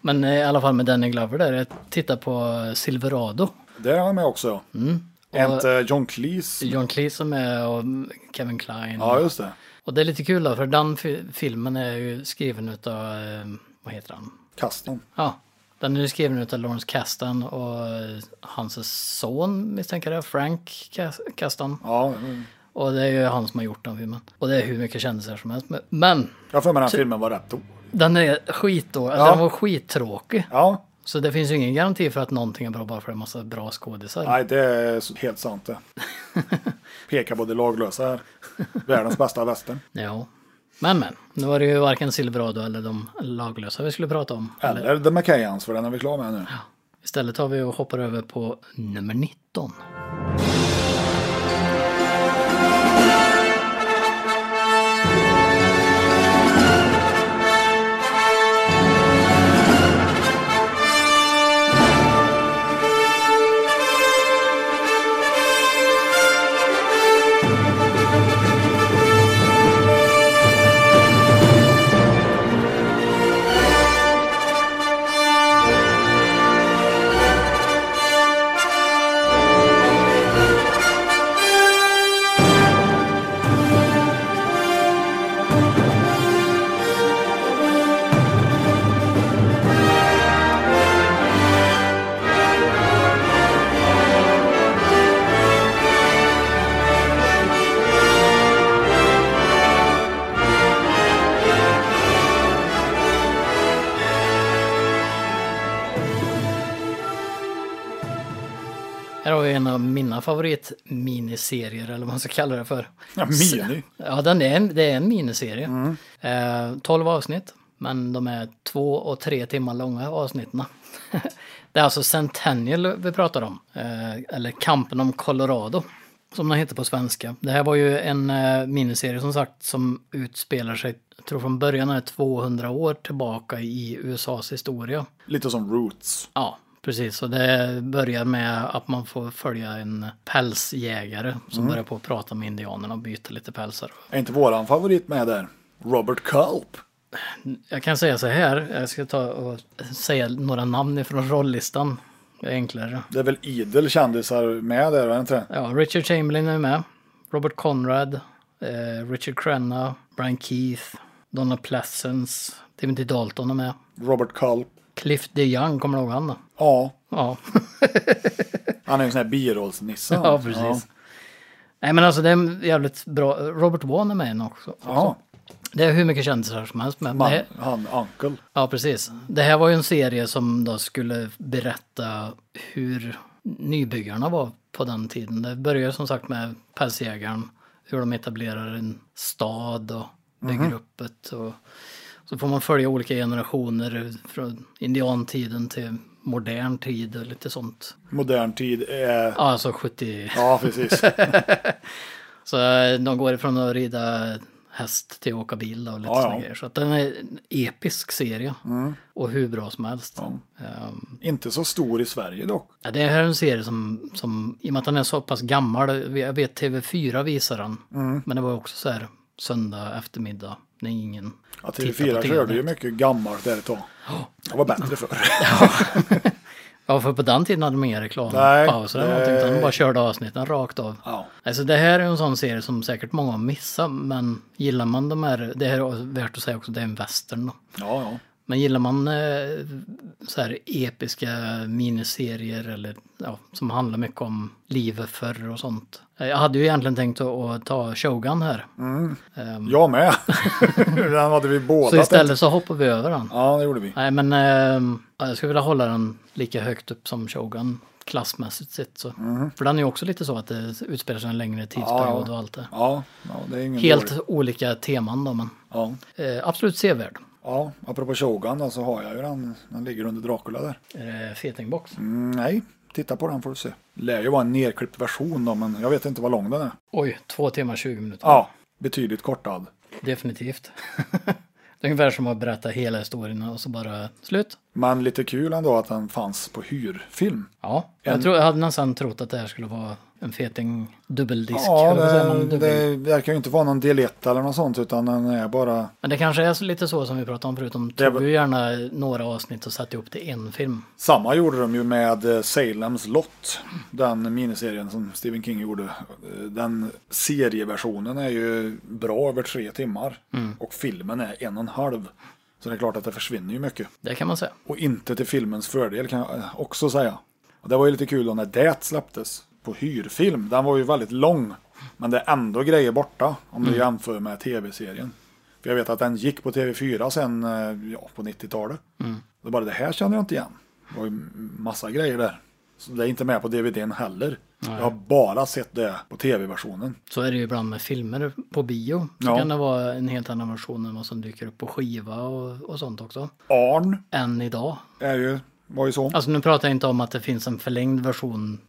Speaker 3: Men eh, i alla fall med Danny Glover där, jag tittar på Silverado.
Speaker 2: Där är han med också. Mm. Är inte John Cleese?
Speaker 3: John Cleese är med och Kevin Kline.
Speaker 2: Ja, just det.
Speaker 3: Och det är lite kul då, för den fi- filmen är ju skriven utav, eh, vad heter han?
Speaker 2: Kastan.
Speaker 3: Ja, den är ju skriven utav Lawrence Kasdan och eh, hans son misstänker jag, Frank Kas- Kasdan.
Speaker 2: Ja, mm.
Speaker 3: Och det är ju han som har gjort den filmen. Och det är hur mycket kändisar som helst. Men- Men
Speaker 2: jag får med den här filmen var rätt dålig.
Speaker 3: den är skit då,
Speaker 2: Ja.
Speaker 3: den var skittråkig.
Speaker 2: Ja,
Speaker 3: Så det finns ju ingen garanti för att någonting är bra bara för att det är en massa bra skådisar.
Speaker 2: Nej, det är helt sant det. Pekar på det laglösa här. Världens bästa västern.
Speaker 3: Ja. Men men, nu var det ju varken Silverado eller de laglösa vi skulle prata om.
Speaker 2: Eller The McKayans, för den är vi klara med nu.
Speaker 3: Istället tar vi och hoppar över på nummer 19. Här har vi en av mina favoritminiserier, eller vad man ska kalla det för.
Speaker 2: Ja, mini.
Speaker 3: Ja, den är en, det är en miniserie. Eh, 12 avsnitt, men de är två och tre timmar långa avsnitten. det är alltså Centennial vi pratar om, eh, eller Kampen om Colorado, som den heter på svenska. Det här var ju en eh, miniserie som sagt som utspelar sig, jag tror från början är det 200 år tillbaka i USAs historia.
Speaker 2: Lite som Roots.
Speaker 3: Ja, Precis, och det börjar med att man får följa en pälsjägare som börjar på att prata med indianerna och byta lite pälsar.
Speaker 2: Är inte våran favorit med där? Robert Culp.
Speaker 3: Jag kan säga så här, jag ska ta och säga några namn ifrån rollistan. Det är enklare.
Speaker 2: Det är väl idel kändisar med där, är det inte det?
Speaker 3: Ja, Richard Chamberlain är med. Robert Conrad, eh, Richard Crenna, Brian Keith, Donna Pleasence, Timothy Dalton är med.
Speaker 2: Robert Culp.
Speaker 3: Cliff DeYoung, kommer du ihåg han då?
Speaker 2: Ja,
Speaker 3: Ja,
Speaker 2: han är ju en sån här birollsnisse. han.
Speaker 3: ja precis. Nej men alltså det är en jävligt bra. Robert Vaughn är med i den också.
Speaker 2: Ja.
Speaker 3: Det är hur mycket kändisar som helst med.
Speaker 2: Man,
Speaker 3: Det,
Speaker 2: han, Uncle.
Speaker 3: ja, precis. Det här var ju en serie som då skulle berätta hur nybyggarna var på den tiden. Det börjar som sagt med pälsjägaren, hur de etablerar en stad och bygger upp ett. Och så får man följa olika generationer från indiantiden till modern tid och lite sånt.
Speaker 2: Modern tid är...
Speaker 3: Ja, alltså 70...
Speaker 2: Ja, precis. Ja,
Speaker 3: Så eh, de går ifrån att rida häst till att åka bil och lite
Speaker 2: Ja, Mm. ja.
Speaker 3: såna grejer. Så att den är en episk serie. Och hur bra som helst. Ehm,
Speaker 2: Inte så stor i Sverige dock.
Speaker 3: ja, det här är en serie som, som, i och med att den är så pass gammal, jag vet TV4 visar den.
Speaker 2: Mm.
Speaker 3: Men det var också så här söndag eftermiddag när ingen
Speaker 2: Ja,
Speaker 3: tittar på
Speaker 2: TV4
Speaker 3: TV.
Speaker 2: körde ju mycket gammalt där ett tag. Det var bättre förr.
Speaker 3: Ja, för på den tiden hade de inga
Speaker 2: Nej,
Speaker 3: reklampauser eller
Speaker 2: det-
Speaker 3: någonting, utan de bara körde avsnitten rakt av.
Speaker 2: Ja.
Speaker 3: Alltså det här är en sån serie som säkert många har missat, men gillar man de här, det här är värt att säga också, det är en western då.
Speaker 2: Ja, ja.
Speaker 3: Men gillar man eh, så här episka miniserier eller ja, som handlar mycket om livet förr och sånt. Eh, Jag hade ju egentligen tänkt att, att ta Shogun här.
Speaker 2: Mm.
Speaker 3: Ehm,
Speaker 2: Jag med. den hade vi båda.
Speaker 3: så istället
Speaker 2: tänkt.
Speaker 3: så hoppar vi över den.
Speaker 2: Ja, det gjorde vi.
Speaker 3: Nej men ehm, ja, jag skulle vilja hålla den lika högt upp som Shogun klassmässigt sett. Så. För den är ju också lite så att det utspelar sig en längre tidsperiod och allt det.
Speaker 2: Mm-hmm. Ja, ja det är ingen
Speaker 3: Helt
Speaker 2: dålig.
Speaker 3: olika teman då men
Speaker 2: Ja.
Speaker 3: eh, absolut sevärd.
Speaker 2: ja, apropå Shogun då, så har jag ju den. Den ligger under Dracula där.
Speaker 3: Är det Eh, Fetingbox?
Speaker 2: Mm, nej, titta på den får du se. Lär ju vara en nedklippt version då, men jag vet inte vad lång den är.
Speaker 3: Oj, två timmar 20 minuter.
Speaker 2: Ja, betydligt kortad.
Speaker 3: Definitivt. det är ungefär som att berätta hela historien och så bara slut.
Speaker 2: Men lite kul ändå att den fanns på hyrfilm.
Speaker 3: Ja, jag, tror, jag hade nästan trott att det här skulle vara en feting dubbeldisk.
Speaker 2: Ja,
Speaker 3: eller vad säger man,
Speaker 2: det,
Speaker 3: dubbel.
Speaker 2: det verkar ju inte vara någon del 1 eller något sånt utan den är bara...
Speaker 3: Men det kanske är så lite så som vi pratade om förut. De
Speaker 2: Det
Speaker 3: tog
Speaker 2: var-
Speaker 3: ju gärna några avsnitt och satte ihop till en film.
Speaker 2: Samma gjorde de ju med eh, Salems Lot, den miniserien som Stephen King gjorde. Eh, Den serieversionen är ju bra över tre timmar och filmen är en och en halv. Så det är klart att det försvinner ju mycket.
Speaker 3: Det kan man säga.
Speaker 2: Och inte till filmens fördel kan jag eh, också säga. Och det var ju lite kul då när det släpptes på hyrfilm. Den var ju väldigt lång. Men det är ändå grejer borta om
Speaker 3: Mm.
Speaker 2: du jämför med tv-serien. För jag vet att den gick på TV4 sen eh, ja, på 90-talet.
Speaker 3: Mm.
Speaker 2: Då bara det här känner jag inte igen. Det var ju massa grejer där. Så det är inte med på DVDn heller. Jag har bara sett det på tv-versionen.
Speaker 3: Så är det ju ibland med filmer på bio. Så
Speaker 2: Ja.
Speaker 3: kan det vara en helt annan version än vad som dyker upp på skiva och, och sånt också.
Speaker 2: Arn
Speaker 3: Än idag.
Speaker 2: är ju, var ju så.
Speaker 3: Alltså nu pratar jag inte om att det finns en förlängd version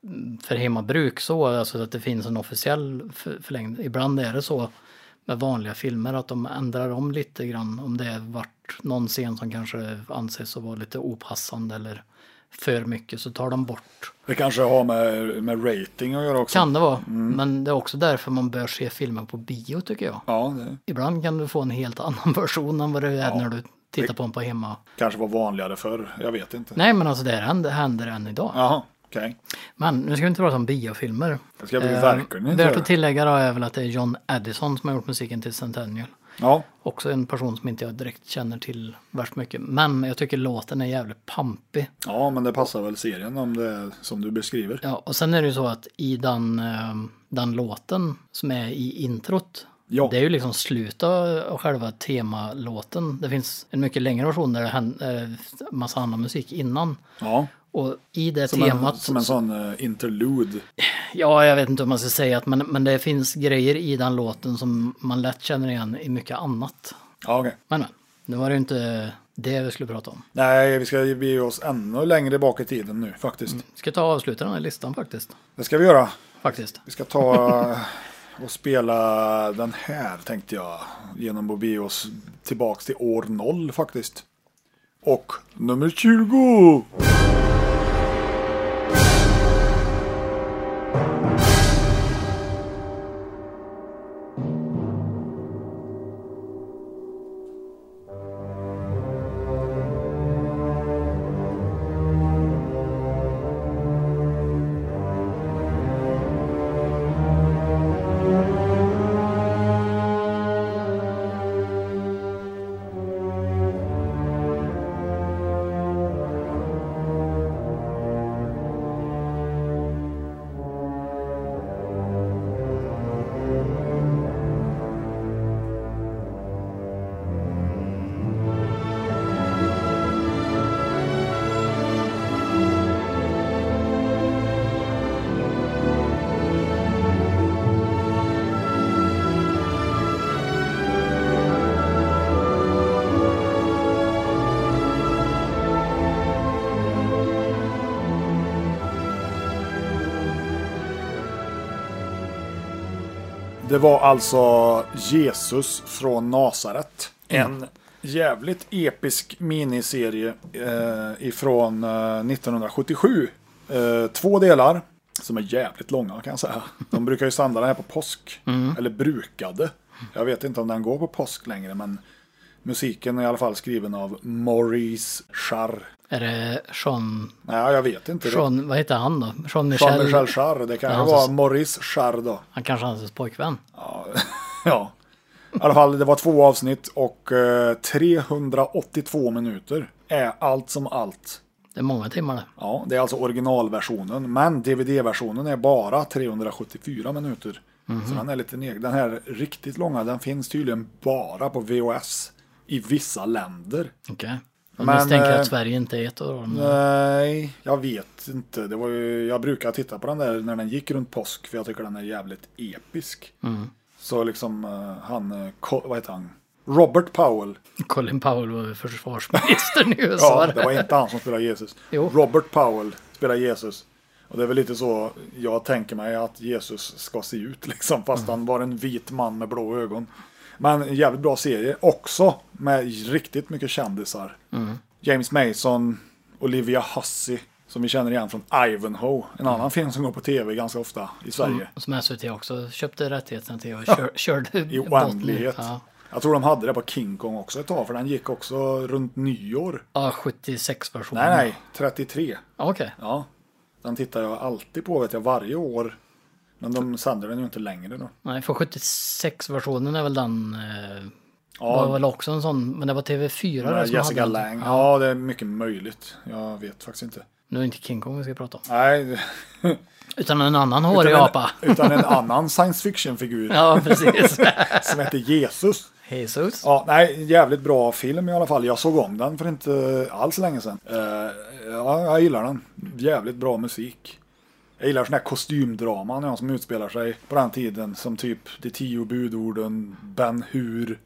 Speaker 3: för hemmabruk så, alltså att det finns en officiell för- förlängd. Ibland är det så med vanliga filmer att de ändrar om lite grann om det är vart någon scen som kanske anses att vara lite opassande eller för mycket så tar de bort.
Speaker 2: Det kanske har med, med rating att göra också.
Speaker 3: Kan det vara, men det är också därför man bör se filmer på bio tycker jag.
Speaker 2: Ja, det
Speaker 3: Ibland kan du få en helt annan version än vad det är när du tittar på den på hemma.
Speaker 2: kanske var vanligare förr. Jag vet inte.
Speaker 3: Nej men alltså det här händer, händer än idag.
Speaker 2: Jaha, okej.
Speaker 3: Men nu ska vi inte prata om biofilmer.
Speaker 2: Det ska vi
Speaker 3: Eh,
Speaker 2: verkligen inte
Speaker 3: Värt
Speaker 2: göra.
Speaker 3: att tillägga då är väl att det är John Addison som har gjort musiken till Centennial.
Speaker 2: Ja,
Speaker 3: Också en person som inte jag direkt känner till värst mycket. Men jag tycker låten är jävligt pampig.
Speaker 2: ja, men det passar väl serien om det är som du beskriver.
Speaker 3: Ja, och sen är det ju så att i den, eh, den låten som är i introt.
Speaker 2: Ja.
Speaker 3: Det är ju liksom slutet av själva temalåten. Det finns en mycket längre version där det händer eh, massa annan musik innan.
Speaker 2: Ja,
Speaker 3: Och i det
Speaker 2: som,
Speaker 3: temat...
Speaker 2: en, som en sån eh, interlude.
Speaker 3: Ja, jag vet inte om man ska säga att, men, men det finns grejer i den låten som man lätt känner igen i mycket annat.
Speaker 2: Ja, okej.
Speaker 3: Men, men nu var det ju inte det vi skulle prata om.
Speaker 2: Nej, vi ska bege oss ännu längre bak i tiden nu faktiskt.
Speaker 3: Vi ska ta och avsluta den här listan faktiskt.
Speaker 2: Det ska vi göra.
Speaker 3: Faktiskt.
Speaker 2: Vi ska ta eh, och spela den här tänkte jag. Genom att bege oss tillbaks till år noll faktiskt. Och nummer 20! Det var alltså Jesus från Nasaret. En jävligt episk miniserie eh, ifrån eh, 1977. Eh, två delar som är jävligt långa kan jag säga. De brukar ju sända den här på påsk. Eller brukade. Jag vet inte om den går på påsk längre men musiken är i alla fall skriven av Maurice Jarre.
Speaker 3: Är det Sean,
Speaker 2: Nej, jag vet inte.
Speaker 3: Sean vad heter han då? Sean Michel?
Speaker 2: Jean-Michel Jarre. Det kan
Speaker 3: Ja,
Speaker 2: ju
Speaker 3: han
Speaker 2: vara
Speaker 3: som-
Speaker 2: Maurice Jarre då.
Speaker 3: Han kanske är hans pojkvän.
Speaker 2: Ja. I alla fall, det var två avsnitt och eh, 382 minuter är allt som allt.
Speaker 3: Det är många timmar det.
Speaker 2: Ja, det är alltså originalversionen, men DVD-versionen är bara 374 minuter. Så den är lite neg. Den här riktigt långa, den finns tydligen bara på VHS i vissa länder.
Speaker 3: Okej. Jag
Speaker 2: Men,
Speaker 3: misstänker
Speaker 2: eh,
Speaker 3: att Sverige inte är ett av dem.
Speaker 2: Nej, jag vet inte. Det var ju, jag brukar titta på den där när den gick runt påsk, för jag tycker den är jävligt episk. Så liksom eh, han, eh, Ko- vad heter han? Robert Powell.
Speaker 3: Colin Powell var ju försvarsministern i USA.
Speaker 2: Ja, det var inte han som spelade Jesus.
Speaker 3: Jo.
Speaker 2: Robert Powell spelar Jesus. Och det är väl lite så jag tänker mig att Jesus ska se ut, liksom, fast
Speaker 3: Mm.
Speaker 2: han var en vit man med blå ögon. Men en jävligt bra serie också, med riktigt mycket kändisar.
Speaker 3: Mm.
Speaker 2: James Mason, Olivia Hussey, som vi känner igen från Ivanhoe. En
Speaker 3: Mm.
Speaker 2: annan film som går på tv ganska ofta i Sverige.
Speaker 3: Som SVT också köpte rättigheterna till och kör, körde
Speaker 2: I
Speaker 3: bort nu.
Speaker 2: oändlighet.
Speaker 3: Ja.
Speaker 2: Jag tror de hade det på King Kong också ett tag, för den gick också runt nyår.
Speaker 3: Ja, 76-versionen.
Speaker 2: Nej, nej, 33.
Speaker 3: Okej.
Speaker 2: Ja, den tittar jag alltid på vet jag, varje år. Men de sänder den ju inte längre då.
Speaker 3: Nej, för 76-versionen är väl den... Eh, var
Speaker 2: Ja,
Speaker 3: väl också en sån, men det var TV4 där
Speaker 2: med
Speaker 3: som
Speaker 2: Jessica
Speaker 3: hade den.
Speaker 2: Lange. Ja, det är mycket möjligt. Jag vet faktiskt inte.
Speaker 3: Nu är det inte King Kong vi ska prata om.
Speaker 2: Nej,
Speaker 3: Utan en annan hårig
Speaker 2: utan
Speaker 3: apa.
Speaker 2: en, utan en annan science fiction-figur
Speaker 3: Ja, precis.
Speaker 2: som heter Jesus.
Speaker 3: Jesus.
Speaker 2: Ja, nej, jävligt bra film i alla fall. Jag såg om den för inte alls länge sedan. Eh, ja, jag gillar den. Jävligt bra musik. Jag gillar sån här kostymdraman ja, som utspelar sig på den tiden. Som typ De tio budorden, Ben Hur,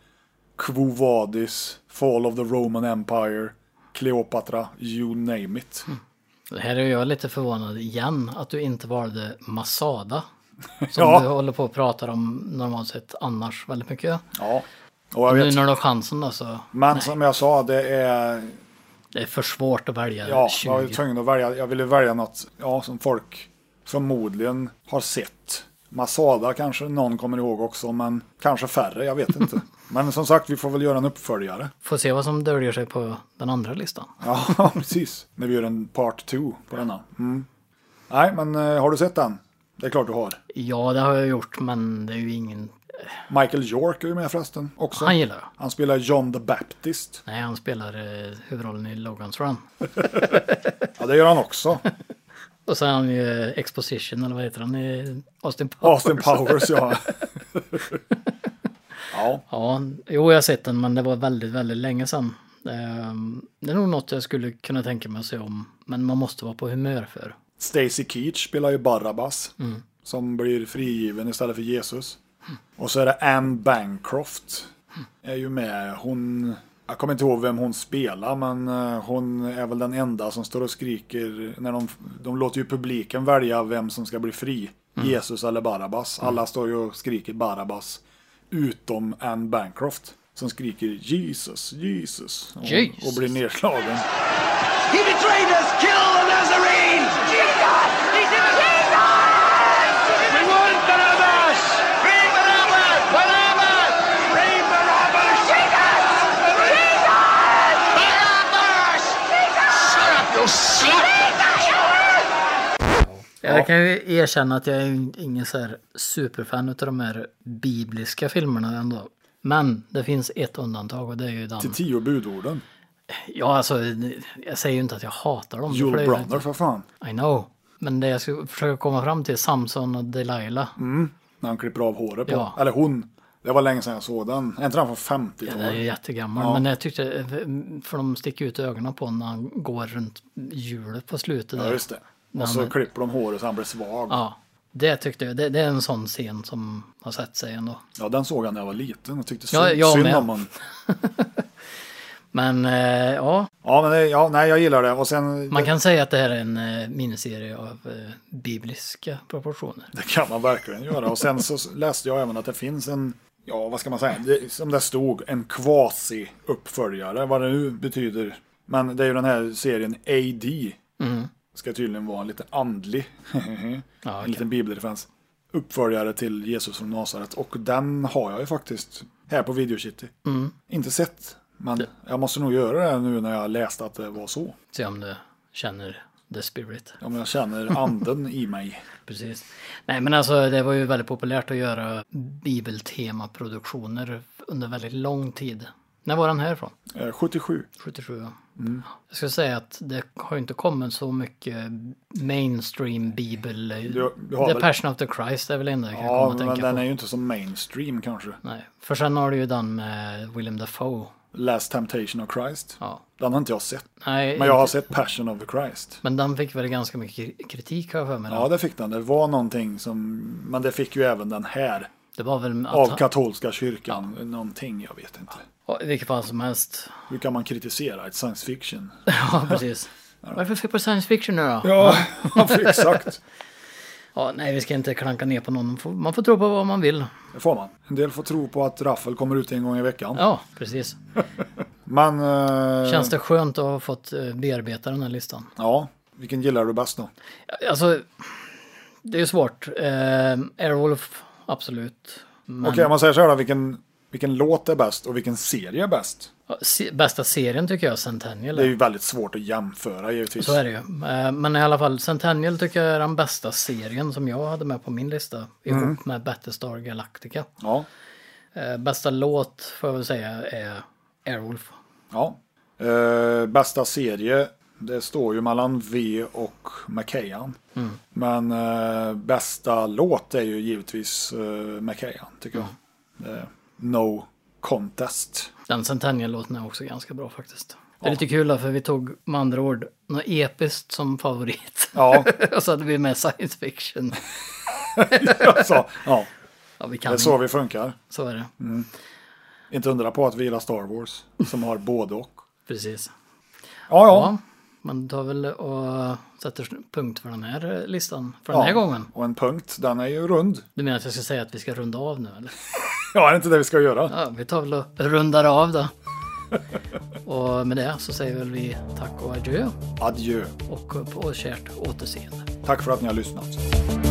Speaker 2: Quo Vadis, Fall of the Roman Empire, Cleopatra, you name it.
Speaker 3: Mm. Det Här är jag lite förvånad igen att du inte valde Masada. Som
Speaker 2: Ja.
Speaker 3: du håller på att prata om normalt sett annars väldigt mycket.
Speaker 2: Ja, och jag
Speaker 3: Nu
Speaker 2: vet.
Speaker 3: när du har chansen då så.
Speaker 2: Men som jag sa, det är
Speaker 3: Det är för svårt att välja
Speaker 2: Ja, jag var ju
Speaker 3: 20.
Speaker 2: tvungen att välja. Jag ville välja något ja, som folk förmodligen har sett. Masada kanske någon kommer ihåg också, men kanske färre. Jag vet inte. men som sagt, vi får väl göra en uppföljare.
Speaker 3: Får se vad som döljer sig på den andra listan.
Speaker 2: Ja, precis. När vi gör en part 2 på denna. Mm. Nej, men eh, har du sett den? Det är klart du har.
Speaker 3: Ja, det har jag gjort, men det är ju ingen...
Speaker 2: Michael York är ju med förresten också.
Speaker 3: Han gillar jag.
Speaker 2: Han spelar John the Baptist.
Speaker 3: Nej, han spelar eh, huvudrollen i Logans Run.
Speaker 2: Ja, det gör han också.
Speaker 3: Och sen har han ju eh, Exposition, eller vad heter han? i Austin Powers.
Speaker 2: Austin Powers, ja. ja,
Speaker 3: Ja, jo jag har sett den men det var väldigt, väldigt länge sedan. Ehm, Det är nog något jag skulle kunna tänka mig att se om. Men man måste vara på humör för.
Speaker 2: Stacy Keach spelar ju Barabbas.
Speaker 3: Mm.
Speaker 2: Som blir frigiven istället för Jesus. Och så är det Anne Bancroft. Är ju med. Hon... Jag kommer inte ihåg vem hon spelar men eh, hon är väl den enda som står och skriker. När de, de låter ju publiken välja vem som ska bli fri.
Speaker 3: Mm.
Speaker 2: Jesus eller Barabbas. Alla står ju och skriker Barabbas. Utom Anne Bancroft. Som skriker Jesus, Jesus. Och,
Speaker 3: Jesus.
Speaker 2: och blir nedslagen.
Speaker 7: He betrayed us! Kill the Nazarene! Jesus! He's We want Barabbas! Bring Barabbas! Barabbas! Bring Barabbas! Jesus! Jesus! Barabbas! Jesus! Shut up, you slut!
Speaker 3: Jag kan ju erkänna att jag är ingen så här superfan av de här bibliska filmerna ändå. Men det finns ett undantag och det är ju den.
Speaker 2: Till tio budorden.
Speaker 3: Ja, alltså jag säger ju inte att jag hatar dem. för det
Speaker 2: Joel
Speaker 3: är ju
Speaker 2: Brunner för fan.
Speaker 3: inte- I know. Men det jag ska försöka komma fram till, Samson och Delilah.
Speaker 2: När han klipper av håret på.
Speaker 3: Ja.
Speaker 2: Eller hon. Det var länge sedan jag såg den. Är inte den från
Speaker 3: Den är
Speaker 2: 50-talet?
Speaker 3: ju jättegammal, men jag tyckte, för de sticker ut ögonen på när han går runt hjulet på slutet.
Speaker 2: Ja,
Speaker 3: där.
Speaker 2: just det. Och så
Speaker 3: men-
Speaker 2: klipper de håret så han blir svag. Ja.
Speaker 3: Ja, det tyckte jag. Det, det är en sån scen som har sett sig ändå.
Speaker 2: den såg jag när jag var liten och tyckte
Speaker 3: Ja,
Speaker 2: synd,
Speaker 3: jag
Speaker 2: synd
Speaker 3: med.
Speaker 2: om honom.
Speaker 3: Men eh, ja,
Speaker 2: Ja, men det, ja, nej, jag gillar det. Och sen,
Speaker 3: man kan säga att det här är en eh, miniserie av eh, bibliska proportioner.
Speaker 2: Det kan man verkligen göra. Och sen så läste jag även att det finns en, ja vad ska man säga, det, som det stod, en quasi-uppföljare, vad det nu betyder. Men det är ju den här serien AD.
Speaker 3: Mm.
Speaker 2: Ska tydligen vara en lite andlig,
Speaker 3: Ja,
Speaker 2: en
Speaker 3: okej.
Speaker 2: liten bibelreferens. Uppföljare till Jesus från Nasaret. Och den har jag ju faktiskt här på Video City.
Speaker 3: Mm.
Speaker 2: Inte sett, men jag måste nog göra det nu när jag läste att det var så.
Speaker 3: Se om du känner the spirit.
Speaker 2: Om jag känner anden i mig.
Speaker 3: Precis. Nej men alltså det var ju väldigt populärt att göra bibeltemaproduktioner under väldigt lång tid. När var den här ifrån?
Speaker 2: Eh, 77.
Speaker 3: 77 ja.
Speaker 2: Mm.
Speaker 3: Jag skulle säga att det har ju inte kommit så mycket mainstream bibel.
Speaker 2: Du- du har
Speaker 3: the
Speaker 2: väl-
Speaker 3: Passion of the Christ är väl det enda jag kan komma
Speaker 2: Ja,
Speaker 3: att
Speaker 2: men
Speaker 3: tänka
Speaker 2: den
Speaker 3: på.
Speaker 2: är ju inte så mainstream kanske.
Speaker 3: Nej. För sen har du ju den med William Dafoe.
Speaker 2: Last Temptation of Christ.
Speaker 3: Ja.
Speaker 2: Den har inte jag sett.
Speaker 3: Nej,
Speaker 2: Men jag har
Speaker 3: inte-
Speaker 2: sett Passion of the Christ.
Speaker 3: men den fick väl ganska mycket kri- kritik har jag för mig.
Speaker 2: Ja, det fick den. Det var någonting som... Men det fick ju även den här.
Speaker 3: Det var väl att
Speaker 2: Av
Speaker 3: han-
Speaker 2: katolska kyrkan. Någonting, jag vet inte.
Speaker 3: Ja, I vilket fall som helst.
Speaker 2: Hur kan man kritisera ett science fiction?
Speaker 3: Ja, precis. Varför fick på science fiction nu då? Ja.
Speaker 2: Ja, exakt.
Speaker 3: nej, vi ska inte klanka ner på någon. Man får, man får tro på vad man vill.
Speaker 2: Det får man. En del får tro på att Raffel kommer ut en gång i veckan.
Speaker 3: Ja, precis.
Speaker 2: Men... Eh,
Speaker 3: Känns det skönt att ha fått eh, bearbeta den här listan?
Speaker 2: Ja. Vilken gillar du bäst då?
Speaker 3: Alltså, det är ju svårt. Eh, Airwolf, absolut. Mm. Men
Speaker 2: Okej, om man säger så här då. Vilken, vilken låt är bäst och vilken serie är bäst?
Speaker 3: ja, se, bästa serien tycker jag är Centennial.
Speaker 2: Det är ju väldigt svårt att jämföra givetvis.
Speaker 3: Så är det ju. Eh, Men i alla fall, Centennial tycker jag är den bästa serien som jag hade med på min lista. Ihop med Battlestar Galactica.
Speaker 2: Ja.
Speaker 3: Eh, Bästa låt får jag väl säga är Airwolf.
Speaker 2: Ja. Eh, bästa serie, det står ju mellan V och McKayan.
Speaker 3: Mm.
Speaker 2: Men eh, bästa låt är ju givetvis eh, McKayan, tycker
Speaker 3: Mm.
Speaker 2: jag. Eh, no contest.
Speaker 3: Den Centennial-låten är också ganska bra faktiskt. Det är lite kul då, för vi tog med andra ord något episkt som favorit.
Speaker 2: Ja,
Speaker 3: och så hade vi med science fiction.
Speaker 2: så, ja
Speaker 3: Ja,
Speaker 2: det
Speaker 3: vi kan
Speaker 2: är så Mm. vi funkar.
Speaker 3: så är det.
Speaker 2: Inte undra på att vi gillar Star Wars, som har både och.
Speaker 3: Precis.
Speaker 2: Ja, ja.
Speaker 3: Ja, man tar väl och sätter punkt för den här eh, listan för den här
Speaker 2: Ja.
Speaker 3: gången.
Speaker 2: Och en punkt, den är ju rund.
Speaker 3: Du menar att jag ska säga att vi ska runda av nu eller?
Speaker 2: Ja, är det inte det vi ska göra?
Speaker 3: Ja, vi tar väl och rundar av då. och med det så säger väl vi tack och adjö
Speaker 2: Adjö.
Speaker 3: och på kärt återseende.
Speaker 2: Tack för att ni har lyssnat.